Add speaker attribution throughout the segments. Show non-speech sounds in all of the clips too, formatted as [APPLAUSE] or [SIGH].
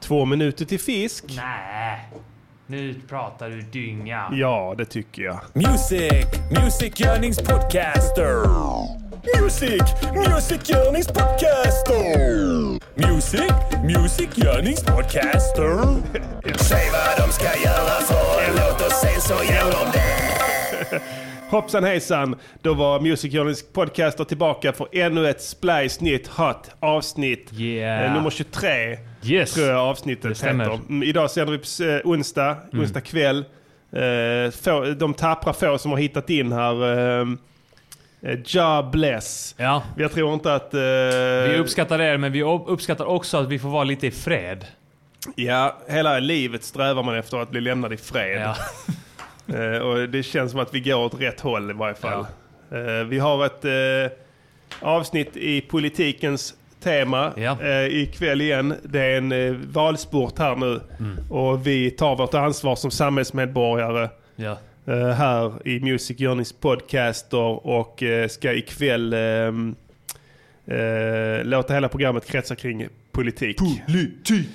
Speaker 1: två minuter till fisk.
Speaker 2: Nej. Nu pratar du dynga.
Speaker 1: Ja, det tycker jag.
Speaker 3: Music, Music Yearnings Podcaster. Music, Music Yearnings Podcaster. Music, Music Yearnings Podcaster. Säg vad de ska göra för en låt och sen så gör de det.
Speaker 1: Hoppsan hejsan! Då var Music Journalist Podcaster tillbaka för ännu ett splice nytt hot avsnitt.
Speaker 2: Yeah.
Speaker 1: Eh, Nummer 23
Speaker 2: Yes.
Speaker 1: tror jag avsnittet
Speaker 2: stämmer. Mm.
Speaker 1: heter. Mm, idag sänder vi på s- eh, onsdag, onsdag kväll. Eh, få, de tappra få som har hittat in här. Eh, eh, ja bless.
Speaker 2: Ja.
Speaker 1: Jag tror inte att... eh,
Speaker 2: Vi uppskattar er, men vi upp- uppskattar också att vi får vara lite i fred.
Speaker 1: ja, hela livet strävar man efter att bli lämnad i fred.
Speaker 2: Ja.
Speaker 1: Eh, och det känns som att vi går åt rätt håll i varje fall. Eh, vi har ett eh, avsnitt i politikens tema
Speaker 2: Ja.
Speaker 1: eh, ikväll igen. Det är en eh, valsport här nu. Och vi tar vårt ansvar som samhällsmedborgare
Speaker 2: ja.
Speaker 1: eh, här i Music Journeys podcaster och eh, ska ikväll eh, eh, låta hela programmet kretsa kring politik.
Speaker 3: Politik,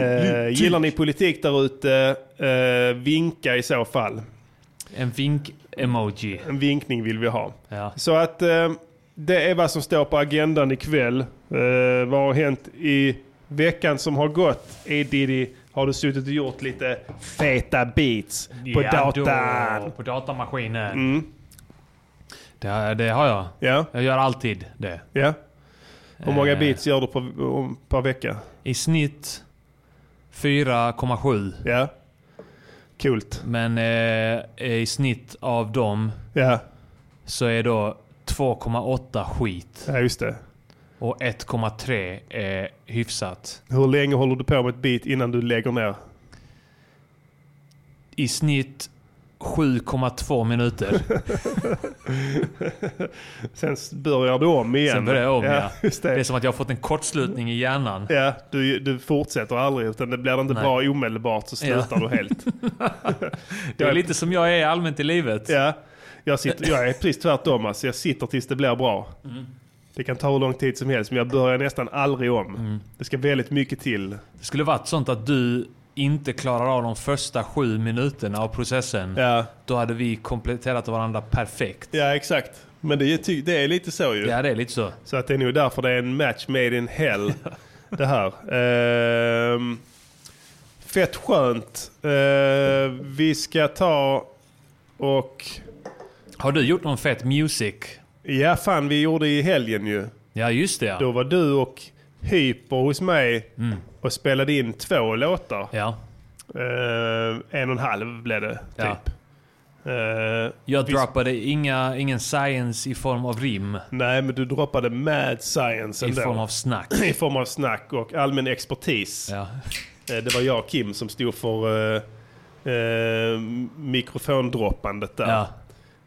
Speaker 1: Eh, gillar ni politik där ute, eh, vinka i så fall.
Speaker 2: En vink-emoji.
Speaker 1: En vinkning vill vi ha.
Speaker 2: Ja.
Speaker 1: Så att eh, det är vad som står på agendan ikväll. Eh, vad har hänt i veckan som har gått? E. Diddy, har du suttit och gjort lite feta beats på
Speaker 2: ja,
Speaker 1: datan? Mm.
Speaker 2: Då, på datamaskinen. Det, har- det har jag.
Speaker 1: Ja,
Speaker 2: Jag gör alltid det.
Speaker 1: ja. Hur många
Speaker 2: Eh.
Speaker 1: beats gör du på, om, per vecka?
Speaker 2: I snitt 4,7.
Speaker 1: Ja. Coolt.
Speaker 2: Men eh, i snitt av dem
Speaker 1: Ja,
Speaker 2: så är då 2,8 skit
Speaker 1: ja, just det.
Speaker 2: och 1,3 är hyfsat.
Speaker 1: Hur länge håller du på med ett beat innan du lägger ner?
Speaker 2: I snitt 7,2 minuter.
Speaker 1: Sen s- börjar du om igen.
Speaker 2: Sen börjar jag om, [LAUGHS] ja.
Speaker 1: Just
Speaker 2: Det är
Speaker 1: det.
Speaker 2: som att jag har fått en kortslutning i hjärnan.
Speaker 1: Ja, du, du fortsätter aldrig utan det blir det inte
Speaker 2: Nej.
Speaker 1: bra omedelbart så slutar du helt.
Speaker 2: [LAUGHS] Det är lite som jag är allmänt i livet.
Speaker 1: Ja, jag, sitter, jag är precis tvärtom. Alltså. Jag sitter tills det blir bra.
Speaker 2: Mm.
Speaker 1: Det kan ta hur lång tid som helst, men jag börjar nästan aldrig om.
Speaker 2: Mm.
Speaker 1: Det ska väldigt mycket till.
Speaker 2: Det skulle varit sånt att du inte klarar av de första sju minuterna av processen.
Speaker 1: Ja,
Speaker 2: Då hade vi kompletterat varandra perfekt.
Speaker 1: ja exakt. Men det är, ty- det är lite så ju.
Speaker 2: Ja, det är lite så.
Speaker 1: Så att det är nog därför det är en match made in
Speaker 2: [LAUGHS]
Speaker 1: hell. det här. Ehm, fett skönt. Ehm, vi ska ta och...
Speaker 2: Har du gjort någon fet music?
Speaker 1: Ja, fan vi gjorde i helgen ju.
Speaker 2: Ja, just det ja.
Speaker 1: Då var du och Hyper hos mig
Speaker 2: Mm.
Speaker 1: och spelade in två låtar.
Speaker 2: ja.
Speaker 1: Eh, en och en halv blev det,
Speaker 2: Ja.
Speaker 1: typ. Eh,
Speaker 2: Jag
Speaker 1: vi-
Speaker 2: droppade inga, ingen science i form av rim.
Speaker 1: nej, men du droppade mad science
Speaker 2: I
Speaker 1: ändå.
Speaker 2: form av snack.
Speaker 1: [CLEARS THROAT] I form av snack och allmän expertis.
Speaker 2: Ja.
Speaker 1: Eh, det var jag och Kim som stod för eh, eh, mikrofondroppandet där.
Speaker 2: Ja.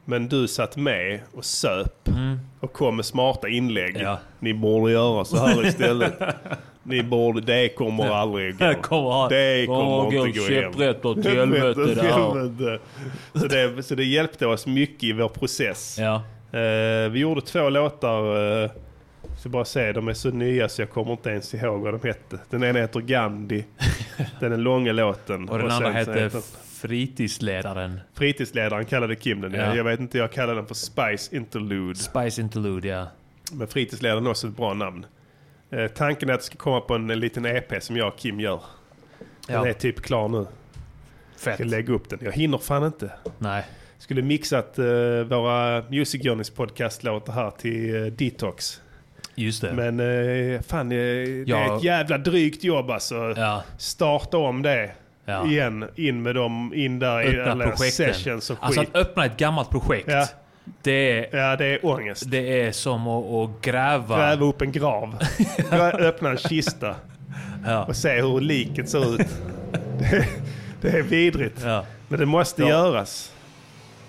Speaker 1: Men du satt med och söp och kom med smarta inlägg.
Speaker 2: Mm. Ja.
Speaker 1: Ni borde göra så här
Speaker 2: [LAUGHS]
Speaker 1: istället. Ni borde, det kommer aldrig gå.
Speaker 2: Det kommer ha-
Speaker 1: det
Speaker 2: kommer
Speaker 1: kommer
Speaker 2: gå
Speaker 1: inte gå hem.
Speaker 2: käpprätt åt helvete [LAUGHS] det här.
Speaker 1: Helvete. Så det, så det hjälpte oss mycket i vår process.
Speaker 2: Ja.
Speaker 1: Eh, vi gjorde två låtar. eh, ska bara säga, de är så nya så jag kommer inte ens ihåg vad de hette. Den ena heter
Speaker 2: [LAUGHS]
Speaker 1: Gandhi. Den är långa låten.
Speaker 2: Och den andra
Speaker 1: sen så
Speaker 2: hette Fritidsledaren.
Speaker 1: Fritidsledaren kallade Kim den.
Speaker 2: Ja.
Speaker 1: Ja. Jag vet inte, jag kallade den för Spice Interlude.
Speaker 2: Spice Interlude, ja.
Speaker 1: Men Fritidsledaren är också ett bra namn. Eh, tanken är att det ska komma på en, en liten EP som jag och Kim gör. Den
Speaker 2: ja.
Speaker 1: är typ klar nu. Jag ska
Speaker 2: Fett.
Speaker 1: lägga upp den. Jag hinner fan inte.
Speaker 2: Nej.
Speaker 1: Skulle mixat eh, våra Music Journeys podcastlåtar här till eh, Detox.
Speaker 2: Just det.
Speaker 1: Men eh, fan, eh, det är
Speaker 2: Ja.
Speaker 1: ett jävla drygt jobb alltså.
Speaker 2: Ja.
Speaker 1: Starta om det
Speaker 2: Ja.
Speaker 1: igen. In med dem, in där i
Speaker 2: Öppna
Speaker 1: alla
Speaker 2: projekten.
Speaker 1: sessions och skit.
Speaker 2: Alltså att öppna ett gammalt projekt.
Speaker 1: Ja.
Speaker 2: Det, är,
Speaker 1: ja, det är ångest.
Speaker 2: det är som att, att gräva.
Speaker 1: Gräva upp en
Speaker 2: [LAUGHS]
Speaker 1: grav. Grä- Öppna en kista.
Speaker 2: Ja.
Speaker 1: Och se hur liket ser ut. Det, det är vidrigt.
Speaker 2: Ja.
Speaker 1: Men det måste
Speaker 2: Ja.
Speaker 1: göras.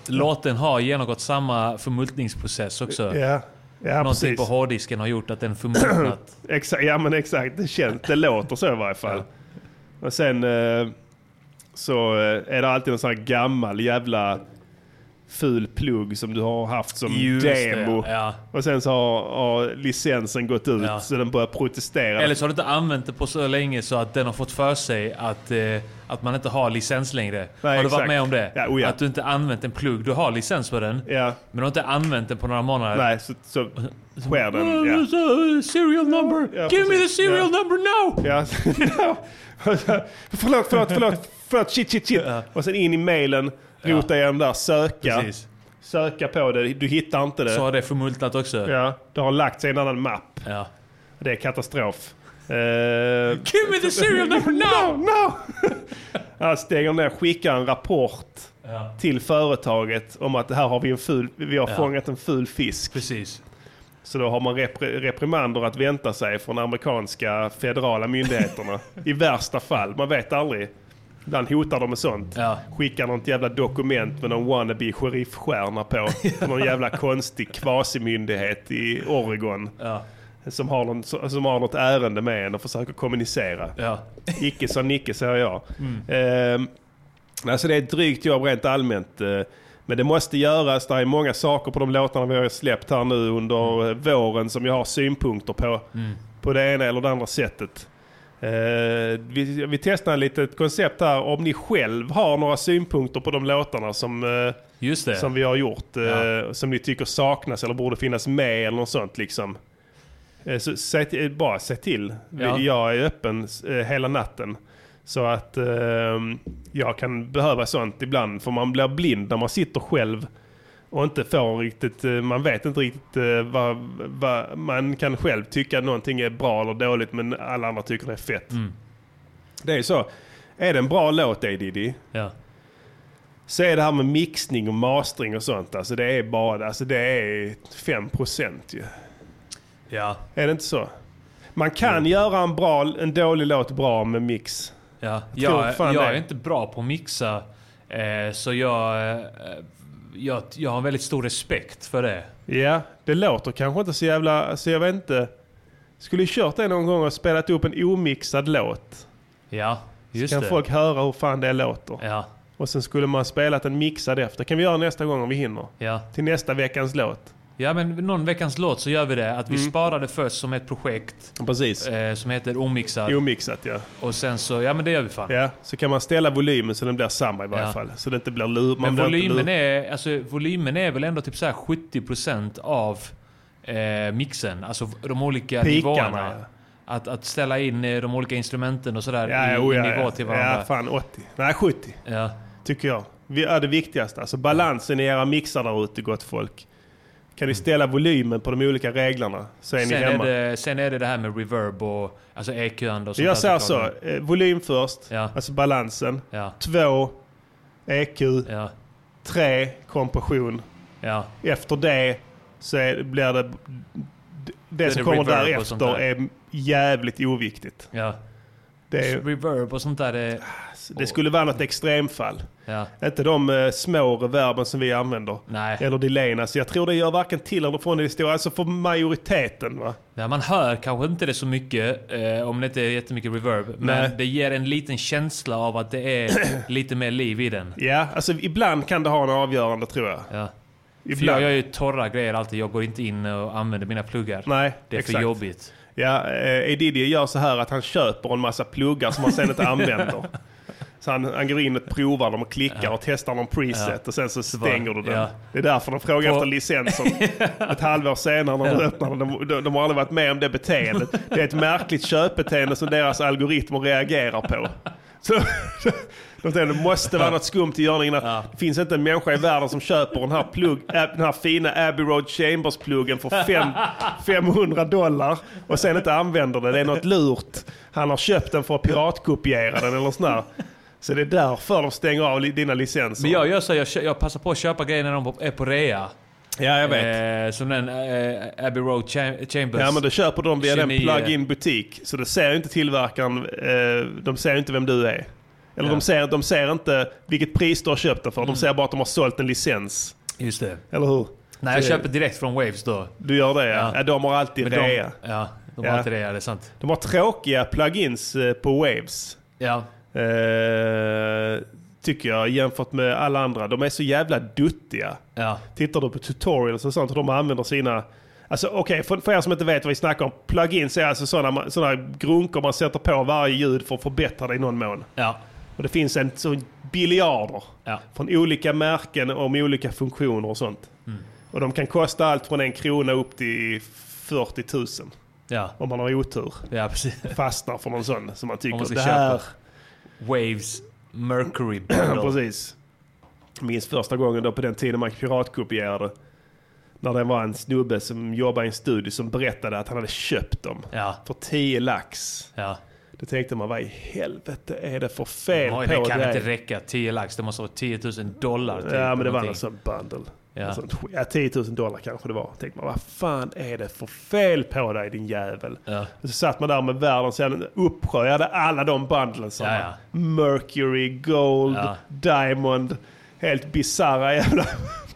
Speaker 2: Låten har genomgått samma förmultningsprocess också.
Speaker 1: Ja, ja
Speaker 2: Någonting
Speaker 1: precis.
Speaker 2: på hårddisken har gjort att den förmultnat.
Speaker 1: Exa- ja men exakt, det känns, det låter så i varje fall. Och sen eh, så eh, är det alltid en sån här gammal jävla ful plugg som du har haft som
Speaker 2: Just
Speaker 1: [CLEARS THROAT]
Speaker 2: det,
Speaker 1: demo.
Speaker 2: ja.
Speaker 1: Och sen så har, har licensen gått ut
Speaker 2: Ja.
Speaker 1: så den börjar protestera.
Speaker 2: Eller så har du inte använt det på så länge så att den har fått för sig att, eh, att man inte har licens längre. har du
Speaker 1: exakt.
Speaker 2: varit med om det?
Speaker 1: Ja, oh ja.
Speaker 2: Att du inte använt en plugg. Du har licens på den,
Speaker 1: Ja,
Speaker 2: men du har inte använt den på några månader.
Speaker 1: nej, så, så sker den.
Speaker 2: Uh,
Speaker 1: Ja.
Speaker 2: uh, serial number!
Speaker 1: Ja,
Speaker 2: Give me the
Speaker 1: precis.
Speaker 2: serial
Speaker 1: Ja.
Speaker 2: number now!
Speaker 1: Ja. [LAUGHS] förlåt, förlåt, förlåt, förlåt, shit, shit, shit. Och sen in i mailen, rota igenom där, söka,
Speaker 2: Precis.
Speaker 1: söka på det, du hittar inte det.
Speaker 2: Så har det förmultnat också.
Speaker 1: Ja, det har lagt sig i en annan mapp.
Speaker 2: Ja.
Speaker 1: Det är katastrof. Eh,
Speaker 2: Give me the serial number
Speaker 1: [LAUGHS]
Speaker 2: now!
Speaker 1: no! Han stänger ner, skickar en rapport
Speaker 2: Ja.
Speaker 1: till företaget om att här har vi en ful, vi har fångat en ful fisk.
Speaker 2: Precis.
Speaker 1: Så då har man repri- reprimander att vänta sig från amerikanska federala myndigheterna. I värsta fall, man vet aldrig. Ibland hotar de med sånt.
Speaker 2: Ja.
Speaker 1: Skickar något jävla dokument med någon wannabe sheriffstjärna på. Till någon jävla konstig kvasimyndighet i Oregon.
Speaker 2: Ja.
Speaker 1: Som, har någon, som har något ärende med en och försöker kommunicera.
Speaker 2: Ja.
Speaker 1: Icke sa Nicke, säger jag. Ehm, alltså det är ett drygt jobb rent allmänt. eh, Men det måste göras. Det är många saker på de låtarna vi har släppt här nu under eh, våren som jag har synpunkter på. På det ena eller det andra sättet. Eh, vi, vi testar lite ett koncept här. Om ni själv har några synpunkter på de låtarna som, eh,
Speaker 2: Just det.
Speaker 1: som vi har gjort. eh,
Speaker 2: Ja.
Speaker 1: Som ni tycker saknas eller borde finnas med eller något sånt liksom. Eh, Så säg till, bara säg till. Vi-
Speaker 2: Ja.
Speaker 1: Jag är öppen eh, hela natten. Så att eh, jag kan behöva sånt ibland. För man blir blind när man sitter själv. Och inte får riktigt, eh, man vet inte riktigt eh, vad, vad man kan själv tycka någonting är bra eller dåligt. Men alla andra tycker det är fett.
Speaker 2: Mm.
Speaker 1: Det är ju så. Är det en bra låt dig Diddy?
Speaker 2: Ja.
Speaker 1: Så är det här med mixning och mastering och sånt. Alltså det är bara, alltså det är 5% ju.
Speaker 2: Ja.
Speaker 1: Är det inte så? Man kan göra en, bra, en dålig låt bra med mix.
Speaker 2: Ja,
Speaker 1: Jag tror
Speaker 2: jag,
Speaker 1: fan
Speaker 2: jag,
Speaker 1: det.
Speaker 2: är inte bra på att mixa. Eh, så jag, eh, jag, jag har väldigt stor respekt för det.
Speaker 1: Ja, det låter kanske inte så jävla, alltså jag vet inte. Skulle ju kört det någon gång och spelat upp en omixad låt.
Speaker 2: Ja, just
Speaker 1: kan
Speaker 2: det.
Speaker 1: folk höra hur fan det låter.
Speaker 2: Ja,
Speaker 1: Och sen skulle man ha spelat en mixad efter. kan vi göra nästa gång om vi hinner.
Speaker 2: ja.
Speaker 1: Till nästa veckans låt.
Speaker 2: ja, men någon veckans låt så gör vi det. Att vi
Speaker 1: Mm.
Speaker 2: sparar det först som ett projekt
Speaker 1: Precis.
Speaker 2: eh, som heter Omixad.
Speaker 1: Omixat ja.
Speaker 2: Och sen så, ja men det gör vi fan.
Speaker 1: Ja, så kan man ställa volymen så den blir samma i varje
Speaker 2: Ja.
Speaker 1: fall. Så det inte blir lur. man
Speaker 2: men
Speaker 1: blir inte
Speaker 2: volymen
Speaker 1: lur-
Speaker 2: är, alltså, volymen är väl ändå typ så här 70% av eh, mixen. Alltså de olika
Speaker 1: Pikarna,
Speaker 2: nivåerna.
Speaker 1: ja.
Speaker 2: Att, att ställa in eh, de olika instrumenten och sådär
Speaker 1: Ja,
Speaker 2: i,
Speaker 1: jo,
Speaker 2: i
Speaker 1: ja,
Speaker 2: nivå
Speaker 1: ja.
Speaker 2: till
Speaker 1: Ja,
Speaker 2: varandra.
Speaker 1: fan 80. Nej, 70
Speaker 2: ja.
Speaker 1: tycker jag. Vi är det viktigaste. Alltså balansen i era mixar där ute, gott folk. Kan ni ställa volymen på de olika reglerna så är ni
Speaker 2: Mm. Sen är,
Speaker 1: hemma.
Speaker 2: det, sen är det det här med reverb och alltså EQ-ande och
Speaker 1: så
Speaker 2: sånt
Speaker 1: jag
Speaker 2: där
Speaker 1: säger så.
Speaker 2: såklart.
Speaker 1: Eh, volym först,
Speaker 2: Ja.
Speaker 1: alltså balansen.
Speaker 2: Ja,
Speaker 1: Två, EQ.
Speaker 2: ja,
Speaker 1: Tre, kompression.
Speaker 2: ja,
Speaker 1: Efter det så är, blir det... Det, det som
Speaker 2: det
Speaker 1: kommer
Speaker 2: reverb och sånt
Speaker 1: därefter
Speaker 2: där.
Speaker 1: är jävligt oviktigt.
Speaker 2: ja.
Speaker 1: Det, är,
Speaker 2: Reverb och sånt där, det,
Speaker 1: det skulle vara något extremfall.
Speaker 2: ja,
Speaker 1: Inte de eh, små reverben som vi använder.
Speaker 2: nej.
Speaker 1: Eller delay. Alltså jag tror det gör varken till eller från i det stora. Alltså för majoriteten va?
Speaker 2: Ja, man hör kanske inte det så mycket eh, om det inte är jättemycket reverb. Men
Speaker 1: Nej.
Speaker 2: det ger en liten känsla av att det
Speaker 1: [CLEARS THROAT]
Speaker 2: är lite mer liv i den.
Speaker 1: Ja, alltså ibland kan det ha en avgörande tror jag.
Speaker 2: Ja. För jag
Speaker 1: Ibland.
Speaker 2: gör ju torra grejer alltid. Jag går inte in och använder mina pluggar.
Speaker 1: Nej,
Speaker 2: det är
Speaker 1: exakt.
Speaker 2: för jobbigt.
Speaker 1: Ja, eh, Edidie gör så här att han köper en massa pluggar som han sen inte
Speaker 2: [LAUGHS]
Speaker 1: använder. Så han, han går in och provar dem och klickar och testar någon preset och sen så stänger du den.
Speaker 2: ja.
Speaker 1: Det är därför de frågar
Speaker 2: På-
Speaker 1: efter licensen.
Speaker 2: [LAUGHS]
Speaker 1: Ett halvår senare när du öppnar den, de, de, de har aldrig varit med om det beteendet. Det är ett märkligt köpbeteende som deras algoritmer reagerar på. Så, de tänker, det måste vara något skumt i görningen. Det finns inte en människa i världen som köper den här, plugg, Ab- den här fina Abbey Road Chambers-pluggen för fem, 500 dollar och sen inte använder den. Det är något lurt. Han har köpt den för att piratkopiera den eller sådär. Så det är därför de stänger av li- dina licenser.
Speaker 2: Men jag gör så, jag, kö- jag passar på att köpa grejer när de på- är på rea.
Speaker 1: ja, jag vet.
Speaker 2: Eh, som den eh, Abbey Road Cham- Chambers.
Speaker 1: Ja men då köper de via den
Speaker 2: Geni-
Speaker 1: plug-in butik. Så det ser ju inte tillverkaren, eh, de ser ju inte vem du är. Eller de, ser, de ser inte vilket pris du har köpt den för. De ser bara att de har sålt en licens.
Speaker 2: Just det.
Speaker 1: Mm. Eller hur?
Speaker 2: Nej, jag
Speaker 1: Så-
Speaker 2: köper direkt från Waves då.
Speaker 1: Du gör det ja.
Speaker 2: Ja.
Speaker 1: ja de har alltid
Speaker 2: Men
Speaker 1: rea.
Speaker 2: De, ja, de
Speaker 1: Ja.
Speaker 2: har inte rea, det är sant.
Speaker 1: De har tråkiga plugins eh, på Waves.
Speaker 2: Ja,
Speaker 1: Eh, tycker jag, jämfört med alla andra. De är så jävla duttiga.
Speaker 2: Ja.
Speaker 1: Tittar du på tutorials och sånt, hur de använder sina... Alltså okej, för, för er som inte vet vad vi snackar om. Plugins är alltså sådana, sådana grunkor man sätter på varje ljud för att förbättra det i någon mån.
Speaker 2: Ja.
Speaker 1: Och det finns en så biljarder
Speaker 2: Ja.
Speaker 1: från olika märken och med olika funktioner och sånt.
Speaker 2: Mm.
Speaker 1: Och de kan kosta allt från en krona upp till 40 000
Speaker 2: Ja.
Speaker 1: om man har otur.
Speaker 2: Ja, precis.
Speaker 1: Fastnar för någon sån som man tycker
Speaker 2: Om man ska
Speaker 1: det här.
Speaker 2: köpa. Waves
Speaker 1: [CLEARS THROAT]
Speaker 2: Mercury
Speaker 1: Ja,
Speaker 2: Battle.
Speaker 1: precis. Jag minns första gången då på den tiden man piratkopierade. När det var en snubbe som jobbade i en studio som berättade att han hade köpt dem.
Speaker 2: Ja.
Speaker 1: För 10 lax.
Speaker 2: Ja.
Speaker 1: Då tänkte man vad i helvete är det för fel
Speaker 2: Oj,
Speaker 1: på
Speaker 2: det kan
Speaker 1: dig?
Speaker 2: inte räcka. 10 lax. Det måste vara 10 000 dollar. Typ,
Speaker 1: Ja men det var alltså-
Speaker 2: någonting.
Speaker 1: en sån bundle.
Speaker 2: Ja.
Speaker 1: En sån, ja, 10 000 dollar kanske det var. Tänkte man, vad fan är det för fel på dig din jävel?
Speaker 2: Ja.
Speaker 1: Och Så satt man där med världen sen uppsjö. Jag hade alla de bundlen. sa
Speaker 2: Ja,
Speaker 1: man. Mercury, Gold,
Speaker 2: Ja.
Speaker 1: Diamond. Helt bisarra jävla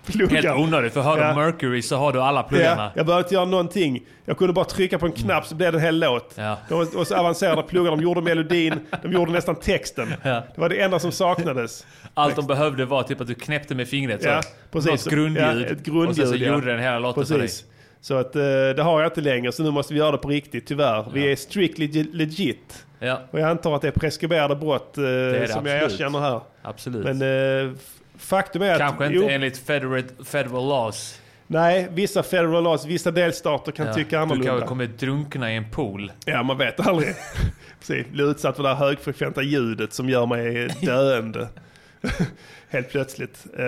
Speaker 1: pluggar.
Speaker 2: Helt onödigt. För har du
Speaker 1: Ja.
Speaker 2: Mercury så har du alla
Speaker 1: Ja,
Speaker 2: pluggarna.
Speaker 1: jag behövde inte göra någonting. Jag kunde bara trycka på en knapp så blev det en hel låt.
Speaker 2: Ja.
Speaker 1: De var och så avancerade pluggar. De gjorde melodin, de gjorde nästan texten. Det var det enda som saknades.
Speaker 2: Allt de behövde var typ att du knäppte med fingret. Så.
Speaker 1: Ja, precis.
Speaker 2: Något grundljud.
Speaker 1: Ja, ett grundljud,
Speaker 2: och sen så
Speaker 1: ja.
Speaker 2: gjorde den hela låten för dig.
Speaker 1: Precis. Så att, eh, det har jag inte längre, så nu måste vi göra det på riktigt tyvärr. Vi är strictly ge- legit.
Speaker 2: Ja,
Speaker 1: Och jag antar att det är preskriberade brott eh,
Speaker 2: det
Speaker 1: som jag
Speaker 2: absolut.
Speaker 1: erkänner här.
Speaker 2: absolut.
Speaker 1: Men eh, f- faktum är
Speaker 2: Kanske
Speaker 1: att
Speaker 2: inte enligt federal, federal laws.
Speaker 1: nej, vissa federal laws, vissa delstater kan
Speaker 2: Ja.
Speaker 1: tycka
Speaker 2: Du
Speaker 1: annorlunda.
Speaker 2: kanske kommer drunkna i en pool.
Speaker 1: Ja, man vet
Speaker 2: [LAUGHS]
Speaker 1: aldrig. Precis, bli utsatt för det här högfrekventa ljudet som gör mig döende.
Speaker 2: [LAUGHS]
Speaker 1: Helt plötsligt. Eh,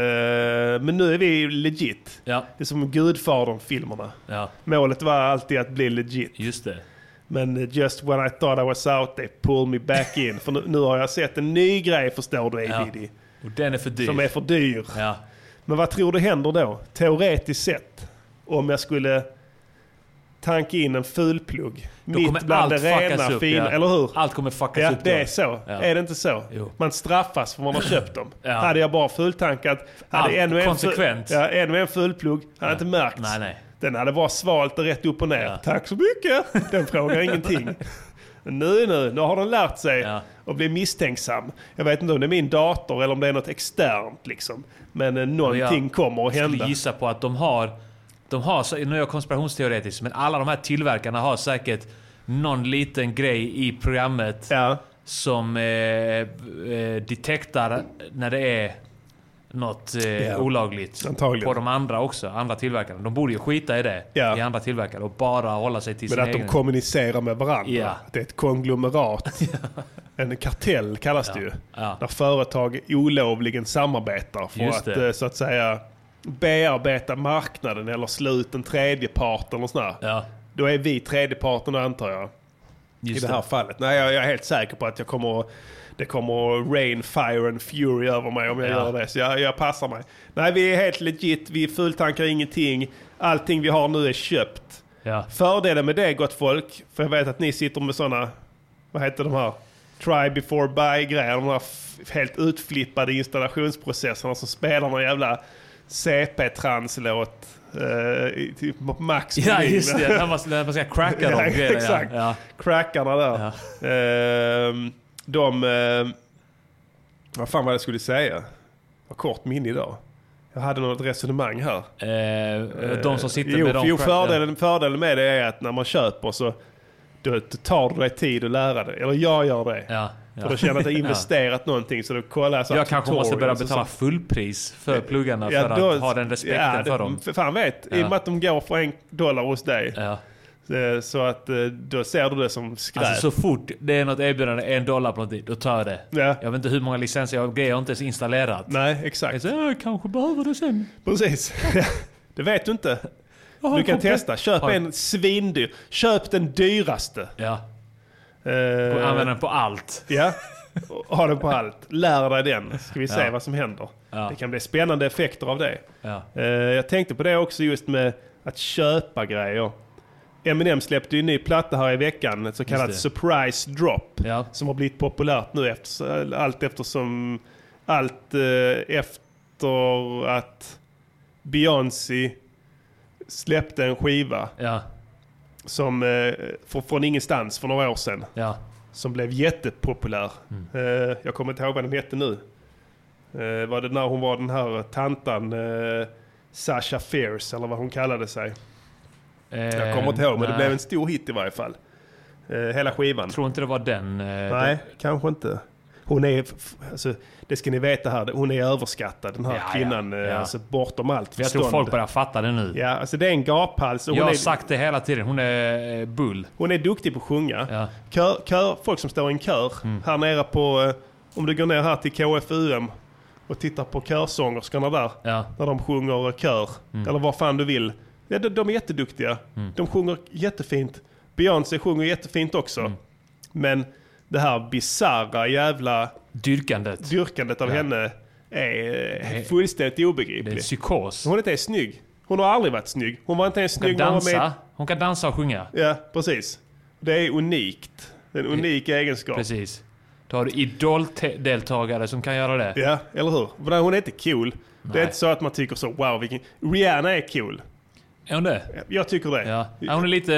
Speaker 1: men nu är vi legit.
Speaker 2: Ja,
Speaker 1: Det är som Gudfadern-filmerna.
Speaker 2: ja
Speaker 1: Målet var alltid att bli legit.
Speaker 2: just det.
Speaker 1: Men just when I thought I was out they pulled me back in. För nu, nu har jag sett en ny grej förstår du
Speaker 2: Ja.
Speaker 1: ADD.
Speaker 2: Och den är för dyr.
Speaker 1: Som är för dyr.
Speaker 2: Ja,
Speaker 1: Men vad tror du händer då? Teoretiskt sett. Om jag skulle tanka in en fulplugg. Mitt
Speaker 2: kommer
Speaker 1: bland det
Speaker 2: allt fuckas
Speaker 1: rena
Speaker 2: upp,
Speaker 1: fina.
Speaker 2: ja.
Speaker 1: Eller hur?
Speaker 2: allt kommer fuckas
Speaker 1: Ja,
Speaker 2: upp då.
Speaker 1: det är så. Är det inte så?
Speaker 2: Jo.
Speaker 1: Man straffas för man har köpt dem.
Speaker 2: Ja.
Speaker 1: Hade jag bara fulltankat.
Speaker 2: Allt
Speaker 1: Hade ännu en,
Speaker 2: konsekvent.
Speaker 1: ja, ännu en fullplugg. Hade inte märkt.
Speaker 2: Nej, nej.
Speaker 1: Den hade bara svalt det rätt upp och ner.
Speaker 2: Ja.
Speaker 1: Tack så mycket. Den frågar ingenting. Men nu, nu, nu har den lärt sig
Speaker 2: Ja.
Speaker 1: att bli misstänksam. Jag vet inte om det är min dator eller om det är något externt liksom. Men eh, någonting kommer att
Speaker 2: Jag
Speaker 1: hända.
Speaker 2: skulle gissa på att de har... De har, så- nu är jag konspirationsteoretisk, men alla de här tillverkarna har säkert någon liten grej i programmet
Speaker 1: Ja,
Speaker 2: som eh, eh, detektar när det är något eh,
Speaker 1: Ja.
Speaker 2: olagligt.
Speaker 1: Antagligen.
Speaker 2: På de andra också, andra tillverkarna. De borde ju skita i det,
Speaker 1: Ja.
Speaker 2: i andra tillverkare och bara hålla sig till
Speaker 1: men
Speaker 2: sin
Speaker 1: att de
Speaker 2: egen.
Speaker 1: kommunicerar med varandra.
Speaker 2: Ja.
Speaker 1: Det är ett
Speaker 2: [LAUGHS]
Speaker 1: konglomerat. En kartell kallas det ju.
Speaker 2: Ja.
Speaker 1: Där företag olovligen samarbetar för
Speaker 2: Just
Speaker 1: att
Speaker 2: det.
Speaker 1: eh, så att säga bearbeta marknaden eller slå ut en tredjepart eller sådär.
Speaker 2: ja,
Speaker 1: Då är vi tredjeparten antar jag.
Speaker 2: just
Speaker 1: I det här fallet. Nej, jag, jag är helt säker på att jag kommer att- det kommer att rain, fire and fury över mig om jag
Speaker 2: Ja.
Speaker 1: gör det. Så jag, jag passar mig. Nej, vi är helt legit. Vi fulltankar ingenting. Allting vi har nu är köpt. [LAUGHS]
Speaker 2: Ja.
Speaker 1: Fördelen med det, gott folk, för jag vet att ni sitter med sådana, vad heter de här, try before buy-grejer. De här f- helt utflippade installationsprocesserna som spelar någon jävla CP-translåt. Uh, typ max
Speaker 2: Ja,
Speaker 1: volym.
Speaker 2: just det. När man, när man ska cracka dem.
Speaker 1: [LAUGHS] Ja,
Speaker 2: grejerna, ja.
Speaker 1: exakt.
Speaker 2: Ja.
Speaker 1: crackarna där. Ehm, de... ehm, vad fan var det jag skulle säga? Vad kort minne idag. Jag hade något resonemang här.
Speaker 2: Eh, de som sitter
Speaker 1: jo,
Speaker 2: med dem.
Speaker 1: jo fördelen, fördelen med det är att när man köper så då tar det dig tid att lära dig. Eller jag gör det.
Speaker 2: Ja, [LAUGHS] ja.
Speaker 1: För då känner jag att jag investerat någonting så då kollar jag så här
Speaker 2: Jag kanske måste börja
Speaker 1: tutorials och
Speaker 2: betala
Speaker 1: så.
Speaker 2: fullpris för pluggarna för
Speaker 1: då-
Speaker 2: att ha den respekten
Speaker 1: ja, det-
Speaker 2: för dem.
Speaker 1: Fan vet, i
Speaker 2: Ja.
Speaker 1: och med att de går för en dollar hos dig.
Speaker 2: Ja.
Speaker 1: eh, Så att eh, då ser du det som skräp.
Speaker 2: Alltså så fort det är något erbjudande, en dollar på någonting, då tar jag det.
Speaker 1: Ja.
Speaker 2: Jag vet inte hur många licenser jag har, grejer jag inte ens installerat.
Speaker 1: Nej,
Speaker 2: Jag,
Speaker 1: exakt.
Speaker 2: säger, "Ja, jag kanske behöver det sen. [LAUGHS]
Speaker 1: Precis. det vet du inte.
Speaker 2: Jag har
Speaker 1: Du
Speaker 2: en
Speaker 1: kan
Speaker 2: komplett-
Speaker 1: testa. Köp
Speaker 2: Har jag-
Speaker 1: en svindyr. Köp den dyraste.
Speaker 2: Ja, och
Speaker 1: Eh,
Speaker 2: använda den på allt.
Speaker 1: Ja. Och Ha den på allt. Lär dig den. Ska vi se vad som händer.
Speaker 2: Ja.
Speaker 1: Det kan bli spännande effekter av det.
Speaker 2: Ja.
Speaker 1: Eh, jag tänkte på det också just med att köpa grejer. Eminem släppte ju en ny platta här i veckan. Ett så kallat
Speaker 2: det.
Speaker 1: surprise drop.
Speaker 2: Ja.
Speaker 1: Som har blivit populärt nu efter, allt eftersom... Allt eh, efter att Beyoncé släppte en skiva
Speaker 2: Ja,
Speaker 1: som eh, från, från ingenstans för några år sedan
Speaker 2: ja.
Speaker 1: som blev jättepopulär. Eh, jag kommer inte ihåg vad den hette nu. Eh, var det när hon var den här tantan eh, Sasha Fierce eller vad hon kallade sig. Jag
Speaker 2: Eh,
Speaker 1: kommer inte ihåg men det blev en stor hit i varje fall. Eh, hela skivan.
Speaker 2: Tror inte det var den. eh,
Speaker 1: Nej, kanske inte. Hon är, f- alltså, det ska ni veta här, hon är överskattad den här
Speaker 2: Ja, ja,
Speaker 1: kvinnan. eh,
Speaker 2: ja.
Speaker 1: Alltså, bortom allt
Speaker 2: Jag tror
Speaker 1: förstånd.
Speaker 2: folk börjar fatta det nu.
Speaker 1: Ja, alltså det är en gaphals. Och
Speaker 2: Jag
Speaker 1: hon,
Speaker 2: har
Speaker 1: är,
Speaker 2: sagt det hela tiden. Hon är eh, bull.
Speaker 1: hon är duktig på att sjunga.
Speaker 2: Ja. Mm.
Speaker 1: Kör, kör, folk som står i en kör här nere på, eh, om du går ner här till KFUM och tittar på körsångerskorna där.
Speaker 2: Ja. Mm.
Speaker 1: När de sjunger eh, kör, eller vad fan du vill. Ja, de, de är jätteduktiga. De sjunger jättefint. Beyoncé sjunger jättefint också.
Speaker 2: Mm.
Speaker 1: Men det här bizarra jävla
Speaker 2: Dyrkandet.
Speaker 1: dyrkandet av henne är eh, fullständigt
Speaker 2: Det är
Speaker 1: obegripligt.
Speaker 2: psykos.
Speaker 1: Hon är inte ens snygg. Hon har aldrig varit snygg. Hon var inte ens
Speaker 2: Hon kan
Speaker 1: snygg när hon var med
Speaker 2: dansa. Hon kan dansa och sjunga.
Speaker 1: Ja, precis. Det är unikt. Det är en unik egenskap.
Speaker 2: Precis. Då har du idoldeltagare som kan göra det.
Speaker 1: Ja, eller hur? För nej, hon är inte cool. Det är inte så att man tycker så, wow vilken... Rihanna är cool.
Speaker 2: Är hon det?
Speaker 1: Jag tycker det.
Speaker 2: Ja. Ja, Hon är lite...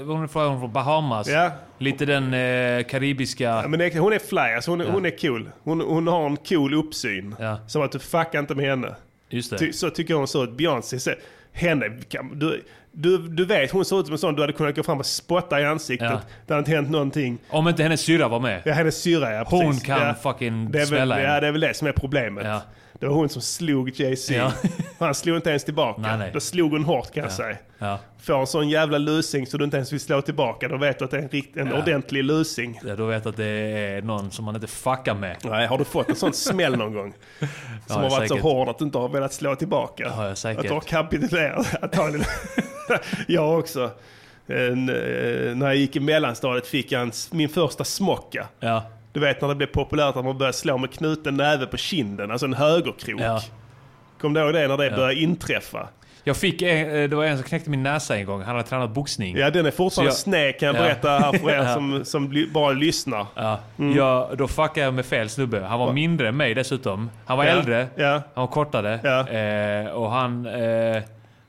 Speaker 2: eh, Hon är från, hon är från Bahamas.
Speaker 1: Ja.
Speaker 2: Lite den eh, karibiska...
Speaker 1: Men det, hon är fly, alltså hon, hon är cool. Hon, hon har en cool uppsyn.
Speaker 2: Ja.
Speaker 1: Som att du fuckar inte med henne.
Speaker 2: Just
Speaker 1: Ty,
Speaker 2: det.
Speaker 1: så tycker hon så att Beyoncé ser... Henne, kan- du, du, du vet hon ser ut som en sån du hade kunnat gå fram och spotta i ansiktet.
Speaker 2: Ja.
Speaker 1: Det har inte hänt någonting.
Speaker 2: Om inte hennes syrra var med.
Speaker 1: Ja, hennes syrra ja,
Speaker 2: Hon
Speaker 1: precis.
Speaker 2: kan
Speaker 1: ja.
Speaker 2: fucking
Speaker 1: Det är, väl,
Speaker 2: smälla
Speaker 1: ja,
Speaker 2: henne.
Speaker 1: det är väl det som är problemet.
Speaker 2: Ja.
Speaker 1: Det var hon som slog Jay-Z.
Speaker 2: Ja.
Speaker 1: [LAUGHS] Han slog inte ens tillbaka.
Speaker 2: Nej, nej.
Speaker 1: Då slog hon hårt kan jag säga.
Speaker 2: Ja.
Speaker 1: Får en sån jävla lusing så du inte ens vill slå tillbaka, då vet du att det är en, rikt, en
Speaker 2: Ja.
Speaker 1: ordentlig lusing.
Speaker 2: Ja, Då vet jag att det är någon som man inte fuckar med.
Speaker 1: Nej, har du fått en sån smäll någon
Speaker 2: [LAUGHS]
Speaker 1: gång? Som har varit
Speaker 2: säkert.
Speaker 1: så hård att du inte har velat slå tillbaka?
Speaker 2: Ja, ja, säkert.
Speaker 1: Att du har kapitulerat antagligen. [LAUGHS] jag också. En, eh, när jag gick i mellanstadiet fick jag en, s- min första smocka.
Speaker 2: Ja.
Speaker 1: Du vet när det blev populärt att man började slå med knuten näve på kinden, alltså en högerkrok.
Speaker 2: Ja.
Speaker 1: Kom du ihåg det när det började inträffa?
Speaker 2: Jag fick en, eh, det var en som knäckte min näsa en gång. Han hade tränat boxning.
Speaker 1: Ja, den är fortfarande
Speaker 2: Så
Speaker 1: sned kan jag
Speaker 2: Ja.
Speaker 1: berätta här för er
Speaker 2: [LAUGHS] Ja.
Speaker 1: som, som li- bara lyssnar.
Speaker 2: Ja.
Speaker 1: Mm.
Speaker 2: Jag, då fuckade jag med fel snubbe. Han var mindre än mig dessutom. Han var
Speaker 1: Ja.
Speaker 2: äldre.
Speaker 1: Ja.
Speaker 2: Han var kortare.
Speaker 1: Ja.
Speaker 2: Eh, och han, eh,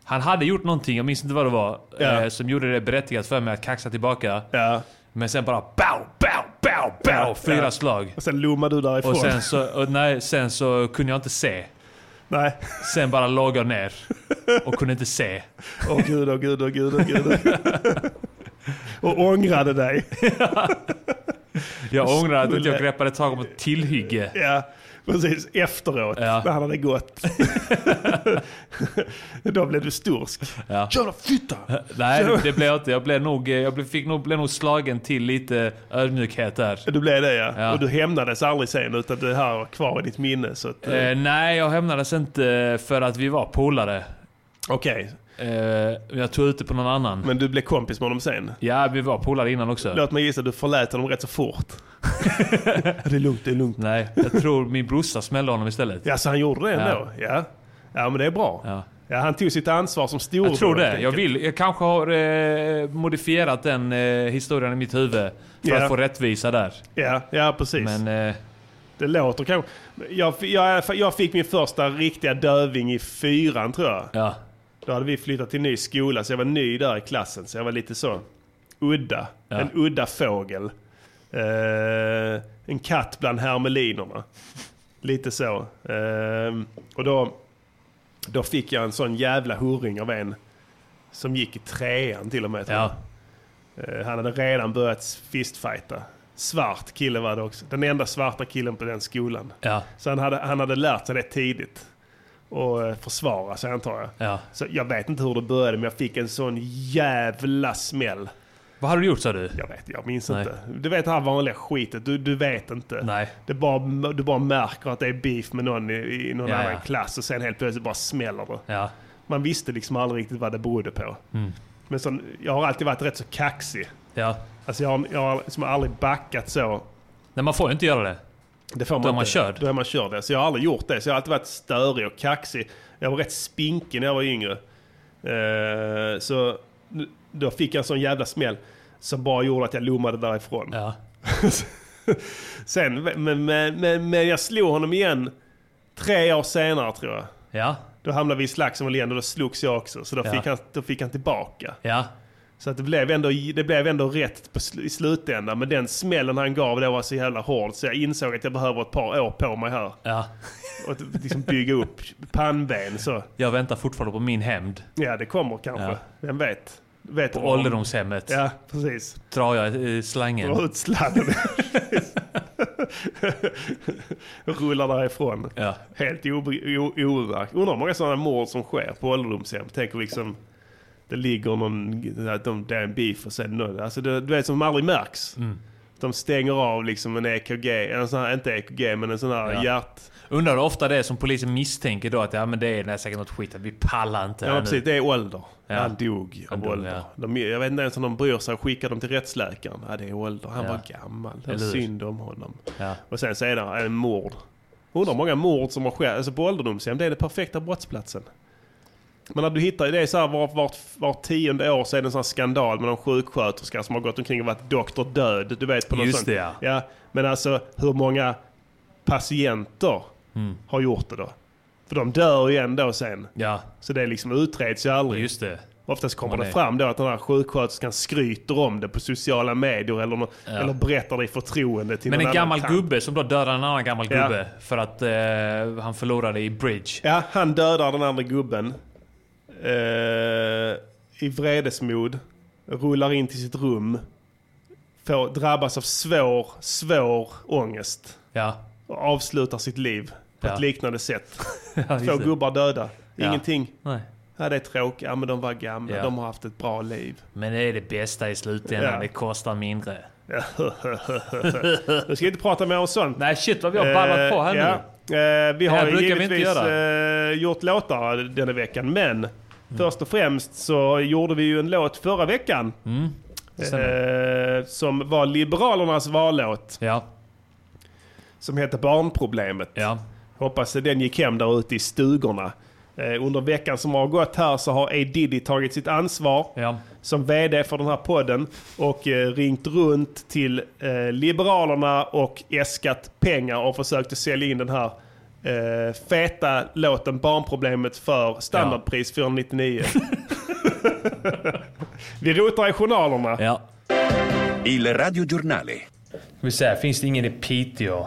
Speaker 2: han hade gjort någonting, jag minns inte vad det var,
Speaker 1: Ja.
Speaker 2: eh, som gjorde det berättigat för mig att kaxa tillbaka.
Speaker 1: Ja.
Speaker 2: Men sen bara bow, bow, bow, bow.
Speaker 1: Ja,
Speaker 2: Fyra
Speaker 1: ja.
Speaker 2: slag.
Speaker 1: Och sen lommade du därifrån.
Speaker 2: Och sen så, och nej, sen så kunde jag inte se.
Speaker 1: Nej.
Speaker 2: Sen bara låg jag ner och kunde inte se.
Speaker 1: Åh gud, åh gud, åh gud, åh gud.
Speaker 2: [LAUGHS]
Speaker 1: och ångrade dig.
Speaker 2: Jag ångrar att inte
Speaker 1: Skulle-
Speaker 2: jag greppade tag om ett tillhygge.
Speaker 1: Ja, precis. Efteråt,
Speaker 2: Ja.
Speaker 1: när han hade
Speaker 2: [LAUGHS]
Speaker 1: gått. Då blev du storsk.
Speaker 2: Ja.
Speaker 1: Jävla fitta!
Speaker 2: Nej, det, det blev jag inte. Jag, blev nog, eh, jag blev, fick nog, blev nog slagen till lite ödmjukhet där.
Speaker 1: Du blev det ja.
Speaker 2: Ja.
Speaker 1: Och du hämnades aldrig sen utan det här var kvar i ditt minne. Så att, eh,
Speaker 2: Eh, nej, jag hämnades inte för att vi var polare.
Speaker 1: Okej,
Speaker 2: Eh, jag tog ut det på någon annan.
Speaker 1: men du blev kompis med honom sen.
Speaker 2: Ja, vi var polare innan också.
Speaker 1: Låt mig gissa, du förlät honom rätt så
Speaker 2: [LAUGHS]
Speaker 1: fort. det är lugnt, det är lugnt.
Speaker 2: Nej, jag tror min brorsa smällde honom istället.
Speaker 1: Ja, så han gjorde det ändå? Ja. Ja, men det är bra.
Speaker 2: Ja.
Speaker 1: Ja, han tog sitt ansvar som storbror.
Speaker 2: Jag tror
Speaker 1: helt
Speaker 2: det.
Speaker 1: enkelt.
Speaker 2: Jag, vill, jag kanske har eh, modifierat den eh, historien i mitt huvud för
Speaker 1: Ja.
Speaker 2: att få rättvisa där.
Speaker 1: Ja, ja precis.
Speaker 2: Men eh,
Speaker 1: Det låter kanske... Jag, jag, jag fick min första riktiga döving i fyran tror jag.
Speaker 2: ja,
Speaker 1: Då hade vi flyttat till ny skola så jag var ny där i klassen. Så jag var lite så udda. En udda fågel. Eh, en katt bland hermelinerna. Lite så. Eh, och då, då fick jag en sån jävla hurring av en som gick i trean till och med. tror jag.
Speaker 2: ja,
Speaker 1: Eh, han hade redan börjat fistfighta. Svart kille var det också. Den enda svarta killen på den skolan.
Speaker 2: ja,
Speaker 1: Så han hade, han hade lärt sig det tidigt. Och eh, försvara sig antar jag.
Speaker 2: ja.
Speaker 1: Så jag vet inte hur det började men jag fick en sån jävla smäll.
Speaker 2: Vad har du gjort sa du?
Speaker 1: Jag vet, jag minns
Speaker 2: Nej.
Speaker 1: inte. Du vet det här vanliga skitet, du, du vet inte.
Speaker 2: Nej.
Speaker 1: Det bara, du bara märker att det är beef med någon i, i någon
Speaker 2: Ja,
Speaker 1: annan
Speaker 2: ja.
Speaker 1: klass och sen helt plötsligt bara smäller det.
Speaker 2: Ja,
Speaker 1: Man visste liksom aldrig riktigt vad det berodde på.
Speaker 2: Mm.
Speaker 1: Men sån, jag har alltid varit rätt så kaxig.
Speaker 2: ja.
Speaker 1: Alltså jag, har- jag har liksom aldrig backat så.
Speaker 2: Nej, man får ju inte göra det.
Speaker 1: Det får man
Speaker 2: Då är man
Speaker 1: inte.
Speaker 2: körd.
Speaker 1: Då är man körd. ja. Så jag har aldrig gjort det. Så jag har alltid varit störig och kaxig. Jag var rätt spinkig när jag var yngre. Eh, så n- då fick jag en sån jävla smäll som bara gjorde att jag lommade därifrån.
Speaker 2: Ja,
Speaker 1: [LAUGHS] Sen, men, men, men, men jag slog honom igen tre år senare tror jag.
Speaker 2: ja,
Speaker 1: Då hamnade vi i slagsmål igen och då slogs jag också. Så då,
Speaker 2: Ja.
Speaker 1: fick, han, då fick han tillbaka.
Speaker 2: ja.
Speaker 1: Så att det, blev ändå, det blev ändå rätt på sl- i slutändan. Men den smällen han gav det var så jävla hård så jag insåg att jag behöver ett par år på mig här.
Speaker 2: Ja.
Speaker 1: Och att liksom bygga upp pannben så.
Speaker 2: Jag väntar fortfarande på min hämnd.
Speaker 1: Ja, det kommer kanske.
Speaker 2: Ja.
Speaker 1: Vem vet? vet
Speaker 2: På
Speaker 1: du vad?
Speaker 2: ålderdomshemmet
Speaker 1: Ja, precis.
Speaker 2: drar jag eh, slangen.
Speaker 1: Dra ut sladden. [LAUGHS] Rullar därifrån.
Speaker 2: Ja.
Speaker 1: Helt obry- o- overk. Undrar hur många sådana mord som sker på ålderdomshem. Tänker liksom, det ligger någon, att de, det är en beef och sen någon, alltså det, du vet som aldrig märks.
Speaker 2: Mm.
Speaker 1: De stänger av liksom en EKG, en sån här, inte EKG men en sån här
Speaker 2: Ja.
Speaker 1: hjärt...
Speaker 2: Undrar hur ofta det är som polisen misstänker då att ja, men det är säkert något skit, att vi pallar inte
Speaker 1: Ja
Speaker 2: här
Speaker 1: men precis, det är ålder.
Speaker 2: Ja.
Speaker 1: Han dog
Speaker 2: Han
Speaker 1: av
Speaker 2: dog,
Speaker 1: ålder.
Speaker 2: ja.
Speaker 1: De, jag vet inte ens om de bryr sig och skickar dem till rättsläkaren. Ja det är ålder, han
Speaker 2: Ja.
Speaker 1: var gammal. Det är
Speaker 2: Eller hur?
Speaker 1: synd om honom.
Speaker 2: nu. Ja.
Speaker 1: Och sen så är det en mord. Undrar hur många mord som har skett. Alltså på ålderdomshem, det är den perfekta brottsplatsen. Men när du hittar, det är så här vart, vart, vart tionde år så är det en sån här skandal med någon sjuksköterska som har gått omkring och varit doktor död. Du vet på något
Speaker 2: Just
Speaker 1: sånt.
Speaker 2: det, ja.
Speaker 1: ja. Men alltså hur många patienter
Speaker 2: Mm.
Speaker 1: har gjort det då? För de dör ju ändå sen.
Speaker 2: ja,
Speaker 1: Så det liksom utreds ju aldrig.
Speaker 2: just det.
Speaker 1: Oftast kommer
Speaker 2: Man
Speaker 1: det
Speaker 2: är-
Speaker 1: fram då att den här sjuksköterskan skryter om det på sociala medier eller, nå- eller berättar det i förtroende till
Speaker 2: Men
Speaker 1: någon
Speaker 2: en gammal
Speaker 1: annan tant.
Speaker 2: gubbe som då dödar en annan gammal
Speaker 1: Ja.
Speaker 2: gubbe för att eh, han förlorade i bridge.
Speaker 1: Ja, han dödar den andra gubben. Eh, I vredesmod. Rullar in till sitt rum. Får, drabbas av svår, svår ångest.
Speaker 2: Ja. [LAUGHS]
Speaker 1: Och avslutar sitt liv på
Speaker 2: Ja.
Speaker 1: ett liknande sätt.
Speaker 2: ja [LAUGHS] just
Speaker 1: Två
Speaker 2: det.
Speaker 1: gubbar döda.
Speaker 2: Ja.
Speaker 1: Ingenting.
Speaker 2: Nej.
Speaker 1: Ja, det är tråkigt. Ja, men de var gamla.
Speaker 2: Ja.
Speaker 1: De har haft ett bra liv.
Speaker 2: Men det är det bästa i slutändan,
Speaker 1: Ja.
Speaker 2: det kostar mindre.
Speaker 1: Nu ska jag inte prata mer om sånt.
Speaker 2: Nej shit vad vi har ballat på
Speaker 1: Eh,
Speaker 2: här nu.
Speaker 1: ja. Eh, vi har
Speaker 2: här
Speaker 1: ju
Speaker 2: brukar vi
Speaker 1: givetvis
Speaker 2: inte
Speaker 1: eh,
Speaker 2: Mm.
Speaker 1: gjort låtar denna veckan, men först och främst så gjorde vi ju en låt förra veckan
Speaker 2: Mm,
Speaker 1: eh, som var Liberalernas vallåt
Speaker 2: Ja,
Speaker 1: som hette Barnproblemet.
Speaker 2: ja.
Speaker 1: Hoppas den gick hem där ute i stugorna. Eh, under veckan som har gått här så har A Diddy tagit sitt ansvar
Speaker 2: Ja,
Speaker 1: som vd för den här podden och eh, ringt runt till eh, Liberalerna och äskat pengar och försökt att sälja in den här eh, feta låten Barnproblemet för standardpris 499. [LAUGHS] Vi rotar i journalerna.
Speaker 2: ja.
Speaker 3: Il radiogiornale.
Speaker 2: Ska vi säga, finns det ingen i Piteå?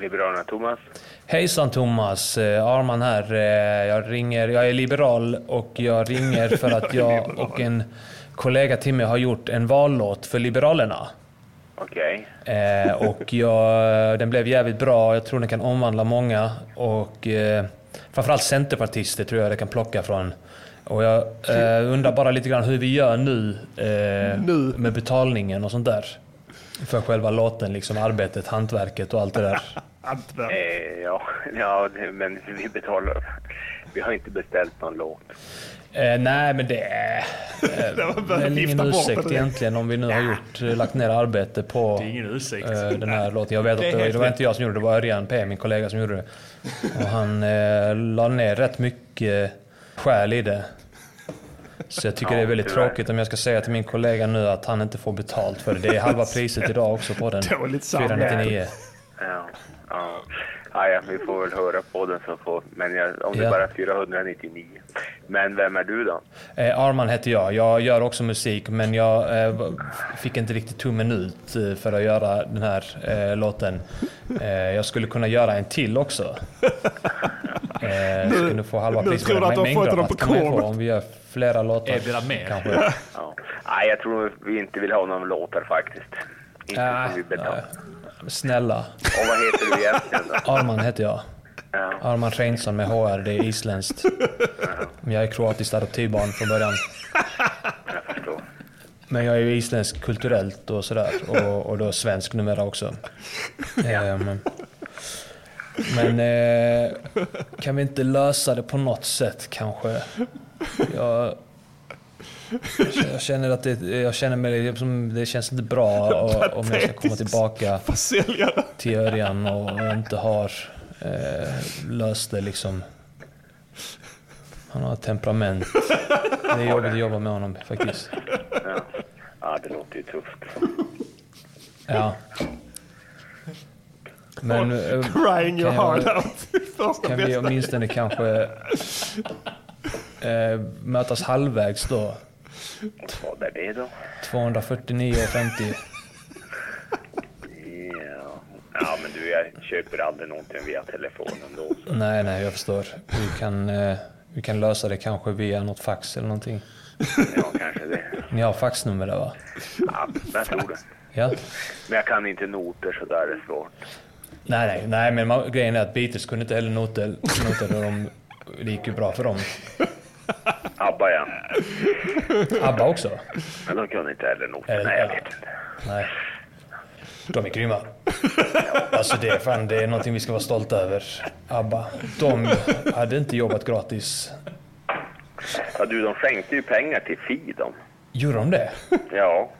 Speaker 4: Liberalerna Thomas.
Speaker 5: Hejsan Thomas, Eh, Arman här. Eh, Jag, ringer, jag är liberal och jag ringer för
Speaker 4: [LAUGHS]
Speaker 5: att jag och en kollega till mig har gjort en vallåt för Liberalerna.
Speaker 4: Okej.
Speaker 5: Eh, Och jag, den blev jävligt bra, jag tror den kan omvandla många. Och eh, framförallt centerpartister tror jag det kan plocka från. Och jag eh, undrar bara lite grann hur vi gör nu, eh,
Speaker 1: Nu.
Speaker 5: med betalningen och sånt där. För själva låten, liksom arbetet, hantverket och allt det där.
Speaker 1: Antwerp.
Speaker 4: Eh, ja, [LAUGHS] ja, det- men vi betalar. Vi har inte beställt någon låt.
Speaker 5: Eh, nej, men det är
Speaker 1: var bara
Speaker 5: det är väl
Speaker 1: vifta
Speaker 5: ingen
Speaker 1: bort det
Speaker 5: ursäkt
Speaker 1: direkt.
Speaker 5: egentligen om vi nu har gjort, eh, lagt ner arbete på
Speaker 2: Det är ingen ursäkt.
Speaker 5: eh, den här låten. Jag vet att
Speaker 1: Det är
Speaker 5: det, var-
Speaker 1: helt
Speaker 5: det var
Speaker 1: rätt.
Speaker 5: inte jag som gjorde det, det var Örjan P, min kollega som gjorde det. Och han eh, la ner rätt mycket eh, själ i det. Så jag tycker
Speaker 4: Ja,
Speaker 5: det är väldigt
Speaker 4: tyvärr.
Speaker 5: tråkigt om jag ska säga till min kollega nu att han inte får betalt för det. Det är halva
Speaker 1: [LAUGHS]
Speaker 5: priset idag också på den.
Speaker 1: Dåligt samvete.
Speaker 5: 499.
Speaker 4: Ja, ja. Ja, ja, vi får väl höra på den så får... Men jag, om det
Speaker 5: Ja.
Speaker 4: bara är 499. Men vem är du då?
Speaker 5: Eh, Arman heter jag. Jag gör också musik, men jag eh, v- fick inte riktigt tummen ut eh, för att göra den här eh, låten. Eh, jag skulle kunna göra en till också. Eh, skulle få halva
Speaker 1: nu
Speaker 5: priset.
Speaker 1: tror du att
Speaker 5: Men
Speaker 1: de har fått
Speaker 5: mängdrabatt
Speaker 1: den på
Speaker 5: kan man ju få
Speaker 1: kornet.
Speaker 5: Om vi gör flera låtar.
Speaker 2: Erbjuda mer.
Speaker 5: Kanske.
Speaker 4: Ja. Nej, jag tror vi inte vill ha någon låtar faktiskt. Inte
Speaker 5: Ah,
Speaker 4: som vi betalar.
Speaker 5: Snälla.
Speaker 4: Och vad heter du egentligen då?
Speaker 5: Arman heter jag.
Speaker 4: Ja.
Speaker 5: Arman Reinsson med HR. Det är isländskt. Men Jag är kroatiskt adoptivbarn från början.
Speaker 4: Jag förstår.
Speaker 5: Men jag är ju isländsk kulturellt och sådär. Och, och då svensk numera också. Ehm, men eh, kan vi inte lösa det på något sätt kanske? Jag, jag känner att det, jag känner mig, som- det känns inte bra och, om jag ska komma tillbaka
Speaker 1: Försäljare.
Speaker 5: till Örjan och och inte har eh, löst det liksom. Han har ett temperament. Det är jobbigt att jobba med honom faktiskt.
Speaker 4: Ja. ja, det låter ju tufft.
Speaker 5: Ja. Men eh,
Speaker 1: Crying your
Speaker 5: Kan jag-
Speaker 1: heart out. [LAUGHS] Första
Speaker 5: kan vi
Speaker 1: bästa.
Speaker 5: åtminstone kanske eh, mötas halvvägs då?
Speaker 4: Vad är det då?
Speaker 5: 249,50.
Speaker 4: Ja. ja, men du, jag köper aldrig någonting via telefonen då. Så.
Speaker 5: Nej, nej, jag förstår. Vi kan, eh, vi kan lösa det kanske via något fax eller någonting.
Speaker 4: Ja, kanske det.
Speaker 5: Ni har faxnummer där va?
Speaker 4: Ja, jag tror det.
Speaker 5: Ja.
Speaker 4: Men jag kan inte noter så där är det svårt.
Speaker 5: Nej, nej, nej, men man, grejen är att Beatles kunde inte heller noter, noter och de, det gick ju bra för dem.
Speaker 4: ABBA ja.
Speaker 5: ABBA också.
Speaker 4: Men de kunde inte heller noter.
Speaker 5: Eller-
Speaker 4: Nej, jag vet inte.
Speaker 5: Nej. De är grymma. Alltså det är fan, det är någonting vi ska vara stolta över. ABBA. De hade inte jobbat gratis.
Speaker 4: Ja, du, de skänkte ju pengar till FI de.
Speaker 5: Gjorde de det?
Speaker 4: Ja.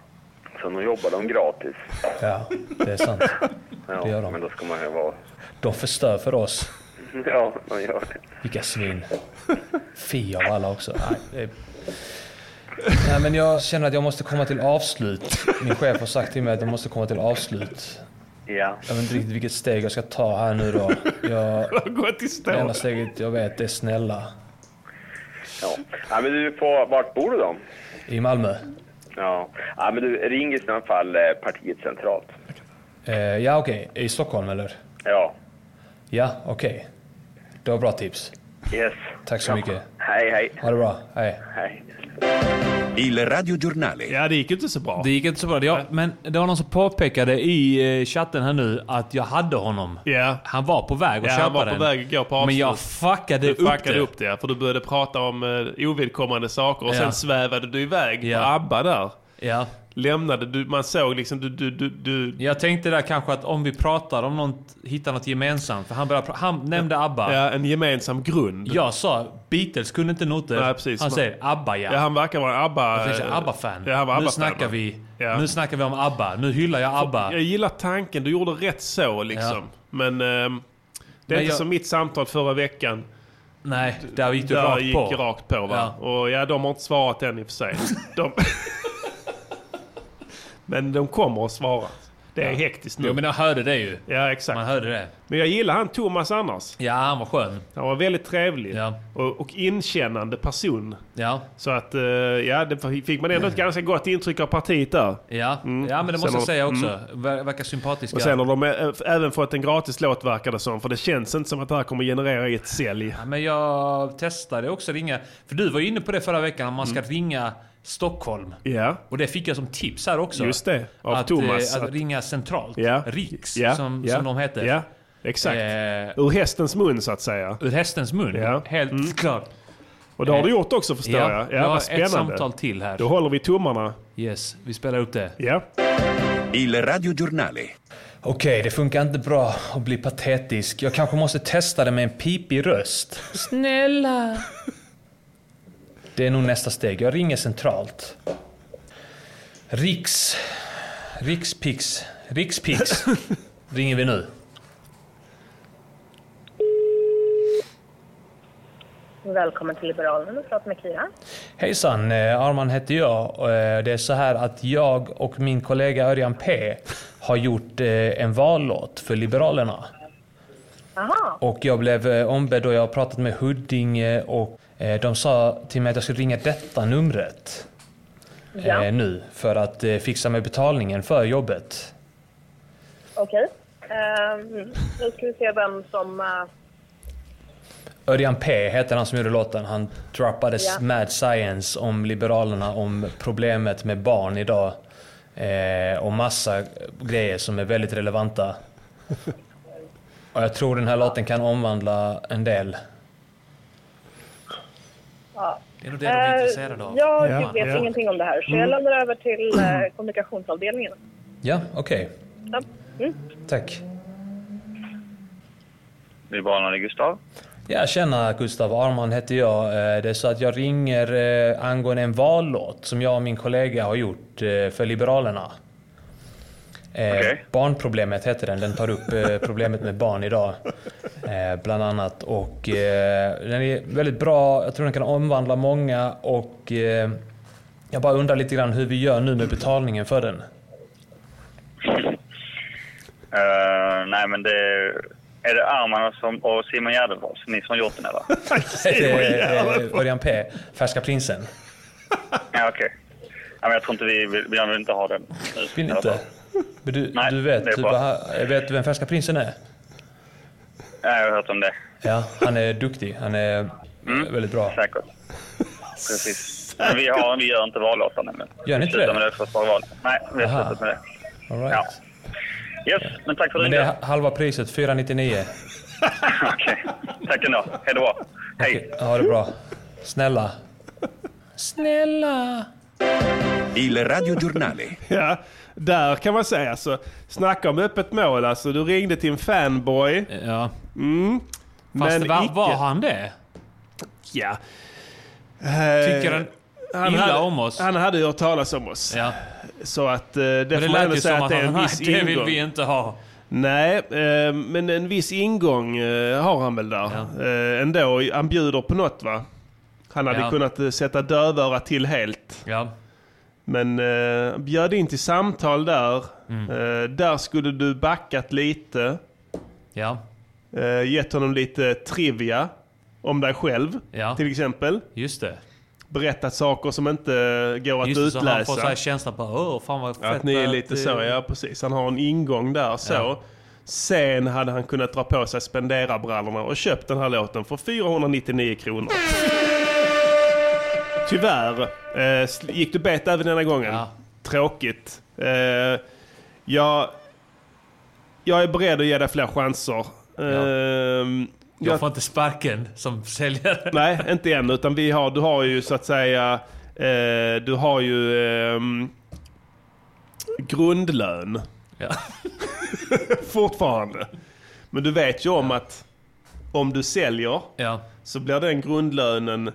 Speaker 4: Så nu jobbar de gratis.
Speaker 5: Ja, det är sant.
Speaker 4: Ja,
Speaker 5: Det gör de.
Speaker 4: Men då ska man ju vara... [LAUGHS]
Speaker 5: De förstör för oss.
Speaker 4: Ja, de gör det.
Speaker 5: Vilka svin. Fi av alla också. Nej, det är... Nej, men jag känner att jag måste komma till avslut. Min chef har sagt till mig att jag måste komma till avslut.
Speaker 4: Ja.
Speaker 5: Jag vet inte riktigt vilket steg jag ska ta här nu då. Jag,
Speaker 1: Det har gått i
Speaker 5: det
Speaker 1: stå.
Speaker 5: enda steget jag vet är snälla.
Speaker 4: ja. ja men du, på, vart bor du då?
Speaker 5: I Malmö.
Speaker 4: Ja. ja, men du, ring i sådana fall eh, partiet centralt.
Speaker 5: Eh, ja, okej. I Stockholm eller?
Speaker 4: Ja.
Speaker 5: Ja, okej. Det var bra tips.
Speaker 4: Yes.
Speaker 5: Tack så mycket.
Speaker 4: Hej, hej.
Speaker 5: Ha det bra. Hej.
Speaker 4: Hej.
Speaker 3: Il radiogiornale.
Speaker 1: Ja, det gick ju inte så bra.
Speaker 2: Det gick inte så bra. Ja, men det var någon som påpekade i eh, chatten här nu att jag hade honom.
Speaker 1: Ja.
Speaker 2: Han var på väg att
Speaker 1: Ja,
Speaker 2: köpa
Speaker 1: han var på
Speaker 2: den.
Speaker 1: väg att gå på
Speaker 2: Men
Speaker 1: avslut.
Speaker 2: jag fuckade,
Speaker 1: Du
Speaker 2: upp,
Speaker 1: fuckade
Speaker 2: det.
Speaker 1: upp det, ja, för du började prata om eh, ovidkommande saker och
Speaker 2: Ja.
Speaker 1: sen svävade du iväg
Speaker 2: Ja.
Speaker 1: på ABBA där.
Speaker 2: Ja.
Speaker 1: Lämnade, du, man såg liksom, du, du, du, du
Speaker 2: Jag tänkte där kanske att om vi pratar om något, hittar något gemensamt. För han, började, pra- han nämnde ABBA.
Speaker 1: ja, en gemensam grund.
Speaker 2: Jag sa Beatles kunde inte noter.
Speaker 1: Nej, precis.
Speaker 2: han
Speaker 1: Man-
Speaker 2: säger ABBA ja.
Speaker 1: Ja, han verkar vara en ABBA... eh,
Speaker 2: Jag tänkte, ABBA-fan.
Speaker 1: Ja, han var ABBA
Speaker 2: nu, snackar vi,
Speaker 1: Ja.
Speaker 2: nu snackar vi om ABBA. Nu hyllar jag ABBA.
Speaker 1: Jag gillar tanken, du gjorde rätt så liksom. Men ehm, det är
Speaker 2: Men
Speaker 1: inte
Speaker 2: jag-
Speaker 1: som mitt samtal förra veckan.
Speaker 2: Nej, där gick du
Speaker 1: där
Speaker 2: rakt
Speaker 1: gick
Speaker 2: på.
Speaker 1: rakt på va? Och ja, de har inte svarat än i och för
Speaker 2: [LAUGHS]
Speaker 1: sig. De... Men de kommer att svara. Det är hektiskt nu.
Speaker 2: Jo men jag hörde det ju.
Speaker 1: Ja, exakt.
Speaker 2: Man hörde det.
Speaker 1: Men jag gillar han Thomas annars.
Speaker 2: Ja, han var skön.
Speaker 1: Han var väldigt trevlig
Speaker 2: Ja.
Speaker 1: och, och inkännande person.
Speaker 2: Ja,
Speaker 1: Så att, eh, ja, det fick man ändå ett ganska gott intryck av partiet där.
Speaker 2: ja. ja men det måste
Speaker 1: Mm. Sen
Speaker 2: jag
Speaker 1: har- mm.
Speaker 2: säga också. Ver- Verkar sympatiska.
Speaker 1: Och sen har de ä- även fått en gratis låt verkar det som. För det känns inte som att det här kommer generera ett sälj.
Speaker 2: Ja, men jag testade också ringa. För du var ju inne på det förra veckan, att man
Speaker 1: Mm.
Speaker 2: ska ringa Stockholm.
Speaker 1: Ja,
Speaker 2: Och det fick jag som tips här också.
Speaker 1: Just det, av
Speaker 2: att,
Speaker 1: Thomas,
Speaker 2: Eh, att,
Speaker 1: att-
Speaker 2: ringa centralt.
Speaker 1: ja.
Speaker 2: Riks,
Speaker 1: ja,
Speaker 2: som,
Speaker 1: ja,
Speaker 2: som de heter.
Speaker 1: Ja, exakt.
Speaker 2: Eh,
Speaker 1: Ur hästens mun så att säga.
Speaker 2: ur hästens mun.
Speaker 1: Ja.
Speaker 2: Helt klart.
Speaker 1: Och det har
Speaker 2: eh,
Speaker 1: du gjort också förstår
Speaker 2: Ja,
Speaker 1: jag.
Speaker 2: jag
Speaker 1: Ja,
Speaker 2: har
Speaker 1: vad
Speaker 2: ett samtal
Speaker 1: spännande.
Speaker 2: till här.
Speaker 1: Då håller vi tummarna.
Speaker 2: Yes, vi spelar upp det.
Speaker 1: Ja. [LAUGHS]
Speaker 3: Il radiogiornale.
Speaker 5: Okej, det funkar inte bra att bli patetisk. Jag kanske måste testa det med en pipig röst. Snälla. Det är nog nästa steg. Jag ringer centralt. Riks... Rikspix. Rikspix. ringer vi nu.
Speaker 6: Välkommen till Liberalerna, prata med Kira.
Speaker 5: Hejsan, eh, Arman heter jag. Och, eh, Det är så här att jag och min kollega Örjan P har gjort eh, en vallåt för Liberalerna.
Speaker 6: Jaha,
Speaker 5: Och jag blev eh, ombedd och jag har pratat med Huddinge och eh, de sa till mig att jag skulle ringa detta numret
Speaker 6: Ja.
Speaker 5: eh, nu för att eh, fixa med betalningen för jobbet.
Speaker 6: okej. Ehm, Nu ska vi se vem som... eh,
Speaker 5: Örjan P heter han som gjorde låten. Han droppade
Speaker 6: Ja.
Speaker 5: Mad Science om Liberalerna, om problemet med barn idag. Eh, och massa grejer som är väldigt relevanta. och jag tror den här låten kan omvandla en del.
Speaker 2: Det är nog det de är
Speaker 6: eh,
Speaker 2: intresserade av.
Speaker 6: Jag
Speaker 1: Ja,
Speaker 6: vet
Speaker 1: ja. Mm.
Speaker 6: ingenting om det här, så jag lämnar över till eh, kommunikationsavdelningen.
Speaker 5: Ja, okej.
Speaker 6: Ja. Mm.
Speaker 5: Tack.
Speaker 4: Nybanan i Gustav.
Speaker 5: Ja, tjena Gustav. Arman heter jag. Eh, Det är så att jag ringer eh, angående en vallåt som jag och min kollega har gjort eh, för Liberalerna. Eh,
Speaker 4: Okej.
Speaker 5: Barnproblemet heter den. Den tar upp
Speaker 4: [LAUGHS]
Speaker 5: eh, problemet med barn idag. Eh, bland annat. Och eh, den är väldigt bra. Jag tror den kan omvandla många och eh, jag bara undrar lite grann hur vi gör nu med betalningen för den.
Speaker 4: Eh, nej, men det är det Arman och, som, och Simon Gärdenfors, ni som gjort den eller?
Speaker 5: [LAUGHS]
Speaker 1: [LAUGHS]
Speaker 5: Eh, eh, Örjan P. Färska prinsen.
Speaker 4: ja, okej. Nej, men jag tror inte vi vill, vi vill inte ha den. nu.
Speaker 5: Vill inte? Men du,
Speaker 4: Nej,
Speaker 5: du
Speaker 4: det
Speaker 5: vet,
Speaker 4: är
Speaker 5: du
Speaker 4: bra.
Speaker 5: bara, vet du vem Färska prinsen är?
Speaker 4: Ja, jag har hört om det.
Speaker 5: Ja, han är duktig. Han är
Speaker 4: Mm.
Speaker 5: väldigt bra.
Speaker 4: Säkert. Precis. Men vi, har, vi gör inte vallåtar nämligen.
Speaker 5: Gör ni
Speaker 4: Vi
Speaker 5: inte
Speaker 4: slutar
Speaker 5: det?
Speaker 4: med det första val. Nej, vi har
Speaker 5: Aha.
Speaker 4: slutat med det.
Speaker 5: All right.
Speaker 4: Ja. Yes, men tack för
Speaker 5: Men det
Speaker 4: ringandet.
Speaker 5: är halva priset, 499.
Speaker 4: Okej, tack ändå. Hej då. Hej.
Speaker 5: Ha det bra. Snälla. Snälla.
Speaker 3: Il radiogiornale.
Speaker 1: Ja, där kan man säga alltså. Snacka om öppet mål alltså. Du ringde till en fanboy.
Speaker 2: Ja. Fast
Speaker 1: men
Speaker 2: va,
Speaker 1: icke.
Speaker 2: var han det?
Speaker 1: Ja.
Speaker 2: Tycker
Speaker 1: Eh,
Speaker 2: han Eh, illa
Speaker 1: hade,
Speaker 2: om oss?
Speaker 1: Han hade ju hört talas om oss.
Speaker 2: Ja.
Speaker 1: Så att eh, det får
Speaker 2: Men det
Speaker 1: man ändå
Speaker 2: lät ju
Speaker 1: säga
Speaker 2: som
Speaker 1: att
Speaker 2: att
Speaker 1: det är en
Speaker 2: han, [LAUGHS] nej,
Speaker 1: viss
Speaker 2: det vill
Speaker 1: ingång.
Speaker 2: vi inte ha.
Speaker 1: Nej, eh, men en viss ingång eh, har han väl där eh, ändå. Han bjuder på något va? Han hade
Speaker 2: Ja.
Speaker 1: kunnat eh, sätta dövörat till helt.
Speaker 2: Ja.
Speaker 1: Men eh, bjöd in till samtal där.
Speaker 2: Mm.
Speaker 1: Eh, där skulle du backat lite.
Speaker 2: Ja.
Speaker 1: Eh, gett honom lite trivia om dig själv
Speaker 2: Ja.
Speaker 1: till exempel.
Speaker 2: Just det.
Speaker 1: Berättat saker som inte går att
Speaker 2: Just det, så han får så
Speaker 1: utläsa.
Speaker 2: här känslan på åh fan vad fett
Speaker 1: Att ni är lite
Speaker 2: att,
Speaker 1: så,
Speaker 2: eh,
Speaker 1: ja precis. Han har en ingång där så.
Speaker 2: Ja.
Speaker 1: Sen hade han kunnat dra på sig spenderarbrallorna och köpt den här låten för 499 kronor. Tyvärr eh, sl- gick du bet även denna gången.
Speaker 2: Ja.
Speaker 1: Tråkigt. Eh, jag, jag är beredd att ge dig fler chanser. Ehm,
Speaker 2: Jag,
Speaker 1: jag-
Speaker 2: får inte sparken som säljare. [LAUGHS]
Speaker 1: Nej, inte än. Utan vi har, du har ju så att säga... Eh, du har ju... ehm, grundlön.
Speaker 2: Ja.
Speaker 1: Fortfarande. Men du vet ju om att om du säljer
Speaker 2: Ja.
Speaker 1: så blir den grundlönen...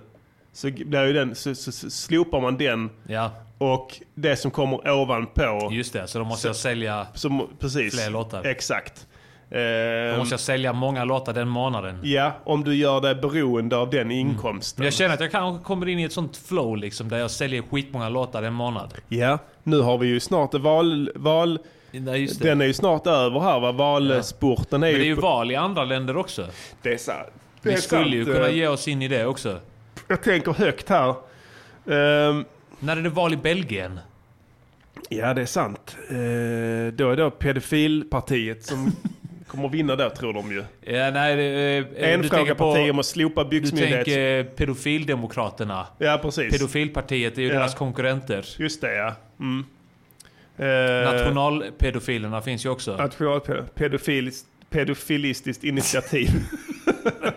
Speaker 1: Så, blir ju den, så, så, så slopar man den
Speaker 2: ja,
Speaker 1: och det som kommer ovanpå.
Speaker 2: just det. Så då måste jag sälja,
Speaker 1: Som, precis.
Speaker 2: Fler låtar.
Speaker 1: Exakt.
Speaker 2: då
Speaker 1: Ehm,
Speaker 2: måste jag sälja många låtar den månaden.
Speaker 1: Ja, om du gör dig beroende av den inkomsten.
Speaker 2: Men jag känner att jag kanske kommer in i ett sånt flow liksom där jag säljer skitmånga låtar en månad.
Speaker 1: Ja, nu har vi ju snart val... val
Speaker 2: Nej, just det.
Speaker 1: Den är ju snart över här va? Valspurten är,
Speaker 2: Men det är ju
Speaker 1: på-
Speaker 2: val i andra länder också.
Speaker 1: Det är sant. Det är
Speaker 2: Vi skulle ju
Speaker 1: sant. eh.
Speaker 2: kunna ge oss in i det också.
Speaker 1: Jag tänker högt här. Ehm,
Speaker 2: När är det val i Belgien?
Speaker 1: ja, det är sant. Uh, då är det pedofilpartiet som
Speaker 2: [LAUGHS]
Speaker 1: kommer vinna där tror de ju.
Speaker 2: Ja, nej, det, eh, eh,
Speaker 1: En
Speaker 2: du
Speaker 1: fråga
Speaker 2: tänker på-
Speaker 1: parti om att slopa
Speaker 2: Du
Speaker 1: byxmyndighets...
Speaker 2: tänker eh, pedofildemokraterna.
Speaker 1: Ja, precis.
Speaker 2: Pedofilpartiet är ju
Speaker 1: Ja.
Speaker 2: deras konkurrenter.
Speaker 1: Just det ja. Mm. Eh,
Speaker 2: Nationalpedofilerna finns ju också.
Speaker 1: Nationalpe- pedofiliskt, pedofilistiskt initiativ. [LAUGHS]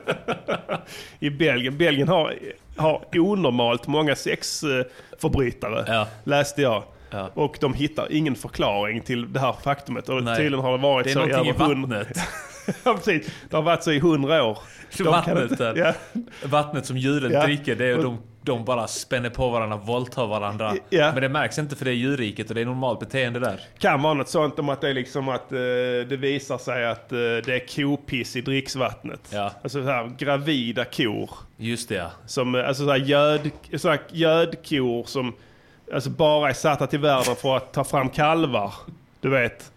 Speaker 1: I Belgien. Belgien har, har onormalt många sexförbrytare,
Speaker 2: Ja.
Speaker 1: läste jag.
Speaker 2: Ja.
Speaker 1: Och de hittar ingen förklaring till det här faktumet. Och
Speaker 2: Nej.
Speaker 1: tydligen har det varit
Speaker 2: Det är
Speaker 1: så i
Speaker 2: någonting i
Speaker 1: över hundra...
Speaker 2: vattnet.
Speaker 1: [LAUGHS] ja, precis. Det har varit så i hundra år. kan
Speaker 2: [LAUGHS] Vattnet
Speaker 1: inte-
Speaker 2: där.
Speaker 1: ja.
Speaker 2: Vattnet som djuren
Speaker 1: Ja.
Speaker 2: dricker, det är de, de bara spänner på varandra, våldtar varandra.
Speaker 1: Ja.
Speaker 2: Men det märks inte för det är djurriket och det är normalt beteende där.
Speaker 1: Kan vara något sånt om att det är liksom att eh, det visar sig att eh, det är kopiss i dricksvattnet.
Speaker 2: Ja.
Speaker 1: Alltså så här, gravida kor.
Speaker 2: Just det ja.
Speaker 1: Som, eh, alltså sådär göd, sådär gödkor som alltså bara är satta till världen för att ta fram kalvar. Du vet.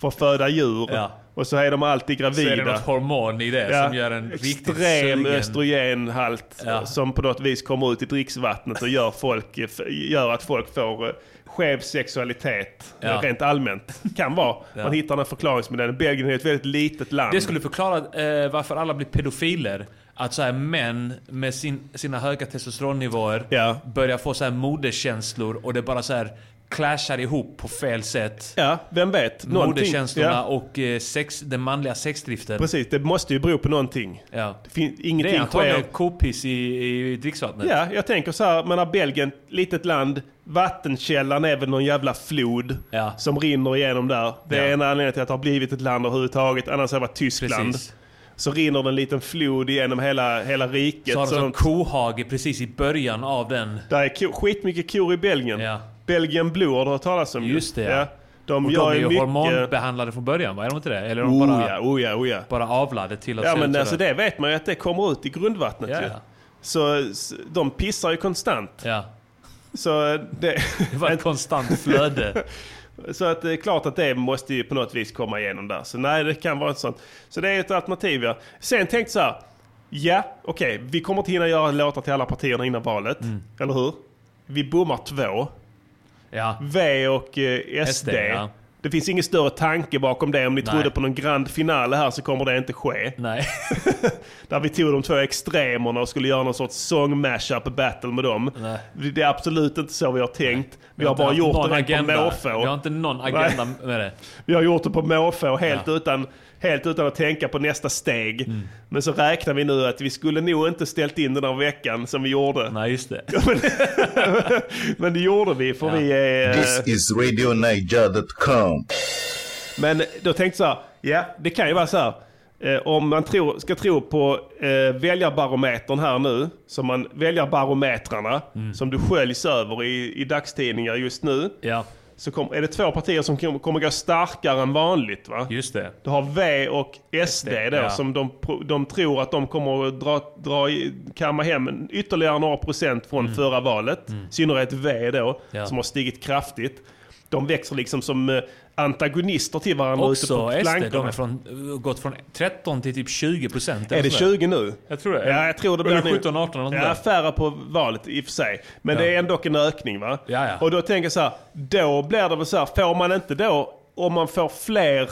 Speaker 1: För att föda djur.
Speaker 2: Ja.
Speaker 1: Och så är de alltid
Speaker 2: Så
Speaker 1: gravida.
Speaker 2: är det något hormon i det
Speaker 1: Ja,
Speaker 2: som gör en riktigt
Speaker 1: Extrem
Speaker 2: sugen.
Speaker 1: östrogenhalt
Speaker 2: Ja.
Speaker 1: eh, som på något vis kommer ut i dricksvattnet och gör, folk, eh, f- gör att folk får eh, skev sexualitet eh,
Speaker 2: Ja.
Speaker 1: rent allmänt. Kan vara. Man hittar en förklaringsmodell. Belgien är ett väldigt litet land.
Speaker 2: Det skulle förklara eh, varför alla blir pedofiler. Att så här män med sin, sina höga testosteronnivåer
Speaker 1: Ja.
Speaker 2: börjar få så här modekänslor och det bara så här clashar ihop på fel sätt.
Speaker 1: Ja, vem vet? Någonting-
Speaker 2: Modekänslorna
Speaker 1: Ja,
Speaker 2: och eh, sex, den manliga sexdriften.
Speaker 1: precis, det måste ju bero på någonting.
Speaker 2: Ja.
Speaker 1: Det fin-
Speaker 2: Det är
Speaker 1: ingenting sker.
Speaker 2: antagligen kopiss i, i dricksvattnet.
Speaker 1: Ja, jag tänker så här, men Belgien, litet land, vattenkällan är väl någon jävla flod
Speaker 2: Ja.
Speaker 1: som rinner igenom där. Det är
Speaker 2: Ja.
Speaker 1: en anledning till att det har blivit ett land överhuvudtaget, annars hade det varit Tyskland.
Speaker 2: Precis.
Speaker 1: Så rinner det en liten flod igenom hela, hela riket.
Speaker 2: Så har de
Speaker 1: så
Speaker 2: en
Speaker 1: de,
Speaker 2: kohage precis i början av den.
Speaker 1: där är ko, skitmycket kor i Belgien.
Speaker 2: Ja.
Speaker 1: Belgien Blue har du hört talas om ju.
Speaker 2: Just det, ja.
Speaker 1: De
Speaker 2: Och
Speaker 1: gör
Speaker 2: de är ju
Speaker 1: mycket...
Speaker 2: hormonbehandlade från början, va? Är de inte det? Eller är de
Speaker 1: Oh
Speaker 2: bara,
Speaker 1: ja, oh ja, oh ja.
Speaker 2: bara avlade till att
Speaker 1: Ja
Speaker 2: se ut
Speaker 1: men
Speaker 2: sådär?
Speaker 1: alltså det vet man ju att det kommer ut i grundvattnet
Speaker 2: Ja,
Speaker 1: ju.
Speaker 2: ja.
Speaker 1: Så s- de pissar ju konstant.
Speaker 2: Ja.
Speaker 1: Så det... [LAUGHS]
Speaker 2: Det var ett konstant flöde.
Speaker 1: Så att det är klart att det måste ju på något vis komma igenom där. Så nej, det kan vara ett sånt. Så det är ett alternativ ja. Sen tänkte jag så här. Ja, okej, vi kommer inte hinna göra låtar till alla partierna innan valet.
Speaker 2: Mm.
Speaker 1: Eller hur? Vi bommar två.
Speaker 2: Ja.
Speaker 1: V och eh, SD.
Speaker 2: SD, ja.
Speaker 1: Det finns ingen större tanke bakom det. Om ni
Speaker 2: Nej.
Speaker 1: trodde på någon grand finale här så kommer det inte ske.
Speaker 2: Nej.
Speaker 1: Där vi tog de två extremerna och skulle göra någon sorts song mashup battle med dem.
Speaker 2: Nej.
Speaker 1: Det- Det är absolut inte så vi har tänkt. Vi har
Speaker 2: inte
Speaker 1: bara
Speaker 2: haft
Speaker 1: gjort
Speaker 2: någon
Speaker 1: det rent på
Speaker 2: agenda.
Speaker 1: måfå.
Speaker 2: Vi har inte någon agenda med det.
Speaker 1: Vi har gjort det på måfå helt,
Speaker 2: Ja. Mm.
Speaker 1: utan, helt utan att tänka på nästa steg. Men så räknar vi nu att vi skulle nog inte ställt in den här veckan som vi gjorde. [LAUGHS]
Speaker 2: Nej, just det.
Speaker 1: Men det gjorde vi för vi är... eh,
Speaker 7: This is RadioNiger.com.
Speaker 1: Men då tänkte jag så här, ja det kan ju vara så här. Eh, om man tror, ska tro på eh, väljarbarometern här nu, som man, väljarbarometrarna
Speaker 2: Mm.
Speaker 1: som du sköljs över i, i dagstidningar just nu.
Speaker 2: Ja,
Speaker 1: Så kom, är det två partier som kom, kommer gå starkare än vanligt va?
Speaker 2: just det.
Speaker 1: Du har V och SD då,
Speaker 2: ja.
Speaker 1: som de, pro- de tror att de kommer att dra, dra, i- kamma hem en- ytterligare några procent från förra valet. I synnerhet V då,
Speaker 2: Mm. Ja.
Speaker 1: som har stigit kraftigt. De växer liksom som eh, antagonister till varandra ute på
Speaker 2: Också SD, de
Speaker 1: flankerna.
Speaker 2: har från, gått från 13 till typ 20 procent.
Speaker 1: Är det 20 nu?
Speaker 2: Jag tror det.
Speaker 1: Ja, jag tror det
Speaker 2: Eller
Speaker 1: blir nu.
Speaker 2: 17, 18 eller
Speaker 1: Ja,
Speaker 2: något
Speaker 1: färre på valet i och för sig. Men
Speaker 2: Ja.
Speaker 1: det är ändå en ökning va?
Speaker 2: Ja, ja.
Speaker 1: Och då tänker jag så här, då blir det väl så här, får man inte då, om man får fler,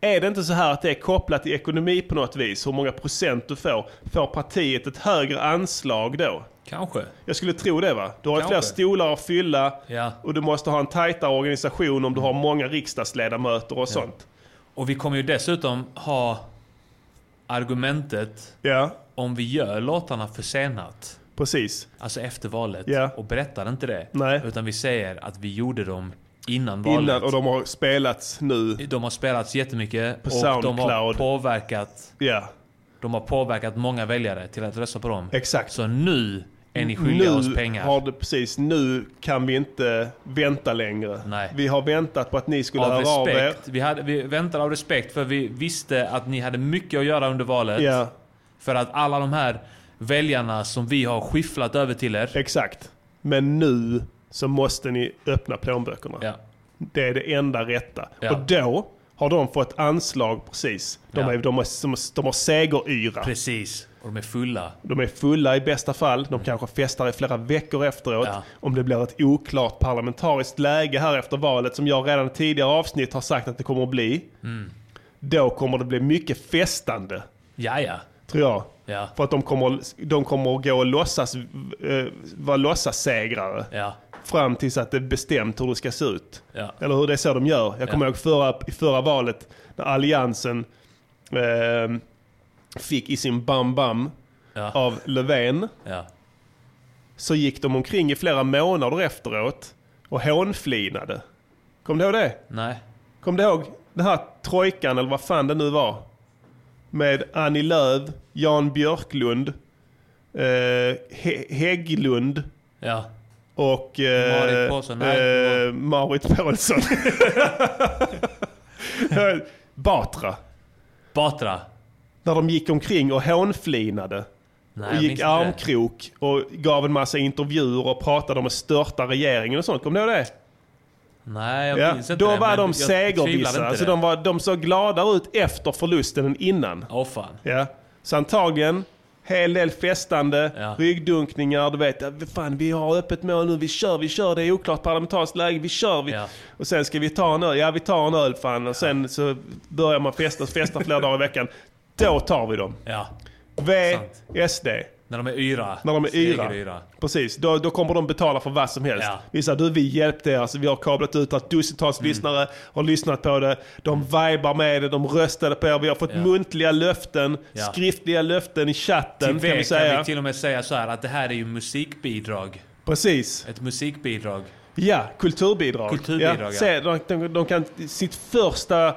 Speaker 1: är det inte så här att det är kopplat till ekonomi på något vis, hur många procent du får, får partiet ett högre anslag då?
Speaker 2: Kanske.
Speaker 1: Jag skulle tro det va? Du har ju fler
Speaker 2: Kanske.
Speaker 1: stolar att fylla
Speaker 2: Ja.
Speaker 1: och du måste ha en tajtare organisation om du har många riksdagsledamöter och sånt.
Speaker 2: Och vi kommer ju dessutom ha argumentet
Speaker 1: Ja,
Speaker 2: om vi gör låtarna försenat,
Speaker 1: precis.
Speaker 2: alltså efter valet,
Speaker 1: Ja.
Speaker 2: och berättar inte det.
Speaker 1: Nej.
Speaker 2: Utan vi säger att vi gjorde dem innan valet.
Speaker 1: Innan, och de har spelats nu.
Speaker 2: De har spelats jättemycket
Speaker 1: På
Speaker 2: och de har
Speaker 1: Soundcloud.
Speaker 2: påverkat,
Speaker 1: Ja.
Speaker 2: de har påverkat många väljare till att rösta på dem.
Speaker 1: Exakt.
Speaker 2: Så nu är ni skyldiga oss pengar.
Speaker 1: Har det, precis, nu kan vi inte vänta längre.
Speaker 2: Nej.
Speaker 1: Vi har väntat på att ni skulle höra
Speaker 2: Av
Speaker 1: av er.
Speaker 2: respekt. Vi, hade, vi väntade av respekt för vi visste att ni hade mycket att göra under valet.
Speaker 1: Ja,
Speaker 2: För att alla de här väljarna som vi har skifflat över till er.
Speaker 1: exakt. Men nu så måste ni öppna plånböckerna.
Speaker 2: Ja.
Speaker 1: Det är det enda rätta.
Speaker 2: Ja.
Speaker 1: Och då har de fått anslag precis. De,
Speaker 2: Ja.
Speaker 1: är, de, har, de, har, de har segeryra.
Speaker 2: Precis. Och de är fulla.
Speaker 1: De är fulla i bästa fall. De kanske festar i flera veckor efteråt.
Speaker 2: Ja.
Speaker 1: Om det blir ett oklart parlamentariskt läge här efter valet, som jag redan i tidigare avsnitt har sagt att det kommer att bli.
Speaker 2: Mm.
Speaker 1: Då kommer det bli mycket festande,
Speaker 2: Ja, ja.
Speaker 1: tror jag.
Speaker 2: Ja.
Speaker 1: För att de kommer, de kommer att gå och låtsas, eh, vara låtsassegrare.
Speaker 2: Ja.
Speaker 1: Fram tills att det är bestämt hur det ska se ut.
Speaker 2: Ja.
Speaker 1: Eller hur det är så de gör. Jag kommer
Speaker 2: Ja.
Speaker 1: ihåg förra, i förra valet när alliansen eh, fick i sin Bam Bam
Speaker 2: Ja.
Speaker 1: av Löfven
Speaker 2: Ja.
Speaker 1: så gick de omkring i flera månader efteråt och hånflinade. Kom du ihåg det?
Speaker 2: Nej.
Speaker 1: Kom du ihåg den här trojkan eller vad fan det nu var? Med Annie Lööf, Jan Björklund, eh, He- Hägglund
Speaker 2: Ja.
Speaker 1: och... Eh,
Speaker 2: Marit Paulsson, nej, det
Speaker 1: Eh, Marit Paulsson. [LAUGHS] Batra.
Speaker 2: Batra.
Speaker 1: När de gick omkring och hånflinade.
Speaker 2: Nej,
Speaker 1: Och
Speaker 2: jag
Speaker 1: gick
Speaker 2: minns inte det.
Speaker 1: armkrok och gav en massa intervjuer och pratade om att störta regeringen och sånt. Kommer du ihåg det?
Speaker 2: Nej, jag
Speaker 1: Ja.
Speaker 2: minns inte
Speaker 1: Då
Speaker 2: det,
Speaker 1: var
Speaker 2: men
Speaker 1: de
Speaker 2: jag tvivlar
Speaker 1: segervissa.
Speaker 2: inte
Speaker 1: Alltså
Speaker 2: det.
Speaker 1: de, var, de såg gladare ut efter förlusten än innan.
Speaker 2: Åh fan.
Speaker 1: Ja. Så antagligen, hel del festande,
Speaker 2: Ja.
Speaker 1: ryggdunkningar, du vet. ja, Fan, vi har öppet mål nu, vi kör, vi kör, det är oklart parlamentariskt läge, vi kör. Vi.
Speaker 2: Ja.
Speaker 1: Och sen ska vi ta en öl, ja vi tar en öl fan. Och sen så börjar man festa, festa flera dagar i veckan. Då tar vi dem.
Speaker 2: Ja.
Speaker 1: V,
Speaker 2: Sant.
Speaker 1: SD.
Speaker 2: När de är yra.
Speaker 1: När de är yra.
Speaker 2: Segeryra.
Speaker 1: Precis, då, då kommer de betala för vad som helst.
Speaker 2: Ja. Mm.
Speaker 1: Vi säger du, vi hjälpte er. Alltså, vi har kablat ut att dussintals lyssnare har lyssnat på det. De vibar med det, de röstade på er. Vi har fått muntliga löften,
Speaker 2: Ja.
Speaker 1: skriftliga löften i
Speaker 2: Till
Speaker 1: chatten
Speaker 2: det
Speaker 1: kan vi
Speaker 2: kan
Speaker 1: säga.
Speaker 2: vi till och med säga så här att det här är ju musikbidrag.
Speaker 1: Precis.
Speaker 2: Ett musikbidrag.
Speaker 1: Ja, kulturbidrag.
Speaker 2: Kulturbidrag,
Speaker 1: ja.
Speaker 2: ja.
Speaker 1: Se, de, de, de kan sitt första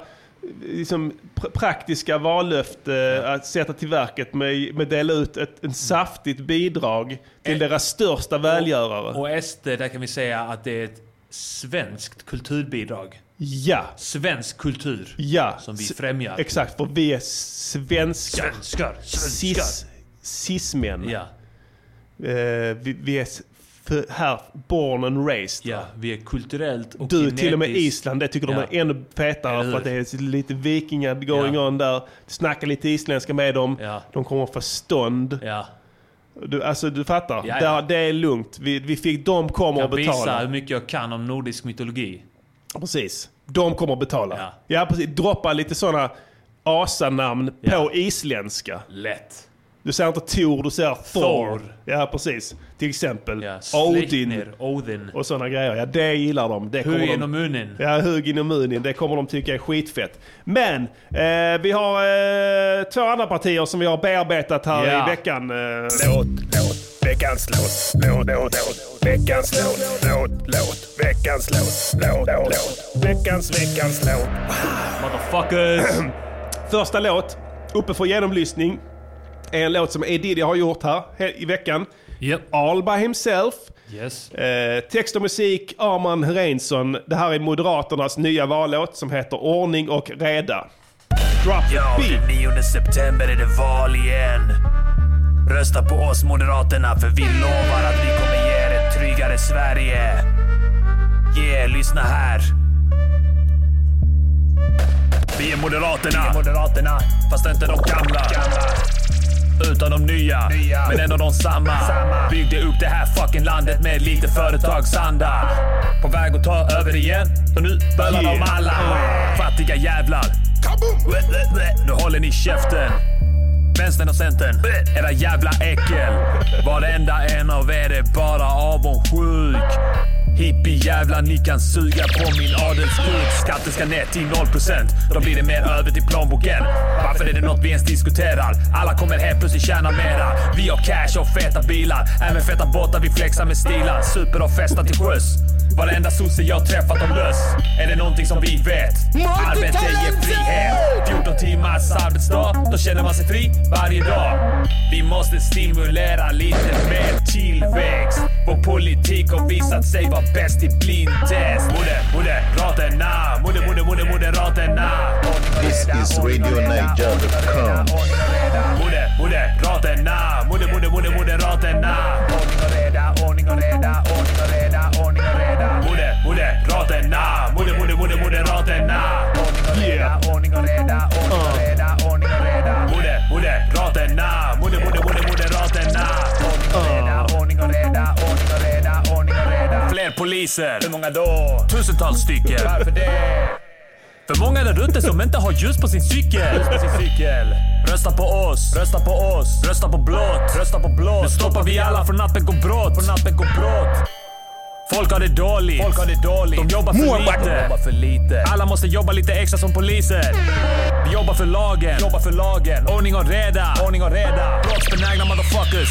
Speaker 1: liksom, pr- praktiska vallöfte att sätta till verket med med att dela ut ett en saftigt bidrag till
Speaker 2: Eh.
Speaker 1: deras största välgörare.
Speaker 2: Och SD, där kan vi säga att det är ett svenskt kulturbidrag.
Speaker 1: ja.
Speaker 2: Svensk kultur.
Speaker 1: Ja.
Speaker 2: Som vi
Speaker 1: S-
Speaker 2: främjar.
Speaker 1: Exakt, för vi är svenskar.
Speaker 2: Svenskar! Svenskar!
Speaker 1: Cis, cis-män.
Speaker 2: Ja.
Speaker 1: Eh, vi, vi är s- f- här born and raised.
Speaker 2: Ja, vi är kulturellt och
Speaker 1: Du, till och med
Speaker 2: genetiskt-
Speaker 1: Island, det tycker
Speaker 2: Ja.
Speaker 1: de är ännu fetare
Speaker 2: Eller hur?
Speaker 1: för att det är lite vikingar going
Speaker 2: Ja.
Speaker 1: on där. Snacka lite isländska med dem.
Speaker 2: Ja.
Speaker 1: De kommer få stånd.
Speaker 2: Ja.
Speaker 1: Du, alltså du fattar.
Speaker 2: Ja, ja.
Speaker 1: Där- Det, är lugnt. Vi, vi fick, de kommer
Speaker 2: Jag
Speaker 1: att betala.
Speaker 2: visar hur mycket jag kan om nordisk mytologi.
Speaker 1: Precis. De kommer att betala.
Speaker 2: Ja.
Speaker 1: Ja, precis. Droppa lite sådana asanamn på isländska.
Speaker 2: Lätt.
Speaker 1: Du säger inte Tor, du säger Thor.
Speaker 2: Thor.
Speaker 1: Ja, precis. Till exempel
Speaker 2: Ja.
Speaker 1: Odin
Speaker 2: Sleipner, Odin.
Speaker 1: och sådana grejer. Ja, det gillar de. Det kommer
Speaker 2: Hur
Speaker 1: de-
Speaker 2: genom munnen.
Speaker 1: Ja, Hugin och Munin. Det kommer de tycka är skitfett. Men eh, vi har eh, två andra partier som vi har bearbetat här
Speaker 2: Ja.
Speaker 1: i veckan. Eh,
Speaker 3: Låt, låt, veckans låt. Låt, låt, låt, veckans låt. Låt, låt, veckans låt. Låt, låt, veckans, veckans låt.
Speaker 2: Motherfuckers!
Speaker 1: [CLEARS THROAT] Första låt, uppe för genomlyssning, är en låt som Edidi har gjort här he- i veckan.
Speaker 2: Japp.
Speaker 1: All by himself.
Speaker 2: Yes.
Speaker 1: Eh, text och musik, Arman Reinsson. Det här är Moderaternas nya vallåt som heter Ordning och reda. Drop
Speaker 3: Ja,
Speaker 1: the beat.
Speaker 3: den 9 september är det val igen. Rösta på oss Moderaterna för vi lovar att vi kommer ge er ett tryggare Sverige. Yeah, lyssna här. Vi är Moderaterna. Vi är Moderaterna. Fast inte de gamla. Utan de nya, men ändå de samma. Byggde upp det här fucking landet med lite företagsanda. På väg att ta över igen, så nu bölar de
Speaker 1: Yeah.
Speaker 3: alla. Fattiga jävlar. Nu håller ni käften. Vänstern och Centern, era jävla äckel. Varenda en av er är bara avundsjuk. Hippie-jävlar, ni kan suga på min adelskuk. Skatten ska ner till 0%, då blir det mer över till plånboken. Varför är det något vi ens diskuterar? Alla kommer helt plötsligt tjäna mera. Vi har cash och feta bilar, även feta båtar vi flexar med stilar. Super och festar till sjöss. Varenda sosse jag träffat om löss Är det någonting som vi vet? Arbete ger frihet 14 timmars arbetsdag Då känner man sig fri varje dag Vi måste stimulera lite mer tillväxt Vår politik har visat sig vara bäst i blindtest Moder, moderaterna Moder, moder, moder, moderaterna
Speaker 7: This is RadioNiger.com.
Speaker 3: Moder, moderaterna Moder, moder, moder, moderaterna Ordning och reda, ordning och reda, ordning och reda, ordning och reda Moder, moderaterna Moder, moder, moder, moderaterna
Speaker 1: Yeah.
Speaker 3: Ordning och reda, ordning och reda, ordning och reda Moder, moderaterna Moder, moder, moder, moderaterna Ordning och reda, ordning och reda, ordning och reda, ordning och reda Fler poliser! Hur många då? Tusentals stycken! Varför det? För många där ute som inte har ljus på sin cykel. Rösta på oss, rösta på oss, rösta på blått, rösta på blått. Nu stoppar vi alla från natten går brott, från natten går brott. Folk har det dåligt, folk har det dåligt. De jobbar för, lite. De jobbar för lite. Alla måste jobba lite extra som poliser. Vi jobbar för lagen, jobbar för lagen. Ordning och reda, ordning och reda. Brottsbenägna motherfuckers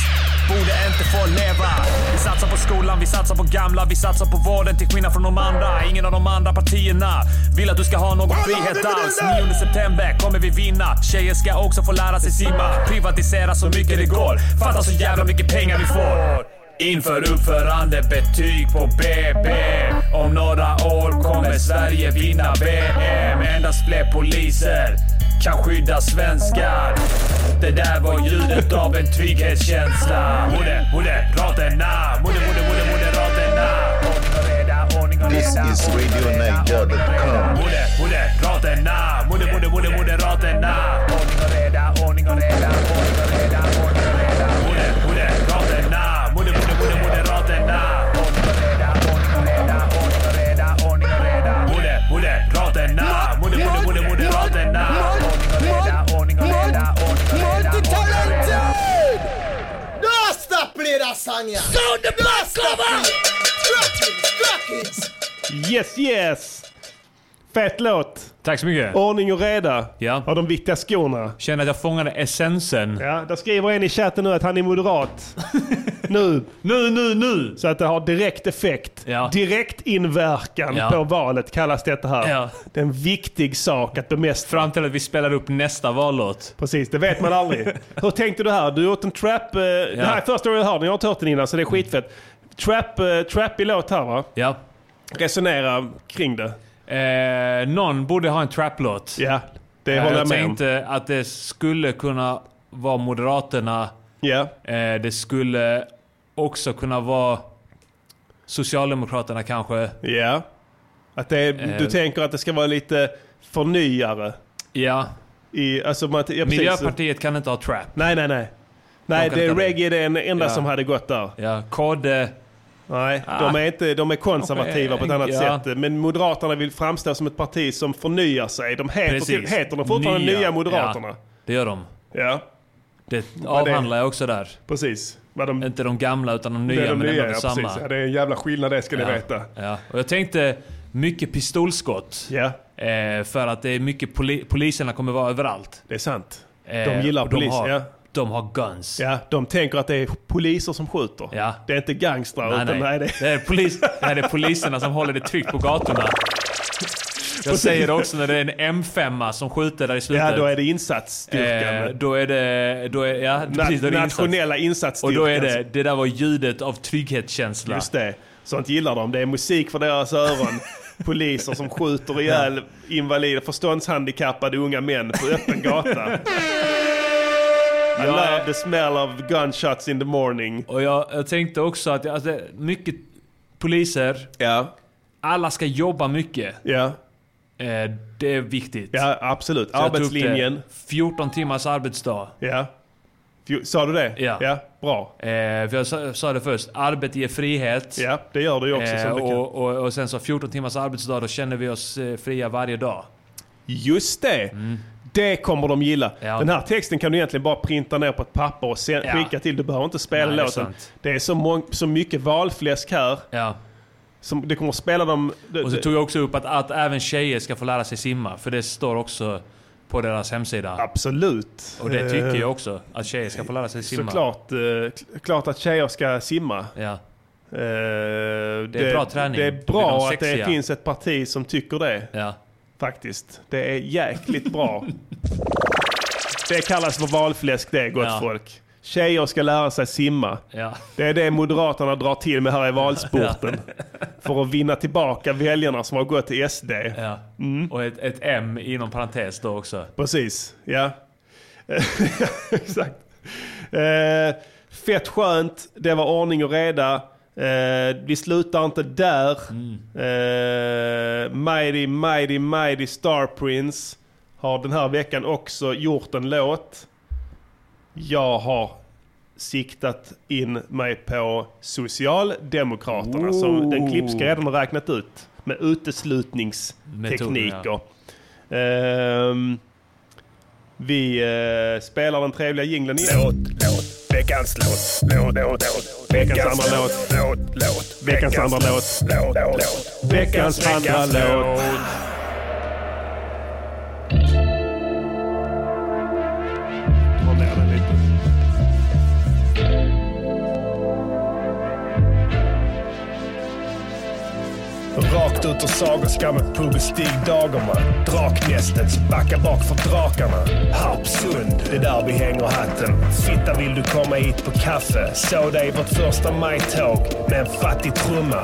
Speaker 3: borde inte få leva. Vi satsar på skolan, vi satsar på gamla, vi satsar på vården till skillnad från de andra. Ingen av de andra partierna vill att du ska ha någon frihet alls. 9 september kommer vi vinna. Tjejer ska också få lära sig simma. Privatisera så mycket det går. Fatta så jävla mycket pengar vi får. Inför uppförande betyg på BB Om några år kommer Sverige vinna VM Endast fler poliser kan skydda svenskar Det där var ljudet av en trygghetskänsla Moder, moderaterna Moder, moder, moder, moderaterna Ordning och reda, ordning och
Speaker 7: This
Speaker 3: reda
Speaker 7: is RadioNiger.com.
Speaker 3: Moder, moderaterna Moder, moder, moder, moderaterna Ordning och reda, ordning och reda Ordning och reda, ordning och reda Moder, moderaterna Moder, moder, moder, moderaterna Ordning och reda, ordning och reda Ordning och reda, ordning och reda Moder, moderaterna Moder, moder, moder, moderaterna Ordning och reda, ordning och reda Ordning och reda, ordning och reda
Speaker 8: Rasta play that song, yeah. Sound the bass cover. Strackings, strackings.
Speaker 1: Yes, yes! Fet låt.
Speaker 2: Tack så mycket.
Speaker 1: Ordning och reda.
Speaker 2: Ja.
Speaker 1: Av de viktiga skorna.
Speaker 2: Känner att jag fångade essensen.
Speaker 1: Ja, där skriver en i chatten nu att han är moderat. nu.
Speaker 2: [LAUGHS] Nu, nu, nu!
Speaker 1: Så att det har direkt effekt.
Speaker 2: Ja.
Speaker 1: Direkt inverkan
Speaker 2: Ja.
Speaker 1: på valet kallas detta här.
Speaker 2: Ja.
Speaker 1: Det är en viktig sak att bemästra.
Speaker 2: Fram till att vi spelar upp nästa vallåt.
Speaker 1: Precis, det vet man [LAUGHS] aldrig. Hur tänkte du här? Du har gjort en trap... Eh, Det här är första gången jag hör den. Jag har inte hört den innan så det är skitfett. Trap, eh, trappig låt här va?
Speaker 2: Ja.
Speaker 1: Resonera kring det.
Speaker 2: Eh, någon borde ha en trap-låt.
Speaker 1: Ja, det
Speaker 2: Eh,
Speaker 1: håller
Speaker 2: jag
Speaker 1: jag med om.
Speaker 2: tänkte att det skulle kunna vara Moderaterna.
Speaker 1: Ja.
Speaker 2: Eh, det skulle också kunna vara Socialdemokraterna kanske.
Speaker 1: Ja. Att det är, du
Speaker 2: Eh.
Speaker 1: tänker att det ska vara lite förnyare?
Speaker 2: Ja.
Speaker 1: I, alltså man, ja, precis.
Speaker 2: Miljöpartiet kan inte ha trap.
Speaker 1: Nej, nej, nej. Nej,
Speaker 2: kan
Speaker 1: det,
Speaker 2: inte-
Speaker 1: reggae är den enda
Speaker 2: Ja.
Speaker 1: som hade gått där.
Speaker 2: Ja, KD.
Speaker 1: Nej, de, är inte, de är konservativa på ett annat
Speaker 2: Ja.
Speaker 1: sätt. Men Moderaterna vill framstå som ett parti som förnyar sig. De heter, typ-
Speaker 2: Precis.
Speaker 1: heter de fortfarande Nya,
Speaker 2: Nya,
Speaker 1: Moderaterna?
Speaker 2: Det gör de.
Speaker 1: Ja,
Speaker 2: Det avhandlar jag också där.
Speaker 1: precis. Vad de,
Speaker 2: Inte de gamla utan de nya,
Speaker 1: det är de
Speaker 2: men
Speaker 1: nya,
Speaker 2: ändå
Speaker 1: ja,
Speaker 2: samma.
Speaker 1: precis. Ja, det är en jävla skillnad det ska ni veta.
Speaker 2: Ja. Och jag tänkte mycket pistolskott.
Speaker 1: Ja,
Speaker 2: Eh, för att det är mycket poli- poliserna kommer vara överallt.
Speaker 1: det är sant.
Speaker 2: Eh,
Speaker 1: De gillar
Speaker 2: och
Speaker 1: polis,
Speaker 2: har,
Speaker 1: ja.
Speaker 2: De har guns.
Speaker 1: Ja, de tänker att det är poliser som skjuter.
Speaker 2: Ja.
Speaker 1: Det är inte gangstrar.
Speaker 2: Nej,
Speaker 1: utan, nej,
Speaker 2: nej.
Speaker 1: det
Speaker 2: det, är polis, nej, det är poliserna som håller det tryggt på gatorna. Jag säger det också när det är en M5 som skjuter där i slutet.
Speaker 1: Ja, då är det insatsstyrkan.
Speaker 2: Eh, då är det... Då är, ja,
Speaker 1: Na-
Speaker 2: precis, då är det insats.
Speaker 1: nationella
Speaker 2: Och
Speaker 1: insatsstyrkan.
Speaker 2: då är det... Det där var ljudet av trygghetskänsla.
Speaker 1: Just det. Sånt gillar de. Det är musik för deras [LAUGHS] öron. Poliser som skjuter ihjäl invalider, förståndshandikappade unga män på öppen gata. I love the smell of gunshots in the morning.
Speaker 2: Och jag, jag tänkte också att jag- alltså, det är mycket poliser,
Speaker 1: Ja.
Speaker 2: alla ska jobba mycket.
Speaker 1: Ja,
Speaker 2: Eh, det är viktigt.
Speaker 1: ja absolut.
Speaker 2: Så jag tog upp det.
Speaker 1: Arbetslinjen.
Speaker 2: 14 timmars arbetsdag.
Speaker 1: Ja. Fjo- Sa du det?
Speaker 2: Ja.
Speaker 1: ja. Bra.
Speaker 2: Eh, för jag sa, sa det först, arbete ger frihet.
Speaker 1: Ja, det gör du ju också.
Speaker 2: Eh,
Speaker 1: som du kan.
Speaker 2: och, och, och sen så 14 timmars arbetsdag, då känner vi oss eh, fria varje dag.
Speaker 1: Just det! Det kommer de gilla.
Speaker 2: Mm. Ja.
Speaker 1: Den här texten kan du egentligen bara printa ner på ett papper och sen
Speaker 2: Ja.
Speaker 1: skicka till. Du behöver inte spela
Speaker 2: Nej, det är
Speaker 1: låten.
Speaker 2: sant.
Speaker 1: Det är så, mång- så mycket valfläsk här.
Speaker 2: Ja.
Speaker 1: Som du kommer att spela dem...
Speaker 2: Och så tog jag också upp att, att även tjejer ska få lära sig simma, för det står också på deras hemsida.
Speaker 1: Absolut.
Speaker 2: Och det tycker
Speaker 1: Eh,
Speaker 2: jag också, att tjejer ska få lära sig simma.
Speaker 1: Såklart eh, k- klart att tjejer ska simma.
Speaker 2: Ja.
Speaker 1: Eh, det,
Speaker 2: är bra träning.
Speaker 1: Det
Speaker 2: Då
Speaker 1: är
Speaker 2: blir
Speaker 1: bra
Speaker 2: de
Speaker 1: att det
Speaker 2: sexiga.
Speaker 1: finns ett parti som tycker det.
Speaker 2: Ja.
Speaker 1: Faktiskt. Det är jäkligt
Speaker 2: [LAUGHS]
Speaker 1: bra. Det kallas för valfläsk det, gott
Speaker 2: Ja.
Speaker 1: folk. Tjejer ska lära sig simma.
Speaker 2: Ja.
Speaker 1: Det är det Moderaterna drar till med här i valspurten. För att vinna tillbaka väljarna som har gått till SD.
Speaker 2: Ja.
Speaker 1: Mm.
Speaker 2: Och ett, ett M inom parentes då också.
Speaker 1: Precis, ja. [LAUGHS] Exakt. Eh, fett skönt, det var ordning och reda. Eh, vi slutar inte där. Eh, mighty, mighty, mighty Star Prince har den här veckan också gjort en låt. Jag har siktat in mig på Socialdemokraterna som den klipska redan har räknat ut med uteslutningstekniker.
Speaker 2: Metoderna.
Speaker 1: Ehm, vi eh, spelar den trevliga jingeln igen.
Speaker 3: Låt, låt, veckans låt, låt, låt, låt.
Speaker 1: Veckans andra låt.
Speaker 3: Låt, låt,
Speaker 1: Veckans andra låt.
Speaker 3: Låt, låt.
Speaker 1: Veckans andra låt. Dra ner den lite.
Speaker 3: Rakt ut ur sagoskammen pub och stig Dagerman. Draknästets backa bak för drakarna. Harpsund, det är där vi hänger hatten. Fitta vill du komma hit på kaffe? Såg dig i vårt första majtåg med en fattig trumma.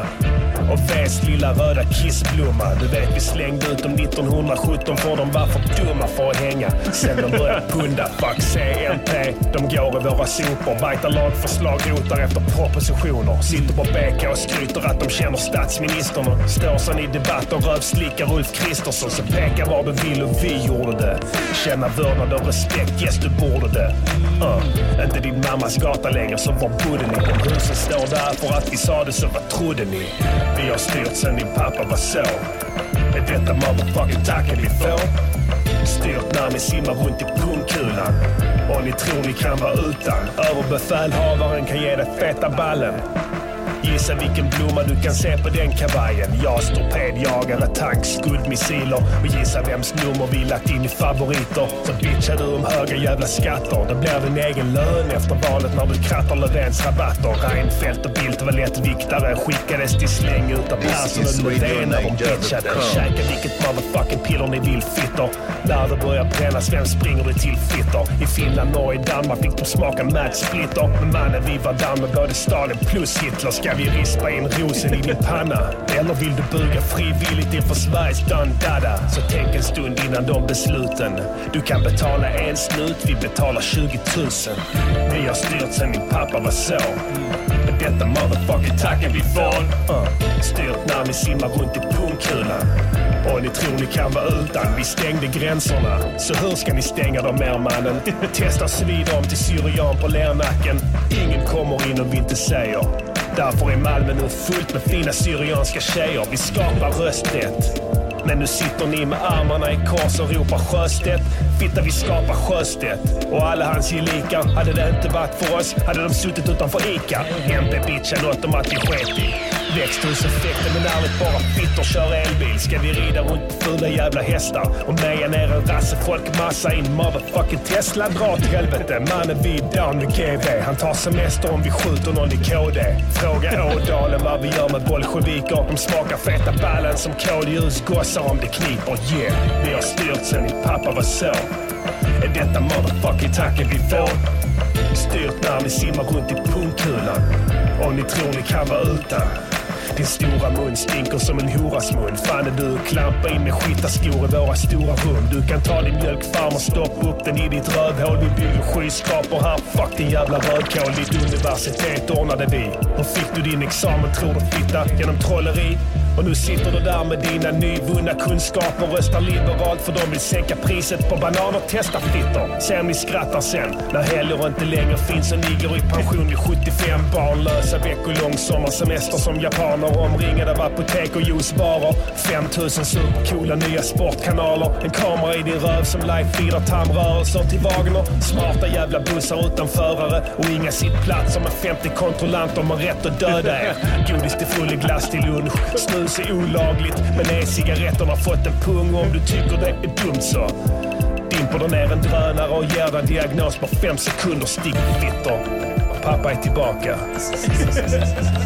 Speaker 3: Och Vs lilla röda kissblomma. Du vet vi slängde ut dem 1917 för de var för dumma för att hänga. Sen de började punda. Fuck CMP. De går i våra sopor. Bajtar lagförslag, rotar efter propositioner. Sitter på BK och skryter att de känner statsministern. och Står sen i debatt och rövslickar Ulf Kristersson. Så peka var du vill och vi gjorde det. Känna vördnad och respekt, yes du borde det. Uh. Inte din mammas gata längre, så var bodde ni? De husen står där för att vi sa det, så vad trodde ni? Vi har styrt sen din pappa var så. Är detta motherfucking tacken vi får? Styrt när ni simmar runt i pungkulan. Och ni tror ni kan vara utan. Överbefälhavaren kan ge dig feta ballen. Gissa vilken blomma du kan se på den kavajen. JAS, torpedjagare, tank, skuddmissiler. Och gissa vems nummer vi lagt in i favoriter. Så bitchar du om höga jävla skatter. Det blir din egen lön efter valet när du krattar Löfvens rabatter. Reinfeldt och Bildt var lättviktare. Skickades till släng utan Persson
Speaker 7: is
Speaker 3: och Löfven när de bitchade.
Speaker 7: radionaja.com.
Speaker 3: Käka vilket motherfucking piller ni vill fitter. När det börjar brännas, vem springer du till fitter? I Finland, Norge, Danmark fick de smaka Mad Splitter. Men mannen vi var där med både Stalin plus Hitler. Ska vi rispa in rosen i din panna? Eller vill du buga frivilligt inför Sveriges dandada? Så tänk en stund innan de besluten. Du kan betala en snut, vi betalar 20 000. Vi har styrt sen min pappa var så. detta motherfucking tacken vi från. Uh. Styrt när ni simmar runt i pungkulan. Och ni tror ni kan vara utan, vi stängde gränserna. Så hur ska ni stänga dem mer mannen? Testa sny dem till syrian på lernacken. Ingen kommer in om vi inte säger. Därför är Malmö nu fullt med fina syrianska tjejer. Vi skapar rösträtt. Men nu sitter ni med armarna i kors och ropar Sjöstedt. Fitta vi skapar Sjöstedt. Och alla hans gelikar. Hade det inte varit för oss hade de suttit utanför ICA. MP bitchade åt dem att vi sket i. Växthuseffekten men ärligt bara fittor kör elbil. Ska vi rida runt på fula jävla hästar och meja ner en rasse folkmassa i en motherfucking Tesla? Dra åt helvete. Mannen vi är down med GB. Han tar semester om vi skjuter någon i KD. Fråga Ådalen vad vi gör med bolsjeviker. De smakar feta ballen som koldjusgossar om det kniper. Yeah, vi har styrt sen din pappa var så. Är detta motherfucking tacken vi får? Styrt när ni simmar runt i pungkulan. Om ni tror ni kan vara utan. Din stora mun stinker som en horas mun. Fan är du och klampa in med skitaskor i våra stora rum. Du kan ta din mjölkfarm och stoppa upp den i ditt rövhål. Vi bygger skyskrapor här. Fuck din jävla rödkål. Ditt universitet ordnade vi. Hur fick du din examen tror du fitta? Genom trolleri? Och nu sitter du där med dina nyvunna kunskaper och röstar liberalt för de vill sänka priset på banan och testa fittor. Se om ni skrattar sen när helger inte längre finns och ni går i pension vid 75. Barnlösa veckolång sommarsemester som japaner omringade av apotek och juicebarer. 5000 supercoola nya sportkanaler. En kamera i din röv som live-feedar tarmrörelser till Wagner. Smarta jävla bussar utan förare och inga sittplatser med 50 kontrollanter med rätt att döda er. Godis till full i glass till lunch. Snus är olagligt men e-cigaretterna har fått en pung och om du tycker det är dumt så dimper du ner en drönare och ger dig en diagnos på fem sekunder stickfitter. Pappa är tillbaka.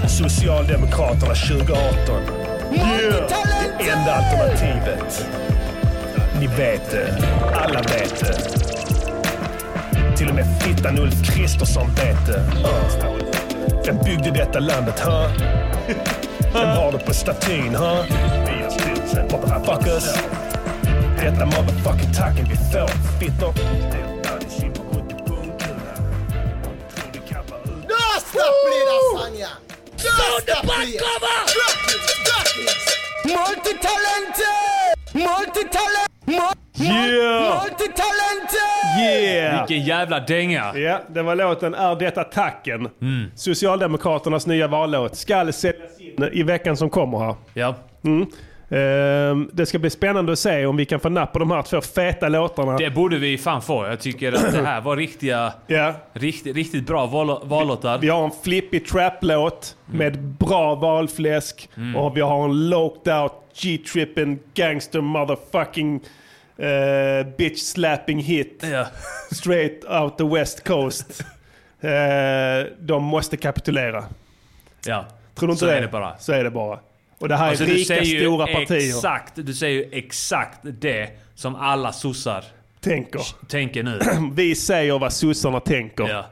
Speaker 3: Socialdemokraterna 2018. Det enda alternativet. Ni vet det. Alla vet det. Till och med fittan Ulf Kristersson vet det. Ja. Vem byggde detta landet, hör? Vem har det på statyn, hör? Motherfuckers. Detta motherfucking tacken vi får. Fitter.
Speaker 8: Just stop play lasagna! Just stop play! Multi-talented! Multi-talented!
Speaker 1: Yeah!
Speaker 8: Multi-talented!
Speaker 1: Yeah!
Speaker 2: Vilken jävla dänga.
Speaker 1: Ja, det var låten Är detta tacken? Socialdemokraternas nya vallåt. Skall säljas in i veckan som kommer här.
Speaker 2: Ja.
Speaker 1: Mm. Ehm, det ska bli spännande att se om vi kan få napp på de här två feta låtarna.
Speaker 2: Det borde vi fan få. Jag tycker att det här var riktiga...
Speaker 1: Ja.
Speaker 2: Riktigt, riktigt bra val, vallåtar.
Speaker 1: Vi har en flippig trap-låt
Speaker 2: Mm.
Speaker 1: med bra valfläsk och vi har en locked-out G-trippin gangster motherfucking eh, bitch-slapping hit
Speaker 2: Ja.
Speaker 1: straight out the west
Speaker 2: [LAUGHS]
Speaker 1: coast. Eh, de måste kapitulera.
Speaker 2: ja.
Speaker 1: Tror du inte
Speaker 2: Så
Speaker 1: det?
Speaker 2: är det bara.
Speaker 1: Så är det bara. Och det här
Speaker 2: Alltså,
Speaker 1: är
Speaker 2: du
Speaker 1: rika
Speaker 2: säger ju
Speaker 1: stora partier.
Speaker 2: Exakt, du säger ju exakt det som alla sossar
Speaker 1: Tänker. [CLEARS THROAT]
Speaker 2: tänker nu.
Speaker 1: Vi säger vad sossarna tänker.
Speaker 2: Ja.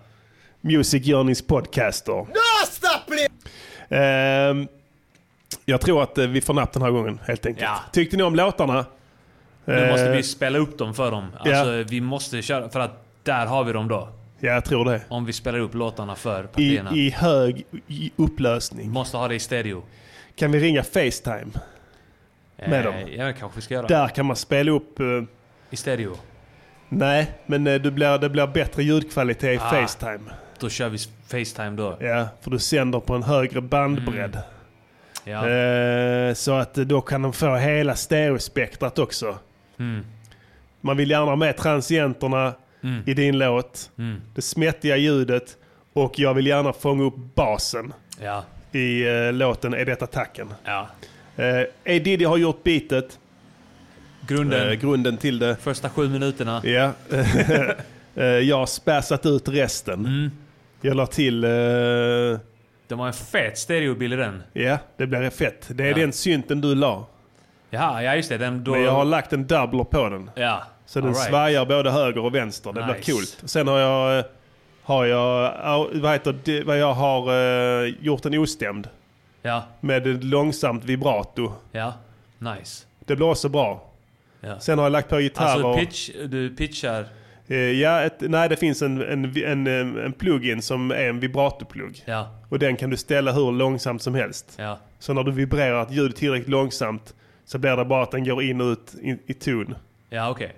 Speaker 1: Music Journeys podcaster.
Speaker 8: Just stop play!
Speaker 1: Ehm, jag tror att eh, vi får napp den här gången helt enkelt.
Speaker 2: Ja.
Speaker 1: Tyckte ni om låtarna?
Speaker 2: Nu måste
Speaker 1: Eh,
Speaker 2: vi spela upp dem för dem. Alltså, Vi måste köra, för att där har vi dem då.
Speaker 1: Ja, jag tror det.
Speaker 2: Om vi spelar upp låtarna för
Speaker 1: I,
Speaker 2: partierna.
Speaker 1: I hög i upplösning.
Speaker 2: Måste ha det i stereo.
Speaker 1: Kan vi ringa Facetime? Med dem.
Speaker 2: Eh, Ja, det kanske vi ska göra.
Speaker 1: Där kan man spela upp... eh,
Speaker 2: I stereo.
Speaker 1: nej, men eh, det, blir, det blir bättre ljudkvalitet i
Speaker 2: Ah.
Speaker 1: Facetime.
Speaker 2: Då kör vi Facetime då.
Speaker 1: Ja, för du sänder på en högre
Speaker 2: Mm.
Speaker 1: bandbredd.
Speaker 2: Ja.
Speaker 1: Eh, så att eh, då kan de få hela stereospektrat också. Man vill gärna ha med transienterna i din låt, det smättiga ljudet och jag vill gärna fånga upp basen
Speaker 2: Ja.
Speaker 1: i eh, låten Är detta tacken?
Speaker 2: ja.
Speaker 1: Eh, A Diddy har gjort beatet,
Speaker 2: Grunden.
Speaker 1: eh, grunden till det.
Speaker 2: Första sju minuterna.
Speaker 1: Ja. Eh, jag har späsat ut resten. Jag la till... eh, Ja,
Speaker 2: De har en fet stereobild i den.
Speaker 1: det blir fett. Det är den synten du la.
Speaker 2: Jaha, ja just det. Den då...
Speaker 1: Men jag har lagt en doubler på den.
Speaker 2: Ja.
Speaker 1: Så den
Speaker 2: All right.
Speaker 1: svajar både höger och vänster. Det
Speaker 2: Nice.
Speaker 1: blir coolt. Sen har jag, eh, har jag, au- vad heter det, vad jag har eh, gjort en ostämd
Speaker 2: Ja.
Speaker 1: med ett långsamt vibrato.
Speaker 2: Ja. Nice.
Speaker 1: Det blir också bra.
Speaker 2: Ja.
Speaker 1: Sen har jag lagt på gitarrer.
Speaker 2: Alltså pitch, du pitchar...
Speaker 1: Eh, Ja, ett, nej det finns en, en, en, eh, en plugin som är en vibratoplugg.
Speaker 2: Ja,
Speaker 1: Och den kan du ställa hur långsamt som helst.
Speaker 2: ja.
Speaker 1: Så när du vibrerar ett ljud tillräckligt långsamt så blir det bara att den går in och ut i, i ton.
Speaker 2: Ja, okej.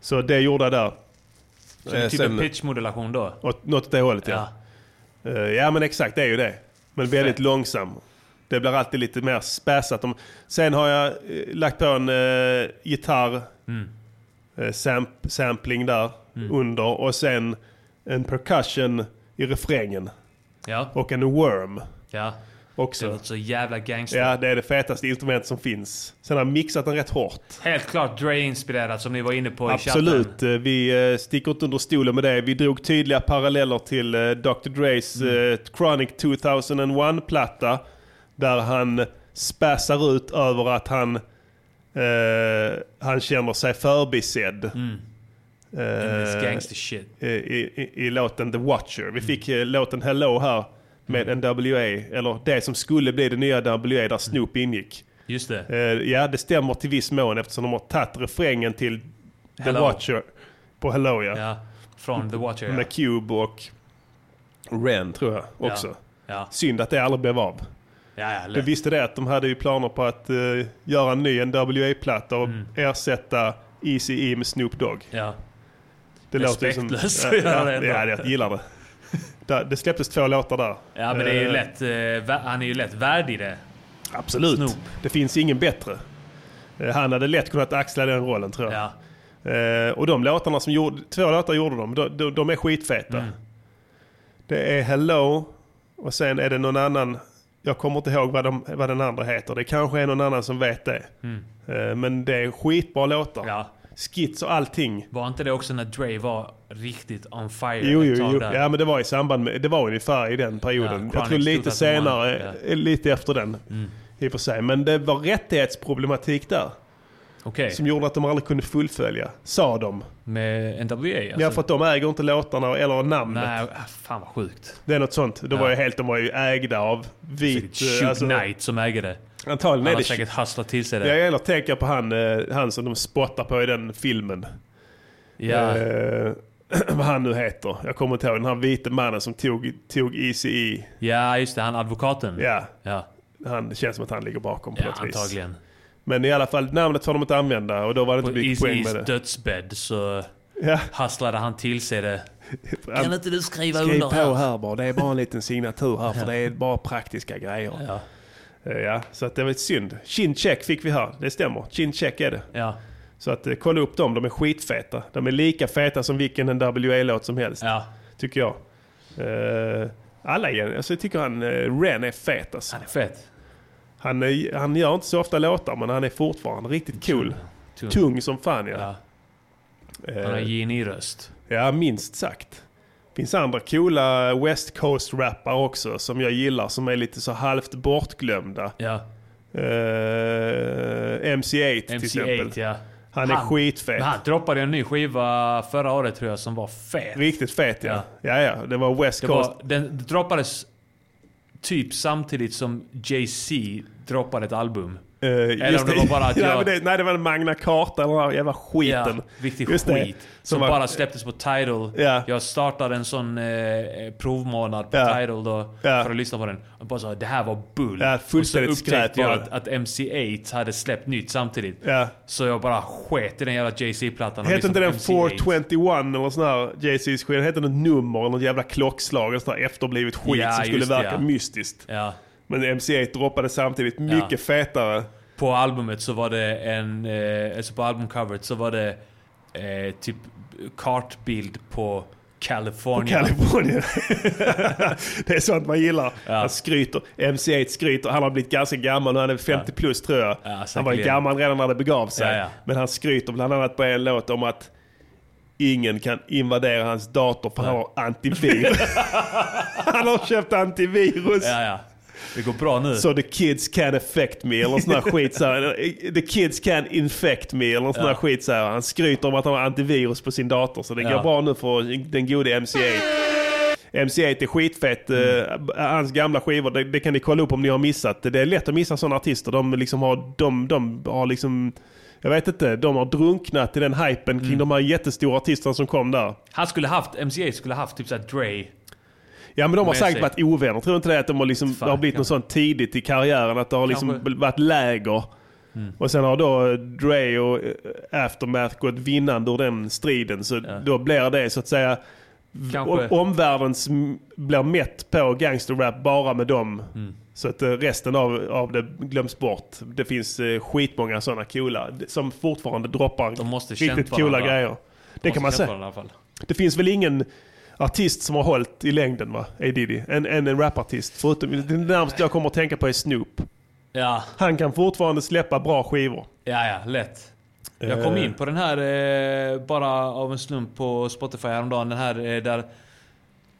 Speaker 1: Så det gjorde jag där.
Speaker 2: Så det är
Speaker 1: Eh,
Speaker 2: typ
Speaker 1: sen-
Speaker 2: en pitchmodulation då?
Speaker 1: Åt, något åt det hållet ja.
Speaker 2: Ja.
Speaker 1: Eh, ja men exakt, det är ju det. Men väldigt långsam. Det blir alltid lite mer späsat. Om- Sen har jag eh, lagt på en eh, gitarr
Speaker 2: Mm.
Speaker 1: eh, samp, sampling där under och sen en percussion i refrängen
Speaker 2: Ja,
Speaker 1: och en worm
Speaker 2: ja. Det
Speaker 1: också.
Speaker 2: låter så jävla gangster.
Speaker 1: Ja, det är det fetaste instrumentet som finns. Sen har jag mixat den rätt hårt.
Speaker 2: Helt klart Dre-inspirerat som ni var inne på i chatten.
Speaker 1: Absolut, eh, vi eh, sticker inte under stolen med det. Vi drog tydliga paralleller till eh, Dr. Dres
Speaker 2: Mm.
Speaker 1: eh, Chronic 2001-platta. Där han späsar ut över att han, eh, han känner sig förbisedd.
Speaker 2: Mm. This
Speaker 1: Eh,
Speaker 2: gangster shit.
Speaker 1: eh, i, i, I låten The Watcher. Vi fick eh, låten Hello här
Speaker 2: Mm.
Speaker 1: med NWA, eller det som skulle bli det nya NWA där Snoop ingick.
Speaker 2: Just det.
Speaker 1: Eh, ja, det stämmer till viss mån eftersom de har tagit refrängen till The
Speaker 2: Hello.
Speaker 1: Watcher på Hello, ja.
Speaker 2: Ja. Från The Watcher. Ja.
Speaker 1: Med Cube och Ren, tror jag också.
Speaker 2: Ja,
Speaker 1: Synd att det aldrig blev av.
Speaker 2: ja, ja
Speaker 1: Du
Speaker 2: lätt.
Speaker 1: visste det att de hade ju planer på att eh, göra en ny NWA-platta
Speaker 2: Mm.
Speaker 1: och ersätta Eazy-E med Snoop Dogg.
Speaker 2: ja.
Speaker 1: Det låter ju som...
Speaker 2: Respektlöst
Speaker 1: Ja,
Speaker 2: att göra
Speaker 1: ja,
Speaker 2: det ändå.
Speaker 1: ja, jag gillar det. Där- Det släpptes två låtar där.
Speaker 2: ja, men det är ju
Speaker 1: Eh,
Speaker 2: lätt. eh, vä- Han är ju lätt värd i det.
Speaker 1: Absolut.
Speaker 2: Snoop.
Speaker 1: Det finns ingen bättre. Eh, Han hade lätt kunnat axla den rollen tror jag.
Speaker 2: Ja.
Speaker 1: Eh, och de låtarna som gjorde, två låtar gjorde de, de, de, de är skitfeta.
Speaker 2: Mm.
Speaker 1: Det är Hello och sen är det någon annan, jag kommer inte ihåg vad, de, vad den andra heter. Det kanske är någon annan som vet det. Eh, men det är skitbra låtar.
Speaker 2: Mm. Ja.
Speaker 1: Skits och allting.
Speaker 2: Var inte det också när Dre var riktigt on fire
Speaker 1: Jo,
Speaker 2: ett
Speaker 1: jo,
Speaker 2: tag
Speaker 1: jo.
Speaker 2: där?
Speaker 1: Ja, men det var i samband med, det var ungefär i den
Speaker 2: Ja,
Speaker 1: perioden. jag
Speaker 2: Chronic
Speaker 1: tror lite
Speaker 2: 2001,
Speaker 1: senare,
Speaker 2: ja. Mm.
Speaker 1: eh, lite efter den. I och för sig. Men det var rättighetsproblematik där.
Speaker 2: Okej.
Speaker 1: Som gjorde att de aldrig kunde fullfölja, sa de.
Speaker 2: Med NWA alltså?
Speaker 1: ja, för att de äger inte låtarna eller namnet.
Speaker 2: Nej, ah, fan vad sjukt.
Speaker 1: Det är något sånt. De var ju helt, de var ju ägda av vit...
Speaker 2: Säkert
Speaker 1: eh,
Speaker 2: Shoot Knight som äger det.
Speaker 1: Antagligen
Speaker 2: Han
Speaker 1: är
Speaker 2: har
Speaker 1: det...
Speaker 2: säkert hustlat till sig
Speaker 1: Ja,
Speaker 2: det.
Speaker 1: eller tänker jag på han, eh, han som de spottar på i den filmen.
Speaker 2: Ja,
Speaker 1: Eh, [CLEARS THROAT] vad han nu heter. Jag kommer inte ihåg. Den här vita mannen som tog, tog ECE.
Speaker 2: ja just det. Han advokaten.
Speaker 1: Ja,
Speaker 2: Ja,
Speaker 1: han det känns som att han ligger bakom på
Speaker 2: ja
Speaker 1: något vis.
Speaker 2: antagligen.
Speaker 1: Men i alla fall, namnet får de inte använda och då var det
Speaker 2: På
Speaker 1: inte mycket poäng
Speaker 2: Easys
Speaker 1: med det.
Speaker 2: dödsbädd så
Speaker 1: Ja,
Speaker 2: hustlade han till sig det.
Speaker 1: [LAUGHS] han-
Speaker 2: Kan inte du skriva
Speaker 1: Skriv
Speaker 2: under
Speaker 1: på
Speaker 2: här?
Speaker 1: här bara. Det är bara en liten signatur här för det är bara praktiska grejer.
Speaker 2: Ja.
Speaker 1: Eh, Ja, så att det var ett synd. Chin-check fick vi här. Det stämmer. Chin-check är det.
Speaker 2: Ja,
Speaker 1: Så att eh, kolla upp dem, de är skitfeta. De är lika feta som vilken NWA-låt som helst,
Speaker 2: ja.
Speaker 1: tycker jag. Eh, alla igen. Alltså, jag tycker han eh, Ren är fet alltså.
Speaker 2: Han är fett.
Speaker 1: han, är, han gör inte så ofta låtar, men han är fortfarande riktigt cool.
Speaker 2: Tung.
Speaker 1: Tung som fan ja.
Speaker 2: Ja. Han har
Speaker 1: Eh,
Speaker 2: geni-röst.
Speaker 1: ja, minst sagt. finns andra coola West Coast-rappare också som jag gillar, som är lite så halvt bortglömda.
Speaker 2: Ja.
Speaker 1: Eh, MC8 till exempel.
Speaker 2: MC8 ja.
Speaker 1: Han är
Speaker 2: Han-
Speaker 1: skitfet.
Speaker 2: Men han droppade en ny skiva förra året tror jag som var fet.
Speaker 1: Riktigt fet ja. Ja, ja. Det var West
Speaker 2: Det
Speaker 1: Coast.
Speaker 2: var, den droppades typ samtidigt som Jay-Z droppade ett album.
Speaker 1: Eh,
Speaker 2: om
Speaker 1: just
Speaker 2: det var bara
Speaker 1: [LAUGHS]
Speaker 2: att
Speaker 1: ja,
Speaker 2: jag-
Speaker 1: men det, nej, det var en Magna Carta, den där jävla skiten.
Speaker 2: riktig
Speaker 1: Just det.
Speaker 2: skit. som
Speaker 1: var-
Speaker 2: bara släpptes på Tidal.
Speaker 1: Ja.
Speaker 2: Jag startade en sån eh, provmånad på
Speaker 1: Ja.
Speaker 2: Tidal då
Speaker 1: Ja.
Speaker 2: för att lyssna på den. Och bara sa det här var bull.
Speaker 1: Ja, fullständigt
Speaker 2: och så
Speaker 1: skräp
Speaker 2: upptäckte
Speaker 1: var
Speaker 2: jag
Speaker 1: det.
Speaker 2: att, att MC8 hade släppt nytt samtidigt.
Speaker 1: Ja.
Speaker 2: Så jag bara sket i den jävla Jay-Z-plattan. och
Speaker 1: Hette inte
Speaker 2: lyssnade
Speaker 1: den
Speaker 2: på
Speaker 1: 421 eller sån här Jay-Z's skit? Hette den nummer eller något jävla klockslag? En sån här efterblivet skit
Speaker 2: Ja,
Speaker 1: som skulle
Speaker 2: just det,
Speaker 1: verka
Speaker 2: ja.
Speaker 1: mystiskt.
Speaker 2: Ja.
Speaker 1: Men MC8 droppade samtidigt mycket fetare.
Speaker 2: På albumet så var det en... Eh, alltså på albumcoveret så var det eh, typ kartbild på California.
Speaker 1: Kalifornien.
Speaker 2: [LAUGHS]
Speaker 1: det är sånt man gillar. Han skryter. MC8 skryter. Han har blivit ganska gammal nu. Han är 50 plus tror jag. han var ju
Speaker 2: säkerligen.
Speaker 1: gammal redan när det begav sig.
Speaker 2: Ja, ja.
Speaker 1: Men han skryter bland annat på en låt om att ingen kan invadera hans dator för han har
Speaker 2: [LAUGHS]
Speaker 1: antivirus. han har köpt antivirus.
Speaker 2: ja, ja. Det går bra nu.
Speaker 1: Så the kids can affect me eller sån här skit. Så här. The kids can infect me eller sån här skit. Så här. Han skryter om att han har antivirus på sin dator så det
Speaker 2: Ja.
Speaker 1: går bra nu för den gode MC8. MC8 är skitfett. Eh, Hans gamla skivor, det, det kan ni kolla upp om ni har missat. Det är lätt att missa sådana artister. De, liksom har, de, de har liksom Jag vet inte, de har drunknat i den hypen kring de här jättestora artisterna som kom där.
Speaker 2: Han skulle haft, MCA skulle haft typ såhär Dre.
Speaker 1: Ja men de har
Speaker 2: Med
Speaker 1: säkert
Speaker 2: sig.
Speaker 1: varit ovänner. Tror du inte det? Att de har liksom, det har
Speaker 2: Fan,
Speaker 1: blivit något
Speaker 2: kanske.
Speaker 1: sånt tidigt i karriären. Att det har liksom
Speaker 2: Kanske. Mm.
Speaker 1: varit läger. Och sen har då eh, Dre och eh, Aftermath gått vinnande ur den striden. Så då blir det så att säga
Speaker 2: Kanske.
Speaker 1: o- omvärlden som blir mätt på gangsterrap bara med dem.
Speaker 2: Mm.
Speaker 1: Så att eh, resten av, av det glöms bort. Det finns eh, skitmånga sådana coola d- som fortfarande droppar
Speaker 2: De måste
Speaker 1: riktigt
Speaker 2: känt
Speaker 1: coola
Speaker 2: varandra.
Speaker 1: grejer. Det kan man
Speaker 2: Måste
Speaker 1: säga.
Speaker 2: känna på den i alla fall.
Speaker 1: Det finns väl ingen artist som har hållit i längden va? A. Diddy. En, en, en rapartist. Förutom, det närmaste jag kommer att tänka på är Snoop.
Speaker 2: Ja,
Speaker 1: Han kan fortfarande släppa bra skivor.
Speaker 2: ja, ja, lätt. Jag kom in på den här eh, bara av en slump på Spotify häromdagen. Den här eh, där...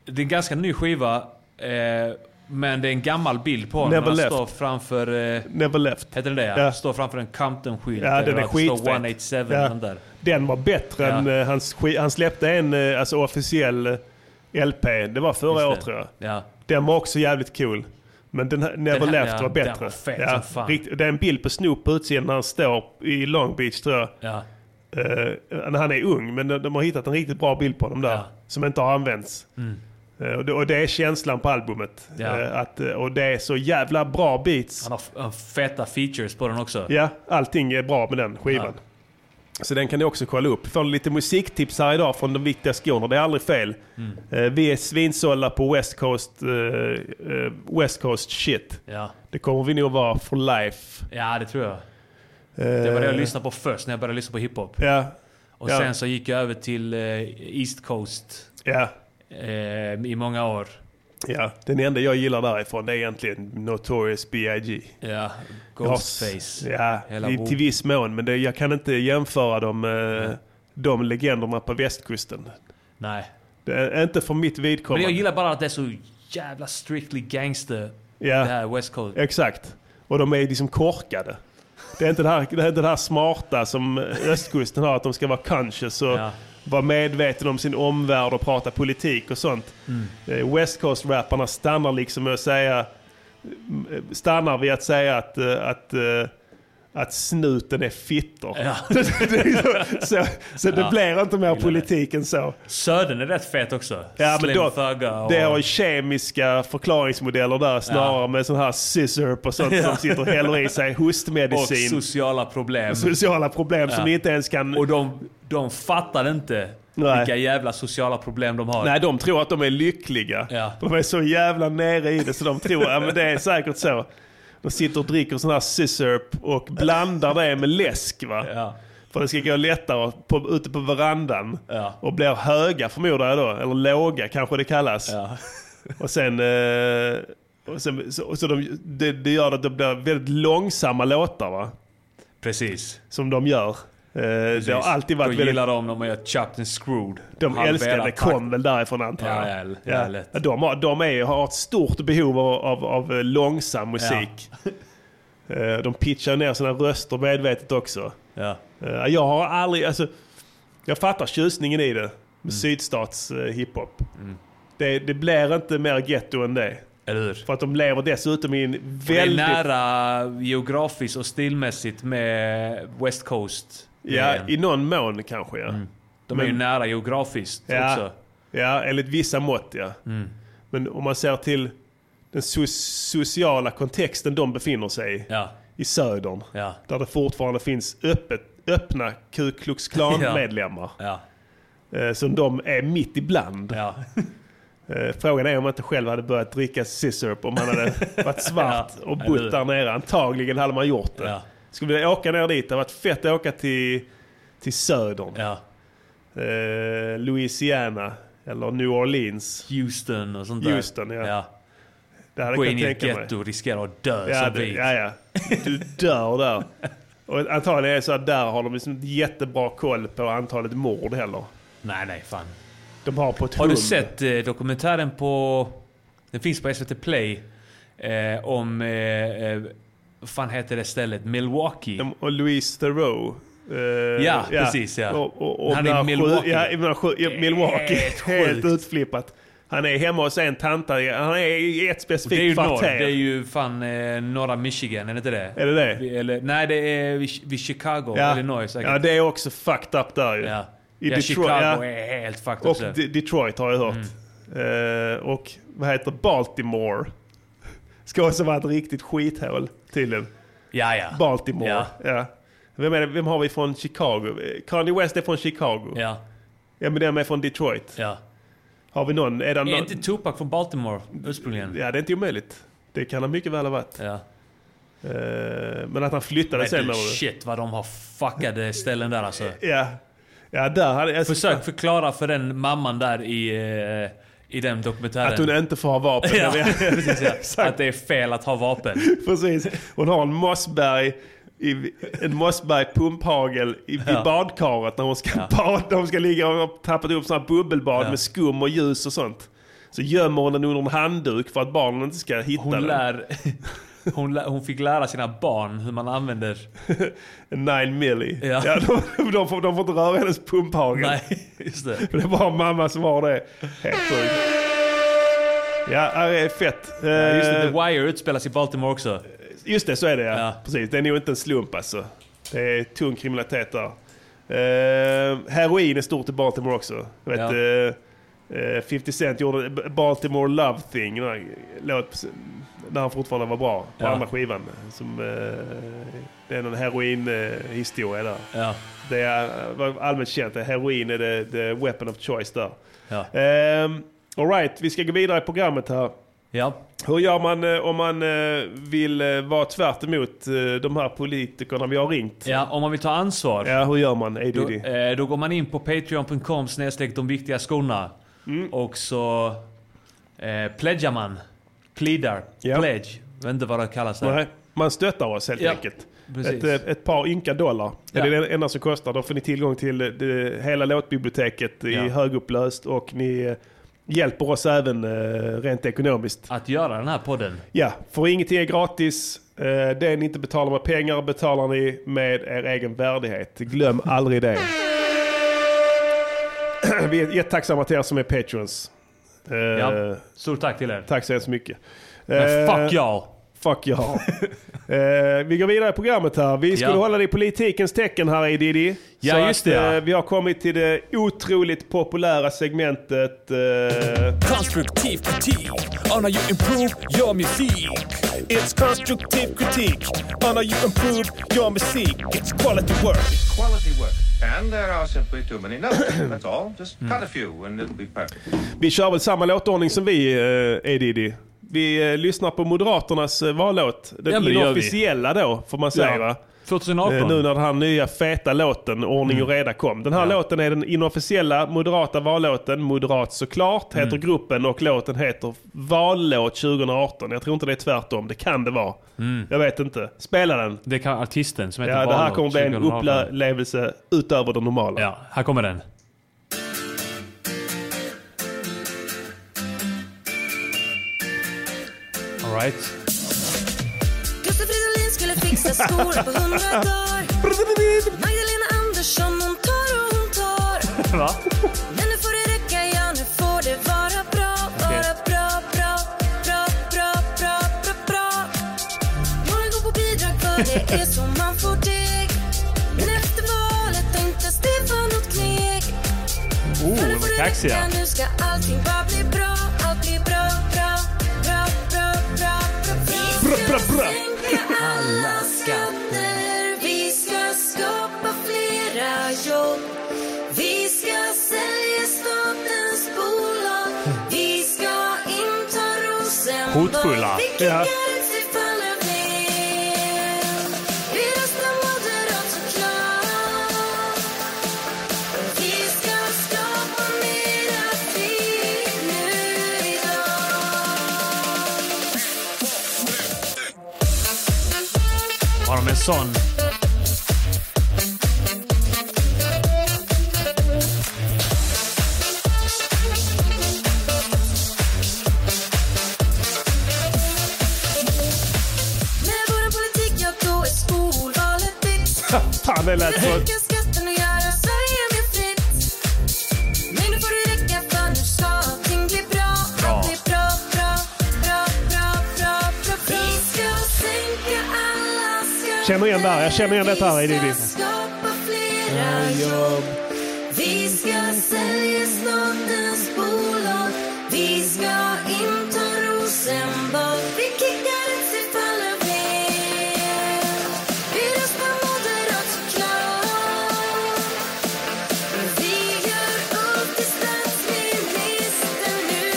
Speaker 2: Det är en ganska ny skiva. Eh, men det är en gammal bild på honom.
Speaker 1: Never
Speaker 2: Han
Speaker 1: left.
Speaker 2: står framför... Eh,
Speaker 1: Never left.
Speaker 2: heter den det?
Speaker 1: Ja.
Speaker 2: Ja. Står framför en Compton-skylt. eh,
Speaker 1: Ja, den
Speaker 2: där
Speaker 1: är
Speaker 2: det
Speaker 1: skitfet.
Speaker 2: Står 187
Speaker 1: Ja.
Speaker 2: den där.
Speaker 1: Den var bättre
Speaker 2: Ja.
Speaker 1: än eh, hans skiv... Han släppte en eh, alltså, officiell eh, LP. Det var förra
Speaker 2: Just
Speaker 1: året
Speaker 2: det.
Speaker 1: tror jag.
Speaker 2: Ja.
Speaker 1: Den var också jävligt cool. Men den här, Never
Speaker 2: Den här-
Speaker 1: Left
Speaker 2: ja,
Speaker 1: var
Speaker 2: den
Speaker 1: bättre.
Speaker 2: var fet
Speaker 1: ja,
Speaker 2: som fan.
Speaker 1: rikt- det är en bild på Snoop på utsidan när han står i Long Beach tror jag.
Speaker 2: Ja.
Speaker 1: Eh, när han är ung, men de, de har hittat en riktigt bra bild på honom där.
Speaker 2: Ja. Mm.
Speaker 1: Som inte har använts. Eh, och, det, och det är känslan på albumet.
Speaker 2: Ja.
Speaker 1: Eh, att, eh, och det är så jävla bra beats.
Speaker 2: Han har f- har feta features på den också.
Speaker 1: Ja, allting är bra med den skivan. Så den kan ni också kolla upp. Får lite musiktips här idag från de viktiga skorna. Det är aldrig fel.
Speaker 2: Mm.
Speaker 1: Eh, vi är svinsålla på West Coast, eh, eh, West Coast shit.
Speaker 2: Ja.
Speaker 1: Det kommer vi nog vara for life.
Speaker 2: ja, det tror jag. Det var det jag
Speaker 1: Eh,
Speaker 2: lyssnade på först när jag började lyssna på hiphop.
Speaker 1: Ja,
Speaker 2: Och
Speaker 1: Ja.
Speaker 2: sen så gick jag över till eh, East Coast
Speaker 1: ja,
Speaker 2: eh, i många år.
Speaker 1: ja. Den enda jag gillar därifrån det är egentligen Notorious B.I.G.
Speaker 2: Ja,
Speaker 1: Ja,
Speaker 2: Ghostface.
Speaker 1: Ja,
Speaker 2: Hela
Speaker 1: i,
Speaker 2: Bo-
Speaker 1: till viss mån. Men det, jag kan inte jämföra de, eh, de legenderna på västkusten.
Speaker 2: Nej.
Speaker 1: Det är inte för mitt
Speaker 2: Men jag
Speaker 1: vidkommande.
Speaker 2: gillar bara att det är så jävla strictly gangster.
Speaker 1: Ja.
Speaker 2: Det här West Coast.
Speaker 1: Exakt. Och de är liksom korkade. Det är inte det här, det är inte det här smarta som östkusten har, att de ska vara conscious och
Speaker 2: Ja.
Speaker 1: vara medvetna om sin omvärld och prata politik och sånt. Eh, West Coast-rapparna stannar liksom med att säga, stannar vid att säga att, eh, att eh, att snuten är fittor. [LAUGHS] Det är liksom- så så det blir inte mer politik än så.
Speaker 2: Södern är rätt fet också.
Speaker 1: Ja, men
Speaker 2: Slim
Speaker 1: då,
Speaker 2: Thugga och...
Speaker 1: Det har ju kemiska förklaringsmodeller där snarare med sån här scissor och sånt som sitter och häller i sig
Speaker 2: [LAUGHS] och
Speaker 1: hostmedicin.
Speaker 2: sociala problem.
Speaker 1: Sociala problem som
Speaker 2: Ja.
Speaker 1: inte ens kan...
Speaker 2: Och de, de fattar inte
Speaker 1: Nej.
Speaker 2: vilka jävla sociala problem de har.
Speaker 1: Nej, de tror att de är lyckliga.
Speaker 2: Ja.
Speaker 1: De är så jävla nere i det så de tror ja, men det är säkert så. De sitter och dricker sån här sissurp och blandar det med läsk. Va?
Speaker 2: Ja.
Speaker 1: För det ska gå lättare på, ute på verandan.
Speaker 2: Ja.
Speaker 1: Och blir höga förmodar jag då. Eller låga kanske det kallas.
Speaker 2: Ja.
Speaker 1: Och sen... Eh, och sen så, så de, det, det gör att det blir väldigt långsamma låtar va?
Speaker 2: Precis.
Speaker 1: Som de gör. Eh, det har alltid varit
Speaker 2: Då
Speaker 1: väldigt...
Speaker 2: gillar de när man gör Chopped and Screwed.
Speaker 1: De
Speaker 2: Halvera
Speaker 1: älskade
Speaker 2: takt.
Speaker 1: kom väl därifrån antar
Speaker 2: Ja,
Speaker 1: jag.
Speaker 2: ja, ja, ja, lätt.
Speaker 1: De, har, de är, har ett stort behov av, av, av eh, långsam musik. [LAUGHS] Eh, de pitchar ner sina röster medvetet också.
Speaker 2: Ja.
Speaker 1: Eh, Jag har aldrig, alltså, jag fattar tjusningen i det. Med
Speaker 2: Mm.
Speaker 1: sydstats eh, hiphop. Det, det blir inte mer ghetto än det.
Speaker 2: Eller hur?
Speaker 1: För att de lever dessutom i en
Speaker 2: Det är
Speaker 1: väldigt...
Speaker 2: nära geografiskt och stilmässigt med West Coast.
Speaker 1: ja,
Speaker 2: Men
Speaker 1: i någon mån kanske ja.
Speaker 2: de är ju
Speaker 1: men-
Speaker 2: nära geografiskt
Speaker 1: Ja.
Speaker 2: Mm, också. Mm.
Speaker 1: Ja, enligt vissa mått ja. Men om man ser till den so- sociala kontexten de befinner sig i,
Speaker 2: Ja,
Speaker 1: i södern.
Speaker 2: ja,
Speaker 1: Där det fortfarande finns öppet, öppna Ku Klux Klan-medlemmar.
Speaker 2: [LAUGHS] ja,
Speaker 1: eh, Som de är mitt ibland.
Speaker 2: ja.
Speaker 1: Eh, Frågan är om jag inte själv hade börjat dricka sissurp om man
Speaker 2: [LAUGHS]
Speaker 1: hade varit svart
Speaker 2: Ja,
Speaker 1: och
Speaker 2: eller hur?
Speaker 1: bott där nere. Antagligen hade man gjort det.
Speaker 2: Ja.
Speaker 1: Skulle vilja åka ner dit. Det hade varit fett att åka till, till södern.
Speaker 2: ja.
Speaker 1: Eh, Louisiana eller New Orleans.
Speaker 2: Houston och sånt där.
Speaker 1: Houston, ja. Det hade
Speaker 2: Gå
Speaker 1: jag
Speaker 2: in i
Speaker 1: kunnat
Speaker 2: ett
Speaker 1: tänka mig.
Speaker 2: getto och riskera att dö
Speaker 1: Ja,
Speaker 2: som
Speaker 1: det,
Speaker 2: vit.
Speaker 1: ja, ja. Du dör
Speaker 2: [LAUGHS]
Speaker 1: där. Och antagligen är det så att där har de liksom inte jättebra koll på antalet mord heller.
Speaker 2: Nej, nej, fan.
Speaker 1: De har på ett
Speaker 2: Har du
Speaker 1: hum.
Speaker 2: sett eh, dokumentären på... Den finns på SVT Play. Eh, om... Eh, eh, vad fan heter det stället? Milwaukee.
Speaker 1: Dem- Och Louise Theroux. eh,
Speaker 2: precis, ja.
Speaker 1: Och, och, och
Speaker 2: Han är i
Speaker 1: när
Speaker 2: Milwaukee.
Speaker 1: Sju, ja, i när sju, i Milwaukee.
Speaker 2: Helt
Speaker 1: Helt
Speaker 2: sjukt.
Speaker 1: utflippat. Han är hemma hos en tanta. Han är i ett
Speaker 2: Det är
Speaker 1: specifikt
Speaker 2: ju norr.
Speaker 1: kvarter.
Speaker 2: Det är ju fan eh, norra Michigan, är det inte det?
Speaker 1: Är det det?
Speaker 2: Vi- Eller, nej, det är vid, vid Chicago, Illinois säkert.
Speaker 1: ja, det är också fucked up där ju.
Speaker 2: Ja.
Speaker 1: I
Speaker 2: ja,
Speaker 1: Detroit, ja.
Speaker 2: Chicago är helt fucked
Speaker 1: Och
Speaker 2: också. Mm.
Speaker 1: De- Detroit har jag hört. Eh, och vad heter Baltimore? [LAUGHS] Ska också vara ett riktigt skithål tydligen.
Speaker 2: Ja, ja.
Speaker 1: Baltimore. Ja.
Speaker 2: Ja.
Speaker 1: Vem, är det, vem har vi från Chicago? Eh, Kanye West är från Chicago. Ja,
Speaker 2: Ja,
Speaker 1: men den är från Detroit.
Speaker 2: ja.
Speaker 1: Har vi någon? Är det någon?
Speaker 2: Är inte Tupac från Baltimore ursprungligen?
Speaker 1: Ja, det är inte omöjligt. Det kan han mycket väl ha varit.
Speaker 2: Ja.
Speaker 1: Eh, men att han flyttade
Speaker 2: Men
Speaker 1: sen.
Speaker 2: du,
Speaker 1: eller?
Speaker 2: shit vad de har fuckade ställen där alltså.
Speaker 1: Ja. Ja, där hade jag...
Speaker 2: Försök förklara för den mamman där i, eh, i den dokumentären.
Speaker 1: Att hon inte får ha vapen.
Speaker 2: Ja, [LAUGHS]
Speaker 1: Ja, [LAUGHS]
Speaker 2: precis, ja.
Speaker 1: exakt.
Speaker 2: Att det är fel att ha vapen.
Speaker 1: Precis. Hon har en Mossberg, i, en Mossberg pumphagel i, i
Speaker 2: Ja.
Speaker 1: badkaret när hon ska bada. Hon ska ligga och har tappat upp sådana här bubbelbad
Speaker 2: Ja.
Speaker 1: med skum och ljus och sånt. Så gömmer hon den under en handduk för att barnen inte ska hitta
Speaker 2: Hon,
Speaker 1: den.
Speaker 2: lär, hon, lär, [LAUGHS] hon fick lära sina barn hur man använder...
Speaker 1: En 9 milli.
Speaker 2: Ja.
Speaker 1: [LAUGHS] de, de, får, de får inte röra hennes pumphagel.
Speaker 2: Nej, just det.
Speaker 1: För det var mamma som har det. Helt sjukt. Ja, det är fett.
Speaker 2: Ja, Just
Speaker 1: Eh,
Speaker 2: det, The Wire utspelas i Baltimore också.
Speaker 1: Just det, så är det ja.
Speaker 2: Ja.
Speaker 1: Precis, det är nog inte en slump alltså. Det är tung kriminalitet där. Eh, heroin är stort i Baltimore också. Jag vet,
Speaker 2: Ja.
Speaker 1: eh, eh, 50 Cent gjorde B- Baltimore Love Thing, den här låt när han fortfarande var bra, på
Speaker 2: Ja.
Speaker 1: andra skivan. Som, eh, det är någon heroinhistoria där.
Speaker 2: Ja,
Speaker 1: Det är eh, var allmänt känt, att heroin är the, the weapon of choice där.
Speaker 2: ja.
Speaker 1: Uh, Alright, vi ska gå vidare i programmet här.
Speaker 2: ja.
Speaker 1: Hur gör man eh, om man eh, vill eh, vara tvärt emot eh, de här politikerna vi har ringt?
Speaker 2: ja om man vill ta ansvar.
Speaker 1: Ja, hur gör man? ADD?
Speaker 2: Då, eh, då går man in på patreon.com snedstreck de viktiga skorna.
Speaker 1: Mm.
Speaker 2: Och så eh, pledgar man. Pleadar.
Speaker 1: Ja.
Speaker 2: Pledge. Jag vet inte vad det kallas. Där.
Speaker 1: Nej, man stöttar oss helt
Speaker 2: Ja,
Speaker 1: enkelt. Ett,
Speaker 2: precis.
Speaker 1: eh, ett par ynka dollar.
Speaker 2: Ja.
Speaker 1: Det är det enda som kostar. Då får ni tillgång till eh, det, hela låtbiblioteket i
Speaker 2: Ja.
Speaker 1: högupplöst och ni eh, hjälper oss även eh, rent ekonomiskt.
Speaker 2: Att göra den här podden.
Speaker 1: Ja, för ingenting är gratis. Eh, Det ni inte betalar med pengar betalar ni med er egen värdighet. Glöm aldrig det. [CLEARS THROAT] Vi är jättetacksamma till er som är patreons. Eh,
Speaker 2: Ja. Stort tack till er.
Speaker 1: Tack så hemskt mycket.
Speaker 2: Men
Speaker 1: Eh,
Speaker 2: fuck y'all.
Speaker 1: Fuck ja. [LAUGHS] eh, vi går vidare i programmet här. Vi skulle
Speaker 2: Ja.
Speaker 1: hålla det i politikens tecken här i Didi.
Speaker 2: Ja,
Speaker 1: Så
Speaker 2: just det,
Speaker 1: Att,
Speaker 2: ja.
Speaker 1: eh, vi har kommit till det otroligt populära segmentet. Eh,
Speaker 3: Constructive critique on how you improve your music. It's constructive critique on how you improve your music. It's quality work.
Speaker 9: quality work. And there are simply too many notes. That's all. Just cut a few and it'll be perfect.
Speaker 1: Vi kör väl samma låtordning som vi, eh, Edidi. Vi eh, lyssnar på Moderaternas eh, vallåt. Den
Speaker 2: Ja, men det gör vi.
Speaker 1: inofficiella då, får man säga va? Eh,
Speaker 2: 2018.
Speaker 1: nu när den här nya feta låten Ordning
Speaker 2: Mm.
Speaker 1: och reda kom. Den här låten är den inofficiella moderata vallåten. Moderat såklart heter
Speaker 2: Mm.
Speaker 1: gruppen och låten heter Vallåt 2018. Jag tror inte det är tvärtom. Det kan det vara.
Speaker 2: Mm.
Speaker 1: Jag vet inte. Spela den.
Speaker 2: Det kan artisten som heter
Speaker 1: Ja, det här
Speaker 2: Valor
Speaker 1: kommer bli en
Speaker 2: 2018.
Speaker 1: upplevelse utöver det normala.
Speaker 2: Ja, här kommer den. Alright.
Speaker 10: Gustav Fridolin skulle fixa skor på hundra dagar Magdalena Andersson hon tar och hon tar
Speaker 2: Va?
Speaker 10: Men nu får det räcka, ja nu får det vara bra Vara bra, bra, bra, bra, bra, bra, bra Några går på bidrag för det är så man får deg Men efter valet tänkte Stefan åt kneg
Speaker 2: Oh,
Speaker 10: För
Speaker 2: de
Speaker 10: nu får
Speaker 2: är
Speaker 10: det
Speaker 2: kaxiga.
Speaker 10: räcka, nu ska allting bara bli bra Allt blir bra, bra, bra, bra, bra, bra, bra, bra, bra. Alla skatter, vi ska skapa flera jobb Vi ska sälja statens bolag Vi ska inta Rosenbad
Speaker 2: Hotfulla.
Speaker 10: Vilket
Speaker 1: Ja.
Speaker 10: galaxy faller ner Vi röstar moderat såklart Vi ska skapa mera fred nu idag
Speaker 2: Har de en sån?
Speaker 10: Med vår politik, ja då är skolvalet bytt
Speaker 1: Fan, det lät så...
Speaker 10: Sänka skatten och göra Sverige mer fritt. Men nu får det räcka för nu ska allting bli bra.
Speaker 1: Känner igen det här. Jag känner igen detta här i Diddy.
Speaker 10: skapa flera jobb. Vi ska sälja statens bolag. Vi ska inta Rosenbad. Vi kickar ett sig falla ner. Vi röstar moderat såklart. Vi gör upp till statsminister nu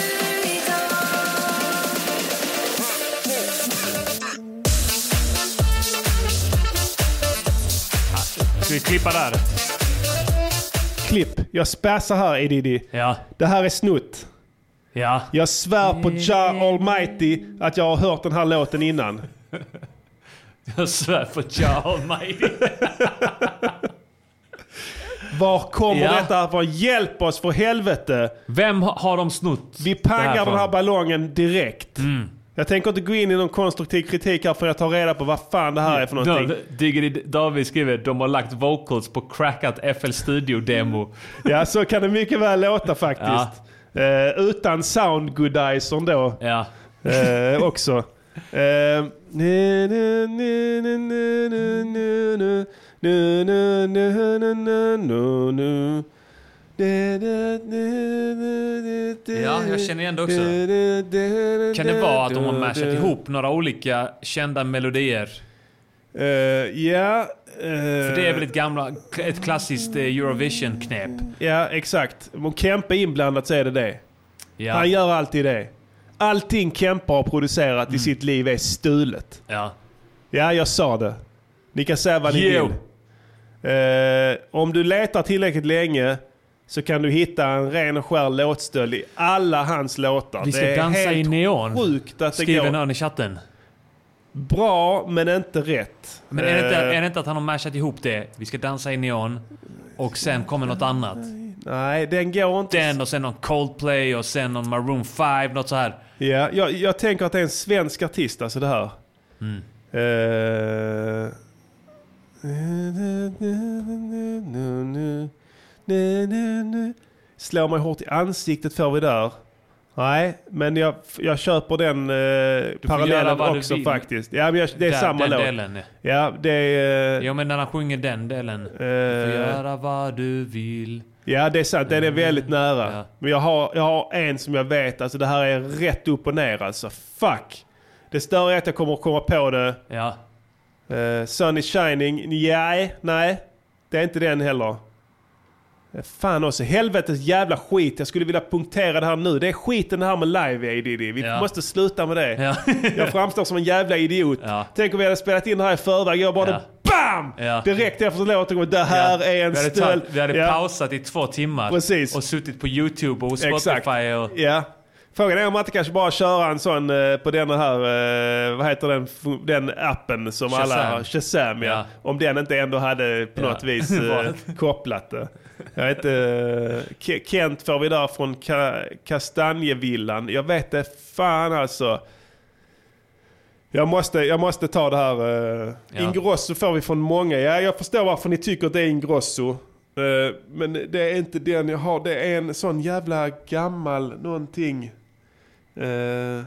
Speaker 1: Ska vi klippa där? Klipp. Jag spassar här Edidi. Ja. Det här är snutt.
Speaker 2: Ja. [LAUGHS]
Speaker 1: Jag svär på Ja Almighty att jag har hört den här låten innan.
Speaker 2: Jag svär på Ja Almighty.
Speaker 1: Var kommer
Speaker 2: Ja.
Speaker 1: detta Var Hjälp oss för helvete!
Speaker 2: Vem ha- har de snott?
Speaker 1: Vi pangar den här
Speaker 2: från?
Speaker 1: ballongen direkt. Jag tänker inte gå in i någon konstruktiv kritik här för jag tar reda på vad fan det här är för någonting.
Speaker 2: Då- Diggity David skriver de har lagt vocals på crackat FL Studio-demo.
Speaker 1: Ja, så kan det mycket väl låta faktiskt. Eh, utan sound goodizern då.
Speaker 2: Ja.
Speaker 1: Eh, också. Eh, nu, nu, nu, nu, nu, nu, nu, nu. Nu, nu, nu, nu, nu, nu, nu. Du, du, du, du, du, du.
Speaker 2: Ja, jag känner igen det också.
Speaker 1: Du, du, du, du,
Speaker 2: Kan det vara att de har
Speaker 1: du,
Speaker 2: mashat
Speaker 1: du.
Speaker 2: ihop några olika kända melodier?
Speaker 1: Eh, ja.
Speaker 2: För det är väl ett, gamla, ett klassiskt eh, Eurovision-knep?
Speaker 1: eh, Ja, exakt. Om Kempe är inblandat så är det det.
Speaker 2: Ja.
Speaker 1: Han gör alltid det. Allting Kempe har producerat
Speaker 2: Mm.
Speaker 1: i sitt liv är stulet.
Speaker 2: Ja.
Speaker 1: Ja, jag sa det. Ni kan säga vad ni
Speaker 2: Jo.
Speaker 1: vill. Eh, om du letar tillräckligt länge så kan du hitta en ren och skär låtstöld i alla hans låtar.
Speaker 2: Vi ska
Speaker 1: det är
Speaker 2: dansa i
Speaker 1: helt
Speaker 2: neon.
Speaker 1: sjukt att det
Speaker 2: Skriver
Speaker 1: går.
Speaker 2: någon i chatten.
Speaker 1: Bra, men inte rätt.
Speaker 2: Men är det, inte,
Speaker 1: Eh,
Speaker 2: är det inte att han har mashat ihop det? Vi ska dansa i neon och sen kommer något annat.
Speaker 1: Eh, Nej, den går inte.
Speaker 2: Den och sen någon Coldplay och sen någon Maroon 5, något så här.
Speaker 1: Ja, jag, jag tänker att det är en svensk artist, alltså det här.
Speaker 2: Mm.
Speaker 1: Eh, Slår mig hårt i ansiktet får vi där. Nej, men jag, jag köper den eh,
Speaker 2: göra
Speaker 1: parallellen
Speaker 2: vad du
Speaker 1: också
Speaker 2: vill.
Speaker 1: faktiskt. Ja, men jag, det är
Speaker 2: Där-
Speaker 1: samma
Speaker 2: den
Speaker 1: låt.
Speaker 2: delen, ja.
Speaker 1: Ja, det är... eh,
Speaker 2: Jo men när han sjunger den delen. Du får
Speaker 1: Eh.
Speaker 2: göra vad du vill.
Speaker 1: Ja, det är sant. Den är
Speaker 2: Mm.
Speaker 1: väldigt nära. Men jag har, jag har en som jag vet, alltså det här är rätt upp och ner alltså. Fuck! Det stör är att jag kommer att komma på det.
Speaker 2: Ja.
Speaker 1: Eh, Sun is shining. Nej, nej. Det är inte den heller. Eh, Fan också, helvetes jävla skit. Jag skulle vilja punktera det här nu. Det är skiten det här med live ADD. Vi måste sluta med det. [LAUGHS] jag framstår som en jävla idiot. Tänk om vi hade spelat in det här i förväg. Jag bara BAM!
Speaker 2: Ja.
Speaker 1: Direkt efter låten kommer det här
Speaker 2: Ja.
Speaker 1: är en
Speaker 2: vi hade,
Speaker 1: stöld.
Speaker 2: tagit- vi hade pausat i två timmar.
Speaker 1: Precis.
Speaker 2: Och suttit på YouTube och Spotify
Speaker 1: Exakt.
Speaker 2: och...
Speaker 1: Ja. Frågan är om man inte kanske bara köra en sån eh, på den här, eh, vad heter den, fu- den appen som alla
Speaker 2: Shazam.
Speaker 1: har, Shazam ja. Om den inte ändå hade på
Speaker 2: Ja.
Speaker 1: något
Speaker 2: [LAUGHS]
Speaker 1: vis eh,
Speaker 2: Vad?
Speaker 1: kopplat det. Jag vet inte, eh, Ke- Kent får vi där från Ka- Kastanjevillan. Jag vet det fan alltså. Jag måste, jag måste ta det här. eh,
Speaker 2: Ja.
Speaker 1: Ingrosso får vi från många. Ja, jag förstår varför ni tycker att det är Ingrosso. Eh, men det är inte den jag har. Det är en sån jävla gammal någonting. Eh,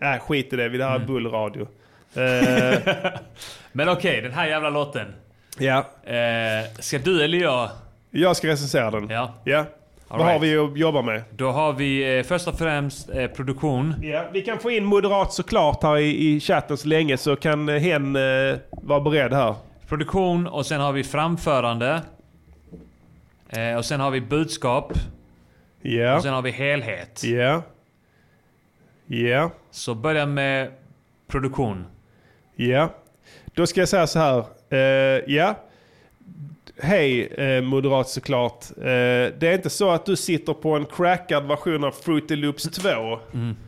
Speaker 1: Nej, äh, skit i det. Det här
Speaker 2: Mm.
Speaker 1: är bullradio. Eh,
Speaker 2: Men okej, den här jävla låten.
Speaker 1: ja,
Speaker 2: Eh, ska du eller jag?
Speaker 1: jag ska recensera den.
Speaker 2: Ja.
Speaker 1: Ja. Vad har
Speaker 2: right.
Speaker 1: vi att jobba med?
Speaker 2: Då har vi eh, först och främst eh, produktion.
Speaker 1: Ja, vi kan få in moderat såklart här i, i chatten så länge så kan eh, hen eh, vara beredd här.
Speaker 2: Produktion och sen har vi framförande. Eh, och sen har vi budskap.
Speaker 1: Ja.
Speaker 2: Och sen har vi helhet.
Speaker 1: Ja. Ja.
Speaker 2: Så börja med produktion.
Speaker 1: Ja. Då ska jag säga så här. Eh, ja. Hej eh, moderat såklart. Eh, det är inte så att du sitter på en crackad version av Fruity Loops 2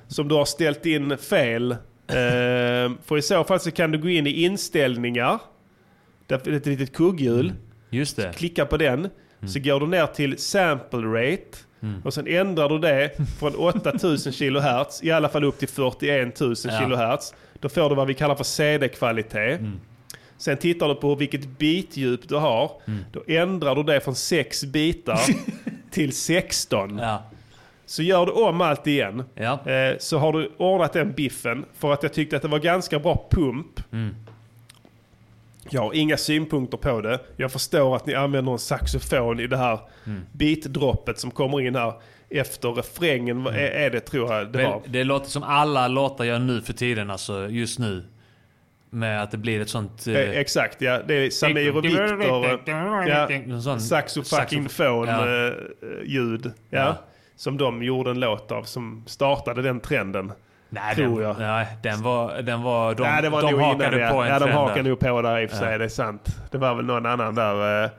Speaker 1: som du har ställt in fel. Eh, för i så fall så kan du gå in i inställningar. Där finns ett litet kugghjul.
Speaker 2: Just det.
Speaker 1: Klicka på den. Så går du ner till sample rate.
Speaker 2: Mm.
Speaker 1: Och sen ändrar du det från 8000 kHz, i alla fall upp till 41 000
Speaker 2: Ja. Mm.
Speaker 1: kHz. Då får du vad vi kallar för CD-kvalitet. Sen tittar du på vilket bitdjup du har.
Speaker 2: Mm. [LAUGHS]
Speaker 1: Då ändrar du det från 6 bitar till 16.
Speaker 2: Ja.
Speaker 1: Så gör du om allt igen. Eh, Så har du ordnat den biffen. För att jag tyckte att det var ganska bra pump.
Speaker 2: Mm.
Speaker 1: Jag har inga synpunkter på det. Jag förstår att ni använder en saxofon i det här
Speaker 2: Mm.
Speaker 1: beatdroppet som kommer in här efter refrängen. Vad Är, är det tror jag det
Speaker 2: Mm. Men
Speaker 1: var.
Speaker 2: det låter som alla låtar jag nu för tiden, alltså just nu. Med att det blir ett sånt... eh,
Speaker 1: Eh, exakt, ja. Det är Samir och Viktor. eh,
Speaker 2: Någon
Speaker 1: Ja,
Speaker 2: sån-
Speaker 1: Saxofuckingfon
Speaker 2: Ja.
Speaker 1: ja. eh, ljud. Ja,
Speaker 2: Ja.
Speaker 1: Som de gjorde en låt av som startade den trenden.
Speaker 2: Nej,
Speaker 1: tror
Speaker 2: den,
Speaker 1: jag.
Speaker 2: nej, den var... Den var de
Speaker 1: Nej, det var
Speaker 2: de
Speaker 1: nog
Speaker 2: hakade
Speaker 1: innan det.
Speaker 2: på en
Speaker 1: Ja, de
Speaker 2: trend där.
Speaker 1: hakade nog på där i och för sig.
Speaker 2: Ja.
Speaker 1: Det är sant. Det var väl någon annan där. eh,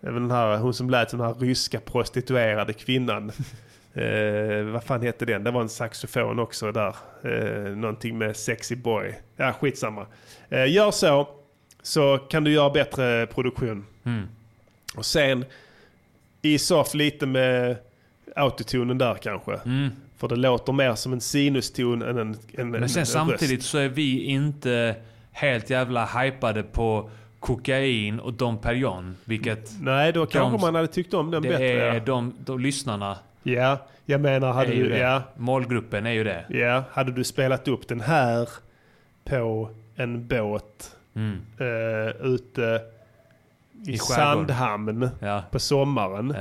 Speaker 1: det var Den här, hon som lät som den här ryska prostituerade
Speaker 2: [LAUGHS]
Speaker 1: kvinnan. Eh, vad fan hette den? Det var en saxofon också där. Eh, någonting med sexy boy. Ja, skitsamma. Eh, gör så, så kan du göra bättre produktion.
Speaker 2: Mm.
Speaker 1: Och sen is off lite med autotunen där kanske. För det låter mer som en sinuston än en, en
Speaker 2: Mm. Men sen
Speaker 1: en
Speaker 2: samtidigt
Speaker 1: Röst.
Speaker 2: så är vi inte helt jävla hypade på kokain och Dom Perignon. Vilket...
Speaker 1: Nej, då kanske man hade tyckt om den
Speaker 2: det
Speaker 1: bättre, ja.
Speaker 2: Är de, de lyssnarna
Speaker 1: Ja, jag menar hade
Speaker 2: är ju
Speaker 1: du,
Speaker 2: det.
Speaker 1: ja,
Speaker 2: Målgruppen är ju det.
Speaker 1: ja, hade du spelat upp den här på en båt
Speaker 2: Mm.
Speaker 1: eh, ute i,
Speaker 2: I skärgården.
Speaker 1: Sandhamn
Speaker 2: Ja. Mm.
Speaker 1: på sommaren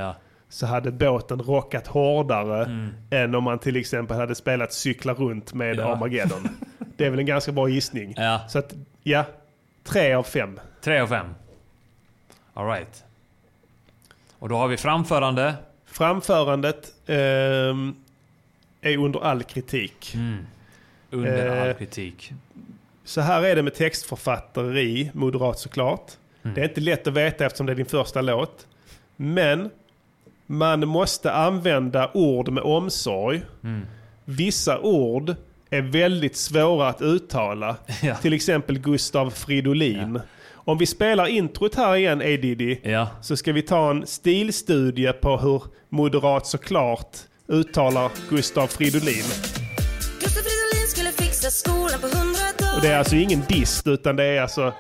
Speaker 1: så hade båten rockat hårdare än om man till exempel hade spelat cykla runt med
Speaker 2: Ja. [LAUGHS]
Speaker 1: Armageddon. Det är väl en ganska bra gissning. Så att, ja, tre av fem.
Speaker 2: Tre av fem. All right. Och då har vi framförande.
Speaker 1: Framförandet ehm, är under all kritik.
Speaker 2: Under all
Speaker 1: Eh,
Speaker 2: kritik.
Speaker 1: Så här är det med textförfatteri, moderat såklart. Det är inte lätt att veta eftersom det är din första låt. Men man måste använda ord med omsorg. Vissa ord är väldigt svåra att uttala. Till exempel Gustav Fridolin. Om vi spelar introt här igen, Edidi, så ska vi ta en stilstudie på hur moderat såklart uttalar Gustav Fridolin.
Speaker 10: Gustav Fridolin skulle fixa skolan på hundra
Speaker 1: Och
Speaker 10: dagar.
Speaker 1: det är alltså ingen dist utan det är alltså...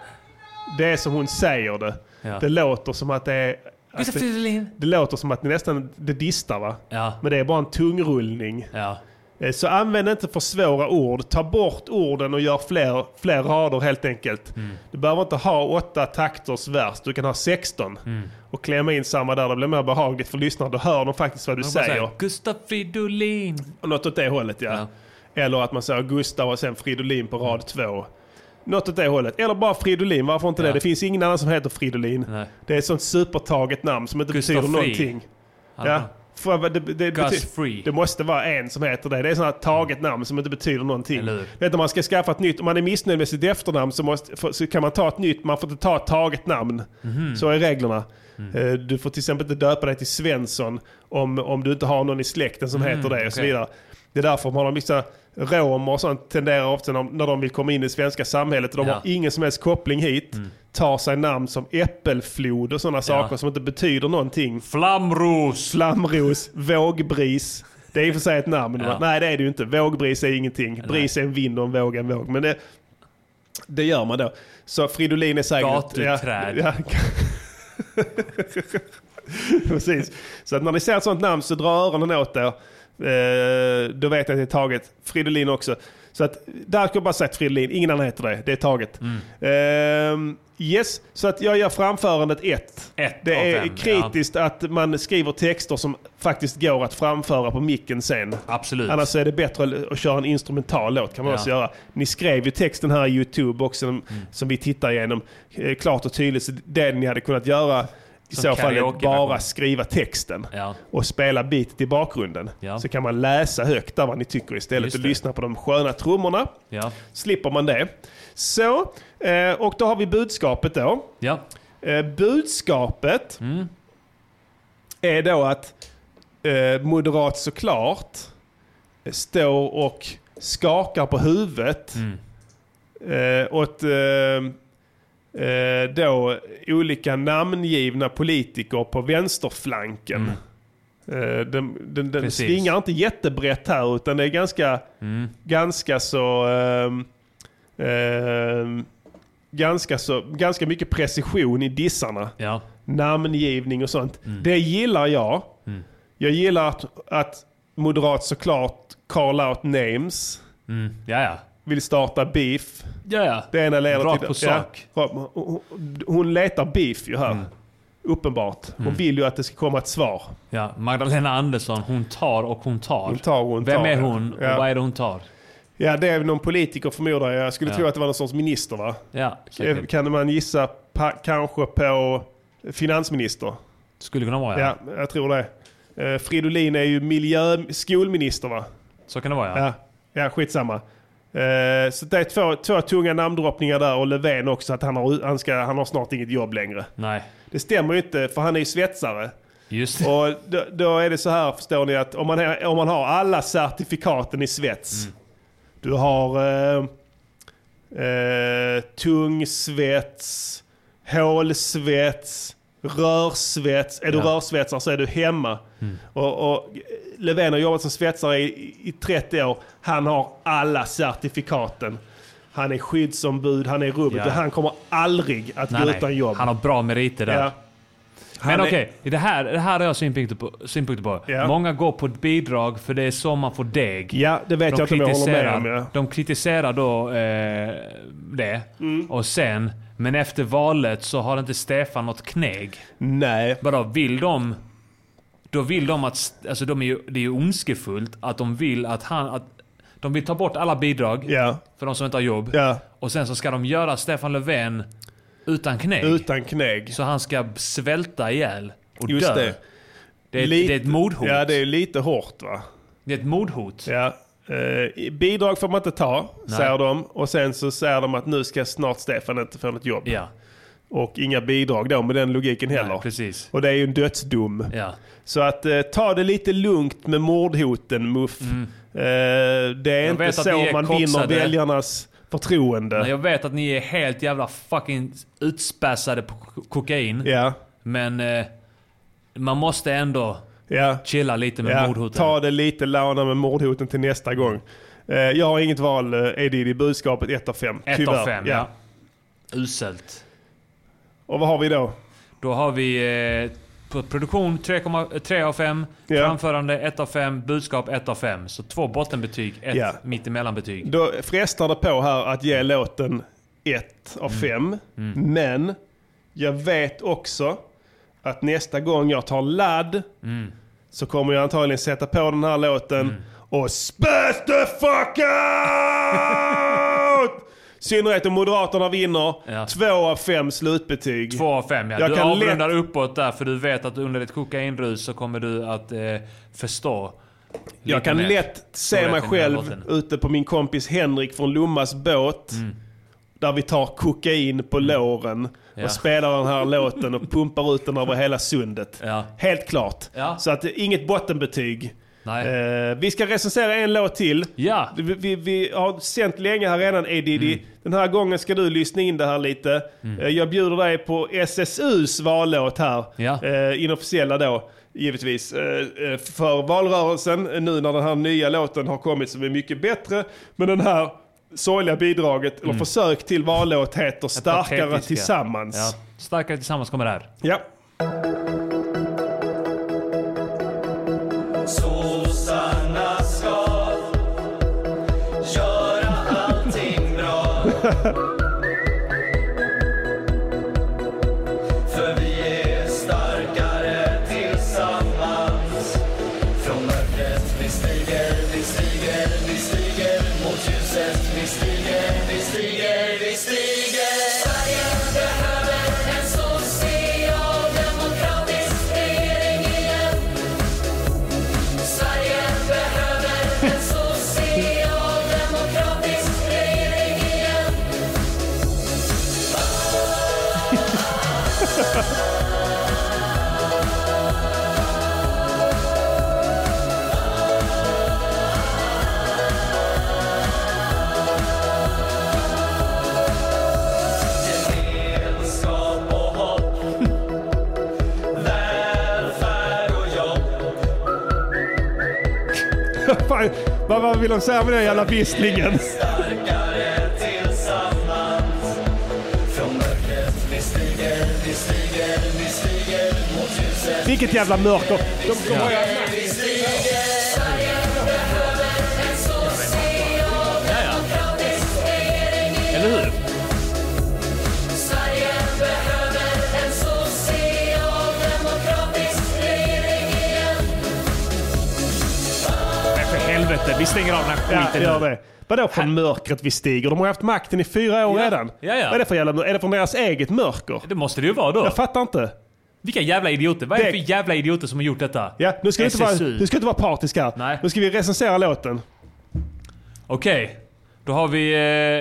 Speaker 1: Det är som hon säger det. Det låter som att det är... att
Speaker 2: Gustav
Speaker 1: det-
Speaker 2: Fridolin.
Speaker 1: Det låter som att det nästan det distar va?
Speaker 2: Ja.
Speaker 1: Men det är bara en tungrullning.
Speaker 2: Ja.
Speaker 1: Eh, Så använd inte för svåra ord. Ta bort orden och gör fler, fler rader helt enkelt.
Speaker 2: Mm.
Speaker 1: Du behöver inte ha åtta takters vers. Du kan ha 16.
Speaker 2: Mm.
Speaker 1: Och klämma in samma där. Det blir mer behagligt för lyssnarna. Då hör de faktiskt vad du
Speaker 2: Man bara
Speaker 1: säger.
Speaker 2: Gustav Fridolin.
Speaker 1: Något åt det hållet ja. Eller att man säger Gustav och sen Fridolin på rad två. Något åt det hållet. Eller bara Fridolin, varför inte det? Det finns ingen annan som heter Fridolin. Det är ett sånt supertaget namn som inte
Speaker 2: Gustav
Speaker 1: betyder
Speaker 2: Fri.
Speaker 1: någonting.
Speaker 2: Han-
Speaker 1: Ja. För vad det, det,
Speaker 2: Gus
Speaker 1: bety-
Speaker 2: Free.
Speaker 1: det måste vara en som heter det. Det är sånt här taget namn som inte betyder någonting. Vet du, om man ska skaffa ett nytt, om man är missnöjd med sitt efternamn så, måste, för, så kan man ta ett nytt, man får inte ta ett taget namn.
Speaker 2: Mhm. Mm.
Speaker 1: Så är reglerna. Eh, Du får till exempel inte döpa dig till Svensson om, om du inte har någon i släkten som
Speaker 2: Mm,
Speaker 1: heter det och så
Speaker 2: okej.
Speaker 1: vidare. Det är därför man har vissa romer och sånt tenderar ofta när, när de vill komma in i det svenska samhället och de
Speaker 2: Ja. Mm.
Speaker 1: har ingen som helst koppling hit. Tar sig namn som äppelflod och sådana saker som inte betyder någonting.
Speaker 2: Flamros!
Speaker 1: Flamros, vågbris. Det är i och för sig ett namn.
Speaker 2: Ja.
Speaker 1: va? Nej det är det ju inte. Vågbris är ingenting. Bris är en vind och en våg är en våg. Men det, det gör man då. Så Fridolin är säkert...
Speaker 2: Gatuträd.
Speaker 1: Ja, ja. [LAUGHS] Precis. Så att när ni ser ett sånt namn så dra öronen åt er. Eh, då vet ni att det är taget. Fridolin också. Så att där kan jag bara säga att Fridolin, ingen annan heter det. Det är taget.
Speaker 2: Mm.
Speaker 1: Ehm, yes, så att jag gör framförandet ett. det
Speaker 2: av
Speaker 1: är
Speaker 2: fem,
Speaker 1: kritiskt att man skriver texter som faktiskt går att framföra på micken sen.
Speaker 2: Absolut.
Speaker 1: Annars är det bättre att köra en instrumental låt kan man
Speaker 2: Ja. Mm.
Speaker 1: också göra. Ni skrev ju texten här i YouTube också som, som vi tittar igenom eh, klart och tydligt. Så det ni hade kunnat göra i
Speaker 2: Som
Speaker 1: så fall är
Speaker 2: karaokeversion.
Speaker 1: bara skriva texten
Speaker 2: Ja.
Speaker 1: och spela beatet i bakgrunden.
Speaker 2: Ja.
Speaker 1: Så kan man läsa högt där vad ni tycker istället
Speaker 2: Just
Speaker 1: och
Speaker 2: det.
Speaker 1: lyssna på de sköna trummorna.
Speaker 2: Ja.
Speaker 1: Slipper man det. Så, eh, och då har vi budskapet då.
Speaker 2: Ja.
Speaker 1: Eh, Budskapet är då att eh, Moderat såklart står och skakar på huvudet eh, åt eh, eh, då olika namngivna politiker på vänsterflanken. Eh, den den, den
Speaker 2: Precis.
Speaker 1: svingar inte jättebrett här utan det är ganska, ganska så... ehm, ehm, ganska, så, ganska mycket precision i dissarna.
Speaker 2: Mm.
Speaker 1: Namngivning och sånt. Det gillar jag. Jag gillar att, att moderat såklart call out names.
Speaker 2: Mm. Ja, ja.
Speaker 1: Vill starta beef.
Speaker 2: Ja, ja.
Speaker 1: Det ena leder
Speaker 2: Rakt
Speaker 1: till...
Speaker 2: på sak.
Speaker 1: Ja, Hon- hon- hon letar beef ju här. Uppenbart. Hon
Speaker 2: Mm.
Speaker 1: vill ju att det ska komma ett svar.
Speaker 2: Ja, Magdalena Andersson, hon tar och hon tar.
Speaker 1: Hon tar och hon
Speaker 2: Vem
Speaker 1: tar,
Speaker 2: är
Speaker 1: ja.
Speaker 2: hon och
Speaker 1: Ja.
Speaker 2: vad är det hon tar?
Speaker 1: Ja, det är någon politiker förmodar jag. Jag skulle
Speaker 2: Ja.
Speaker 1: tro att det var någon sorts minister va?
Speaker 2: Ja, säkert.
Speaker 1: Kan man gissa pa- kanske på finansminister?
Speaker 2: Skulle kunna vara ja.
Speaker 1: Ja, jag tror det. Eh, Fridolin är ju miljö... skolminister va?
Speaker 2: Så kan det vara ja.
Speaker 1: Ja, ja skitsamma. Eh, så det är två, två tunga namndroppningar där och Löfven också att han har, han, ska, han har snart inget jobb längre.
Speaker 2: Nej,
Speaker 1: Det stämmer ju inte för han är ju svetsare.
Speaker 2: just det.
Speaker 1: Och då, då är det så här förstår ni att om man, är, om man har alla certifikaten i svets.
Speaker 2: Mm.
Speaker 1: Du har eh, eh, tungsvets, hålsvets, rörsvets. Är du
Speaker 2: Ja. Mm.
Speaker 1: rörsvetsare så är du hemma. Och, och Löfven har jobbat som svetsare i, i 30 år. Han har alla certifikaten. Han är skyddsombud, han är rubbet.
Speaker 2: Ja.
Speaker 1: Han kommer aldrig att
Speaker 2: Nej,
Speaker 1: gå
Speaker 2: nej.
Speaker 1: utan jobb.
Speaker 2: Han har bra meriter där.
Speaker 1: Ja. Han
Speaker 2: Men
Speaker 1: är-
Speaker 2: okej, det, här, det här har jag synpunkter på. Synpunkter på.
Speaker 1: Ja.
Speaker 2: Många går på ett bidrag för det är så man får deg.
Speaker 1: Ja, det vet jag inte om jag håller med
Speaker 2: kritiserar-
Speaker 1: om. Ja.
Speaker 2: De kritiserar då eh, det.
Speaker 1: Mm.
Speaker 2: Och sen, men efter valet så har inte Stefan något knägg.
Speaker 1: Nej.
Speaker 2: Vadå, vill de... Då vill de att... Alltså de är ju, det är ju ondskefullt att de vill att han... Att, de vill ta bort alla bidrag
Speaker 1: Ja.
Speaker 2: för de som inte har jobb.
Speaker 1: Ja.
Speaker 2: Och sen så ska de göra Stefan Löfven utan knägg.
Speaker 1: Utan knägg.
Speaker 2: Så han ska svälta ihjäl och
Speaker 1: Just
Speaker 2: dö.
Speaker 1: det.
Speaker 2: Det, är, ett-
Speaker 1: Lite-
Speaker 2: det är ett mordhot.
Speaker 1: Ja, det är lite hårt va?
Speaker 2: Det är ett mordhot.
Speaker 1: Ja. Eh, bidrag får man inte ta,
Speaker 2: Nej.
Speaker 1: säger de. Och sen så säger de att nu ska snart Stefan inte få något jobb.
Speaker 2: Ja,
Speaker 1: Och inga bidrag då med den logiken heller.
Speaker 2: Nej, precis.
Speaker 1: och det är ju en dödsdom.
Speaker 2: Ja.
Speaker 1: Så att eh, ta det lite lugnt med mordhoten Muff. Eh, det är inte
Speaker 2: Mm. vet att ni
Speaker 1: så
Speaker 2: är
Speaker 1: man vinner
Speaker 2: koksade.
Speaker 1: väljarnas förtroende.
Speaker 2: Men jag vet att ni är helt jävla fucking utspässade på ko- kokain.
Speaker 1: Ja,
Speaker 2: Men eh, man måste ändå
Speaker 1: ja.
Speaker 2: chilla lite med mordhoten.
Speaker 1: Ta det lite launa med mordhoten till nästa gång. Eh, jag har inget val, eh, Edid, i budskapet 1 av 5.
Speaker 2: Ett av fem, ja. Uselt.
Speaker 1: Och vad har vi då?
Speaker 2: Då har vi eh, på produktion 3,3 av 5,
Speaker 1: Ja.
Speaker 2: framförande 1 av 5, budskap 1 av 5. Så två bottenbetyg, ett
Speaker 1: Ja.
Speaker 2: mittemellanbetyg.
Speaker 1: Då frestar det på här att ge låten 1
Speaker 2: Mm.
Speaker 1: av 5. Men jag vet också att nästa gång jag tar ladd
Speaker 2: Mm.
Speaker 1: så kommer jag antagligen sätta på den här låten och späs the
Speaker 2: [LAUGHS]
Speaker 1: fuck out! I synnerhet om Moderaterna vinner.
Speaker 2: Ja.
Speaker 1: 2 av 5 slutbetyg.
Speaker 2: 2 av 5 ja.
Speaker 1: Jag
Speaker 2: Du
Speaker 1: kan
Speaker 2: avrundar uppåt där för du vet att under ditt kokainrus så kommer du att eh, förstå.
Speaker 1: Jag
Speaker 2: lite
Speaker 1: kan
Speaker 2: mer.
Speaker 1: lätt se
Speaker 2: Storheten
Speaker 1: mig
Speaker 2: i den här
Speaker 1: själv
Speaker 2: båten. Mm.
Speaker 1: ute på min kompis Henrik från Lommas båt. Där vi tar kokain på låren och
Speaker 2: Ja.
Speaker 1: spelar den här låten och pumpar ut den över hela sundet.
Speaker 2: Ja.
Speaker 1: Helt klart.
Speaker 2: Ja.
Speaker 1: Så att eh, inget bottenbetyg.
Speaker 2: Nej.
Speaker 1: Eh, vi ska recensera en låt till.
Speaker 2: Ja.
Speaker 1: Vi, vi, vi har sänt länge här redan Edidi. Den här gången ska du lyssna in det här lite. Eh, Jag bjuder dig på SSUs vallåt här.
Speaker 2: Ja.
Speaker 1: Eh, inofficiella då, givetvis. Eh, eh, för valrörelsen, eh, nu när den här nya låten har kommit som är mycket bättre. Men den här sorgliga bidraget, eller försök till vallåt Mm. heter Starkare
Speaker 2: Patetiska.
Speaker 1: Tillsammans.
Speaker 2: Ja. Starkare tillsammans kommer där.
Speaker 1: Ja.
Speaker 10: Sossarna ska göra allting bra. För vi är starkare tillsammans. Från mörkret vi stiger, vi stiger, vi stiger mot ljuset. Vi stiger, vi stiger, vi stiger. Sverige behöver en socialdemokratisk regering igen. Sverige behöver en socialdemokratisk regering igen. Gemenskap och hopp, välfärd och jobb.
Speaker 1: Fan, vad, vad vill de säga med den jävla visslingen?
Speaker 10: starkare tillsammans. Från mörkret vi stiger, vi stiger, vi stiger mot ljuset.
Speaker 1: Vilket jävla mörker.
Speaker 10: Vi stiger, Sverige
Speaker 2: eller hur?
Speaker 10: Sverige behöver en socialdemokratisk regering igen.
Speaker 2: Men för helvete, vi stänger av den här skiten
Speaker 1: Ja,
Speaker 2: nu.
Speaker 1: gör det. Vadå från mörkret vi stiger? De har haft makten i fyra år
Speaker 2: Ja.
Speaker 1: redan.
Speaker 2: Ja, ja.
Speaker 1: Vad är det för jävla... Är det från deras eget mörker?
Speaker 2: Det måste det ju vara då.
Speaker 1: Jag fattar inte.
Speaker 2: Vilka jävla idioter? Vad är det
Speaker 1: Det-
Speaker 2: för jävla idioter som har gjort detta?
Speaker 1: Ja, nu ska vi inte vara,
Speaker 2: SSU.
Speaker 1: nu ska vi inte vara partiska här.
Speaker 2: Nej.
Speaker 1: Nu ska vi recensera låten.
Speaker 2: Okej. Då har vi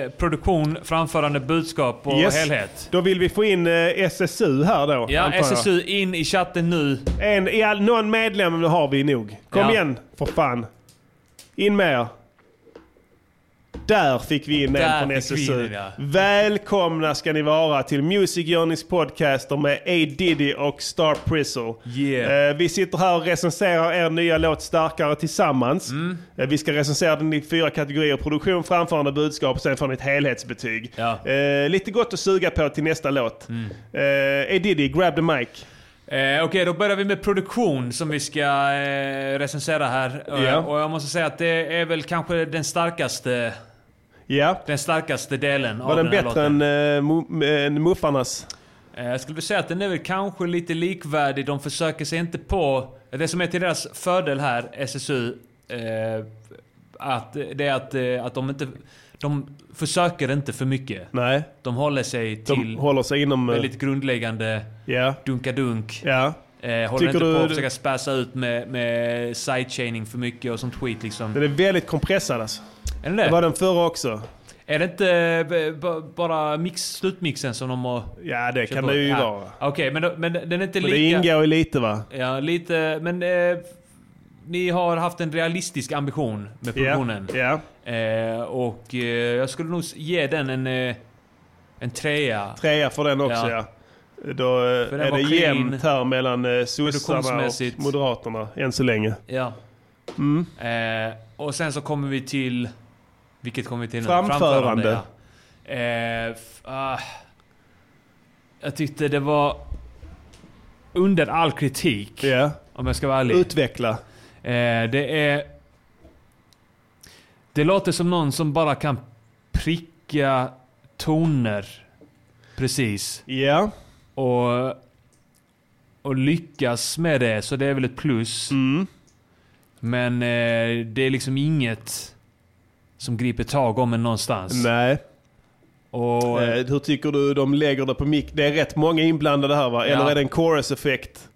Speaker 2: eh, produktion, framförande, budskap och
Speaker 1: Yes.
Speaker 2: helhet.
Speaker 1: Då vill vi få in eh, SSU här då.
Speaker 2: Ja,
Speaker 1: antar jag.
Speaker 2: SSU in i chatten nu.
Speaker 1: En, ja, någon medlem har vi nog. Kom
Speaker 2: Ja.
Speaker 1: igen för fan. In med er. Där fick vi in
Speaker 2: Där
Speaker 1: en från
Speaker 2: fick vi
Speaker 1: SSU.
Speaker 2: in en, ja.
Speaker 1: Välkomna ska ni vara till Music Journeys podcaster med A. Diddy och Star Prizzle.
Speaker 2: Yeah.
Speaker 1: Eh, vi sitter här och recenserar er nya låt Starkare tillsammans.
Speaker 2: Mm.
Speaker 1: Eh, vi ska recensera den i fyra kategorier. Produktion, framförande, budskap och sen får ni ett helhetsbetyg.
Speaker 2: Ja. Mm.
Speaker 1: Eh, lite gott att suga på till nästa låt. Eh, A. Diddy, grab the mic.
Speaker 2: Eh, Okej, då börjar vi med produktion som vi ska eh, recensera här. Eh,
Speaker 1: Ja.
Speaker 2: Och jag måste säga att det är väl kanske den starkaste,
Speaker 1: Ja.
Speaker 2: den starkaste delen
Speaker 1: Var
Speaker 2: av
Speaker 1: den
Speaker 2: den här
Speaker 1: bättre
Speaker 2: låten.
Speaker 1: än, eh, mu- än Muffarnas?
Speaker 2: Eh, Jag skulle säga att den är väl kanske lite likvärdig. De försöker sig inte på... Det som är till deras fördel här, SSU, eh, att det är att, eh, att de inte... De försöker inte för mycket.
Speaker 1: Nej,
Speaker 2: De håller sig
Speaker 1: de
Speaker 2: till
Speaker 1: håller sig inom... eh,
Speaker 2: väldigt grundläggande
Speaker 1: Ja,
Speaker 2: dunka-dunk.
Speaker 1: ja.
Speaker 2: Eh, håller
Speaker 1: Tycker
Speaker 2: inte på
Speaker 1: du-
Speaker 2: att försöka spassa ut med, med sidechaining för mycket och sånt skit liksom.
Speaker 1: Den är väldigt kompressad alltså.
Speaker 2: Är det
Speaker 1: Det var
Speaker 2: det?
Speaker 1: den förra också.
Speaker 2: Är det inte eh, b- b- bara mix, slutmixen som de har...
Speaker 1: Ja, det
Speaker 2: kört
Speaker 1: kan
Speaker 2: på?
Speaker 1: det ju
Speaker 2: Ja.
Speaker 1: vara.
Speaker 2: Okej, men, då- men den är inte
Speaker 1: Men
Speaker 2: lika...
Speaker 1: det ingår ju lite va?
Speaker 2: Ja, lite. Men eh, ni har haft en realistisk ambition med produktionen.
Speaker 1: Ja, ja.
Speaker 2: Eh, och eh, jag skulle nog s- ge den en, eh, en trea.
Speaker 1: Trea för den också ja.
Speaker 2: Ja.
Speaker 1: Då eh,
Speaker 2: den
Speaker 1: är
Speaker 2: var
Speaker 1: det
Speaker 2: clean.
Speaker 1: jämnt här mellan eh, sossarna
Speaker 2: Produktionsmässigt.
Speaker 1: och moderaterna än så länge.
Speaker 2: Ja.
Speaker 1: Mm.
Speaker 2: Eh, och sen så kommer vi till... Vilket kommer vi till nu?
Speaker 1: Framförande.
Speaker 2: ja. eh, f- ah. jag tyckte det var under all kritik.
Speaker 1: Ja.
Speaker 2: Om jag ska vara ärlig.
Speaker 1: Utveckla.
Speaker 2: Eh, det är... Det låter som någon som bara kan pricka toner. Precis.
Speaker 1: Ja.
Speaker 2: Och, och lyckas med det, så det är väl ett plus.
Speaker 1: Mm.
Speaker 2: Men eh, det är liksom inget som griper tag om en någonstans.
Speaker 1: Nej.
Speaker 2: Och,
Speaker 1: Eh, hur tycker du de lägger det på mick? Det är rätt många inblandade här va? Eller
Speaker 2: Ja.
Speaker 1: är det en chorus-effekt?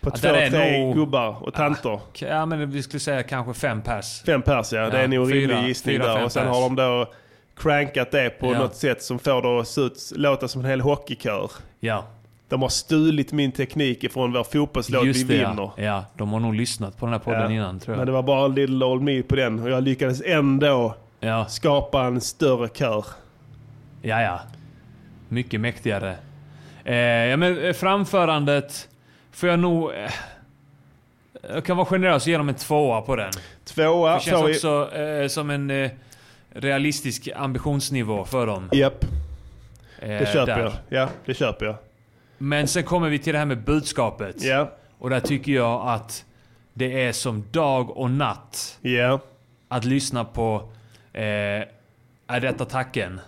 Speaker 1: På
Speaker 2: Ja,
Speaker 1: två,
Speaker 2: där är
Speaker 1: tre
Speaker 2: nog-
Speaker 1: gubbar och tanter.
Speaker 2: ja, men vi skulle säga kanske fem pers.
Speaker 1: Fem pers ja, det är en
Speaker 2: Ja,
Speaker 1: orimlig
Speaker 2: fyra-
Speaker 1: gissning
Speaker 2: fyra,
Speaker 1: där.
Speaker 2: fem
Speaker 1: Och sen
Speaker 2: pers.
Speaker 1: har de då crankat det på
Speaker 2: Ja.
Speaker 1: något sätt som får det att se ut, låta som en hel hockeykör.
Speaker 2: Ja,
Speaker 1: De har stulit min teknik ifrån vår fotbollslåt Vi
Speaker 2: just det.
Speaker 1: vinner.
Speaker 2: Ja. ja, de har nog lyssnat på den här podden
Speaker 1: Ja.
Speaker 2: innan tror jag.
Speaker 1: Men det var bara Little Old Me på den och jag lyckades ändå
Speaker 2: Ja,
Speaker 1: skapa en större kör.
Speaker 2: ja, ja. Mycket mäktigare. Eh, ja, men eh, framförandet får jag nog... Eh, jag kan vara generös och ge dem en tvåa på den.
Speaker 1: Tvåa
Speaker 2: Det känns
Speaker 1: får vi...
Speaker 2: också eh, som en eh, realistisk ambitionsnivå för dem.
Speaker 1: Japp,
Speaker 2: Eh,
Speaker 1: det köper
Speaker 2: där.
Speaker 1: jag. Ja, det köper jag.
Speaker 2: Men sen kommer vi till det här med budskapet.
Speaker 1: Ja,
Speaker 2: Och där tycker jag att det är som dag och natt
Speaker 1: ja,
Speaker 2: att lyssna på eh, Är detta tacken?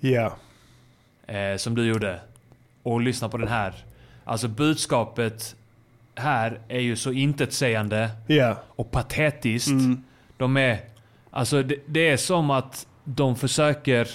Speaker 1: ja.
Speaker 2: eh, som du gjorde och lyssna på den här. Alltså budskapet här är ju så intetsägande
Speaker 1: Ja,
Speaker 2: och patetiskt.
Speaker 1: Mm.
Speaker 2: De är... Alltså det, det är som att de försöker...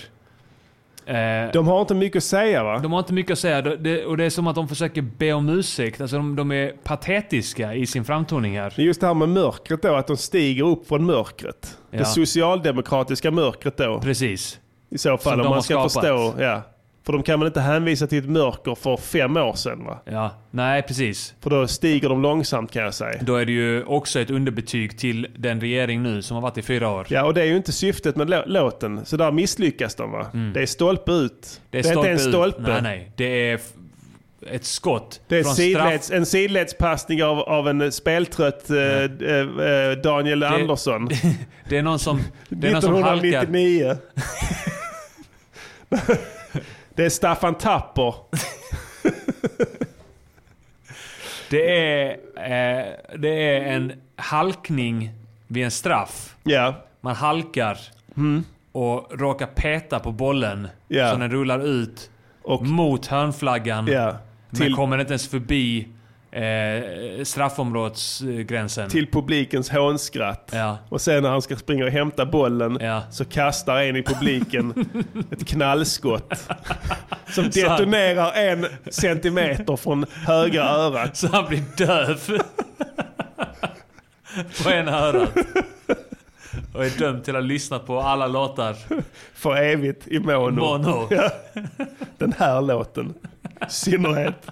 Speaker 2: Eh,
Speaker 1: de har inte mycket att säga va?
Speaker 2: de har inte mycket att säga det, det, och det är som att de försöker be om ursäkt. Alltså de, de är patetiska i sin framtoning här.
Speaker 1: Det är just det här med mörkret då, att de stiger upp från mörkret.
Speaker 2: Ja.
Speaker 1: Det socialdemokratiska mörkret då.
Speaker 2: Precis.
Speaker 1: I så fall
Speaker 2: Som
Speaker 1: om
Speaker 2: de
Speaker 1: man
Speaker 2: har
Speaker 1: ska
Speaker 2: skapat.
Speaker 1: förstå. Ja. För de kan väl inte hänvisa till ett mörker för fem år sedan va?
Speaker 2: Ja. Nej, precis.
Speaker 1: För då stiger de långsamt kan jag säga.
Speaker 2: Då är det ju också ett underbetyg till den regering nu som har varit i fyra år.
Speaker 1: Ja, och det är ju inte syftet med lå- låten. Så där misslyckas de va?
Speaker 2: Mm.
Speaker 1: Det är stolpe ut. Det är, inte en
Speaker 2: ut.
Speaker 1: stolpe.
Speaker 2: Nej, nej. Det är f- ett skott.
Speaker 1: Det är
Speaker 2: från
Speaker 1: sidleds,
Speaker 2: straff-
Speaker 1: en sidledspassning av, av en eh, speltrött eh, eh, eh, Daniel Andersson.
Speaker 2: Det är någon som, det är någon som halkar.
Speaker 1: 1999. det är Staffan Tapper.
Speaker 2: Det är, eh, det är en halkning vid en straff.
Speaker 1: Ja,
Speaker 2: Man halkar. och råkar peta på bollen
Speaker 1: Mm. Ja.
Speaker 2: så den rullar ut mot hörnflaggan.
Speaker 1: Ja. Till-
Speaker 2: Men kommer inte ens förbi eh, straffområdesgränsen.
Speaker 1: Till publikens hånskratt. Och sen när han ska springa och hämta bollen så kastar en i
Speaker 2: [LAUGHS]
Speaker 1: publiken ett knallskott. Som
Speaker 2: Så han-
Speaker 1: detonerar en centimeter från högra örat.
Speaker 2: Så han blir döv. på ena örat. Och är dömd till att lyssna på alla låtar.
Speaker 1: För evigt i mono.
Speaker 2: Mono.
Speaker 1: [LAUGHS] Ja. Den här låten. I synnerhet.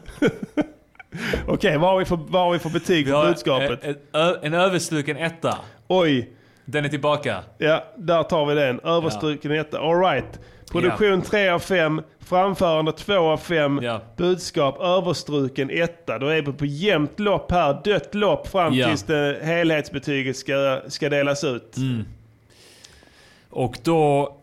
Speaker 1: [LAUGHS] Okej, vad har vi för, vad har vi för betyg för budskapet?
Speaker 2: Eh, eh, ö- En överstruken etta.
Speaker 1: Oj.
Speaker 2: Den är tillbaka.
Speaker 1: Ja, där tar vi den. Överstruken etta. All right. Produktion 3 av 5, framförande 2 av 5, budskap överstruken etta. Då är vi på jämnt lopp här, dött lopp fram
Speaker 2: Ja.
Speaker 1: tills det helhetsbetyget ska, ska delas ut.
Speaker 2: Och då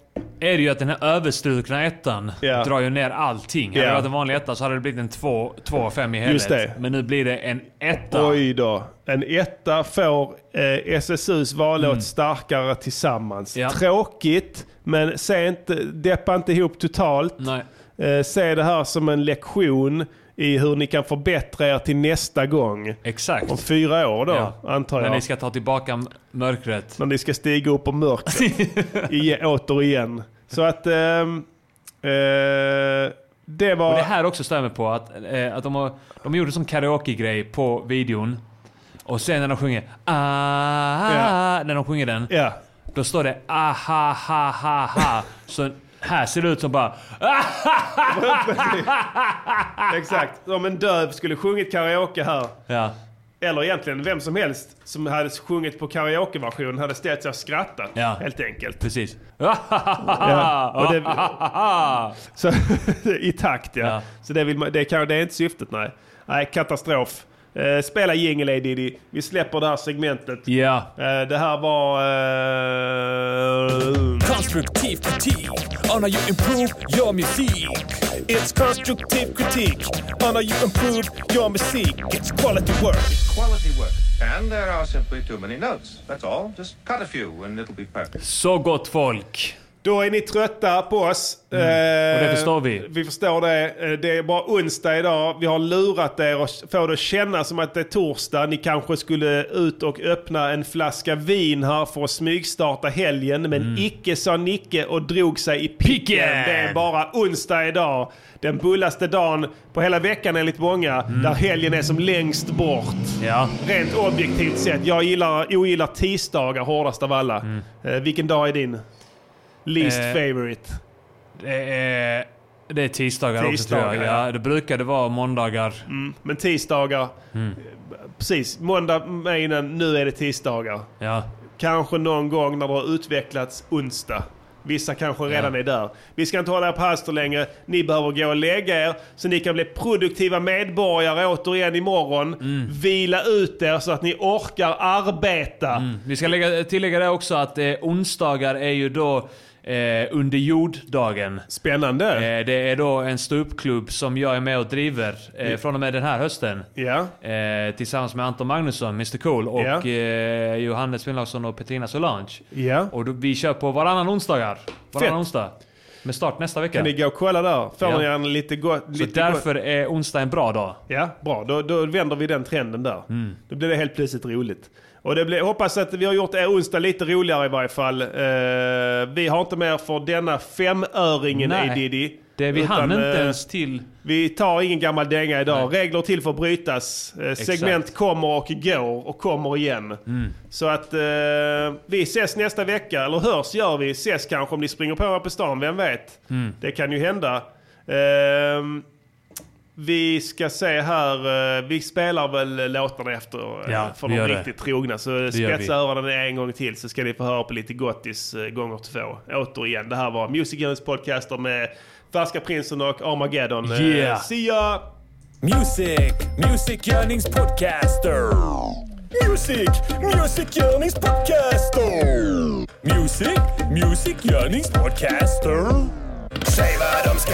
Speaker 2: är det ju att den här överstrukna ettan
Speaker 1: Ja.
Speaker 2: drar ju ner allting. Hade
Speaker 1: Ja.
Speaker 2: det varit en vanlig etta så hade det blivit en 2 av 5 i helhet.
Speaker 1: Just det.
Speaker 2: Men nu blir det en etta.
Speaker 1: Oj då. En etta får eh, SSUs vallåt Starkare Tillsammans. Tråkigt, men se inte, deppa inte ihop totalt. Eh, se det här som en lektion i hur ni kan förbättra er till nästa gång.
Speaker 2: Exakt.
Speaker 1: Om fyra år då,
Speaker 2: Ja.
Speaker 1: antar
Speaker 2: När
Speaker 1: jag.
Speaker 2: ni ska ta tillbaka m- mörkret.
Speaker 1: När ni ska stiga upp ur
Speaker 2: [LAUGHS]
Speaker 1: mörkret. I, återigen. Så att... ehm, eh, det var...
Speaker 2: Och det här också stämmer på att, eh, att de, har, de gjorde som karaoke-grej på videon. Och sen när de sjunger ah, när de sjunger den. Då står det ah, ha, ha, ha, ha. Så här ser det ut som bara "Ah!"
Speaker 1: Exakt. Om en döv skulle sjungit karaoke här.
Speaker 2: Ja.
Speaker 1: Eller egentligen vem som helst som hade sjungit på karaokeversion hade ställt sig och skrattat.
Speaker 2: Ja.
Speaker 1: Helt enkelt.
Speaker 2: Precis.
Speaker 1: Ja, och det-
Speaker 2: Ah.
Speaker 1: Så, [LAUGHS] I takt ja. Så det, vill man, det, kan, det är inte syftet nej. Nej, katastrof. Eh, spela Jingle A Diddy. Vi släpper det här segmentet.
Speaker 2: [LAUGHS] Ja.
Speaker 1: Eh, det här var... Eh,
Speaker 3: Constructive critique on how you improve your music. It's constructive critique on how you improve your music. It's quality work.
Speaker 9: Quality work. And there are simply too many notes. That's all. Just cut a few and it'll be perfect.
Speaker 2: Så gott folk.
Speaker 1: Då är ni trötta på oss.
Speaker 2: Mm. Och det
Speaker 1: Eh,
Speaker 2: förstår vi.
Speaker 1: Vi förstår det. Eh, Det är bara onsdag idag. Vi har lurat er och får det att kännas som att det är torsdag. Ni kanske skulle ut och öppna en flaska vin här för att smygstarta helgen. Men
Speaker 2: Mm.
Speaker 1: icke sa Nicke och drog sig i picken. Det är bara onsdag idag. Den bullaste dagen på hela veckan enligt många.
Speaker 2: Mm.
Speaker 1: Där helgen är som längst bort. Rent objektivt sett. Jag gillar, ogillar tisdagar hårdast av alla. Eh, vilken dag är din? Least
Speaker 2: Mm. Eh,
Speaker 1: favorite.
Speaker 2: Det är, det är tisdagar, också tror
Speaker 1: Tisdagar,
Speaker 2: jag.
Speaker 1: ja. Mm.
Speaker 2: Ja, det brukade vara måndagar.
Speaker 1: Men tisdagar,
Speaker 2: Mm.
Speaker 1: eh, precis. Måndag, menen, nu är det tisdagar.
Speaker 2: Ja.
Speaker 1: Kanske någon gång när det har utvecklats onsdag. Vissa kanske redan är där. Vi ska inte hålla er på halster längre. Ni behöver gå och lägga er så ni kan bli produktiva medborgare återigen imorgon.
Speaker 2: Mm.
Speaker 1: Vila ut er så att ni orkar arbeta.
Speaker 2: Mm. Vi ska lägga, tillägga det också att eh, onsdagar är ju då eh, under jorddagen.
Speaker 1: Spännande.
Speaker 2: Eh, det är då en ståuppklubb som jag är med och driver eh,
Speaker 1: Ja.
Speaker 2: från och med den här hösten. Eh, tillsammans med Anton Magnusson, Mr Cool och
Speaker 1: Ja.
Speaker 2: eh, Johannes Finnlaugsson och Petrina Solange.
Speaker 1: Ja.
Speaker 2: Och då, vi kör på varannan onsdagar. Varannan
Speaker 1: Fett.
Speaker 2: onsdag. Med start nästa vecka.
Speaker 1: Kan ni gå och kolla där? Får
Speaker 2: Ja.
Speaker 1: ni en lite gott...
Speaker 2: Så
Speaker 1: lite gott-
Speaker 2: därför är onsdag en bra dag.
Speaker 1: Ja, bra. Då, då vänder vi den trenden där.
Speaker 2: Mm.
Speaker 1: Då blir det helt plötsligt roligt. Och det blir, jag hoppas att vi har gjort er onsdag lite roligare i varje fall. Eh, vi har inte mer för denna femöringen
Speaker 2: Nej.
Speaker 1: i Diddy.
Speaker 2: Det vi
Speaker 1: Utan,
Speaker 2: hann inte
Speaker 1: eh,
Speaker 2: ens till...
Speaker 1: Vi tar ingen gammal dänga idag. Regler till för att brytas. Eh, segment kommer och går och kommer igen.
Speaker 2: Mm.
Speaker 1: Så att eh, vi ses nästa vecka, eller hörs gör vi. Ses kanske om ni springer på mig på stan, vem vet?
Speaker 10: Mm.
Speaker 1: Det kan ju hända. Ehm, vi ska se här, eh, vi spelar väl låtarna efter eh,
Speaker 2: Ja,
Speaker 1: för
Speaker 2: vi
Speaker 1: de
Speaker 2: gör det.
Speaker 1: riktigt trogna. Så
Speaker 2: Det gör vi.
Speaker 1: spetsa öronen en gång till så ska ni få höra på lite gottis eh, gånger två. Återigen, det här var Music Journeys podcaster med Färska Prinsen och Armageddon. Eh,
Speaker 3: Yeah.
Speaker 1: See ya!
Speaker 3: Music, Music Yearnings Podcaster. Music, Music Yearnings Podcaster. Music, Music Yearnings Podcaster. Säg vad de ska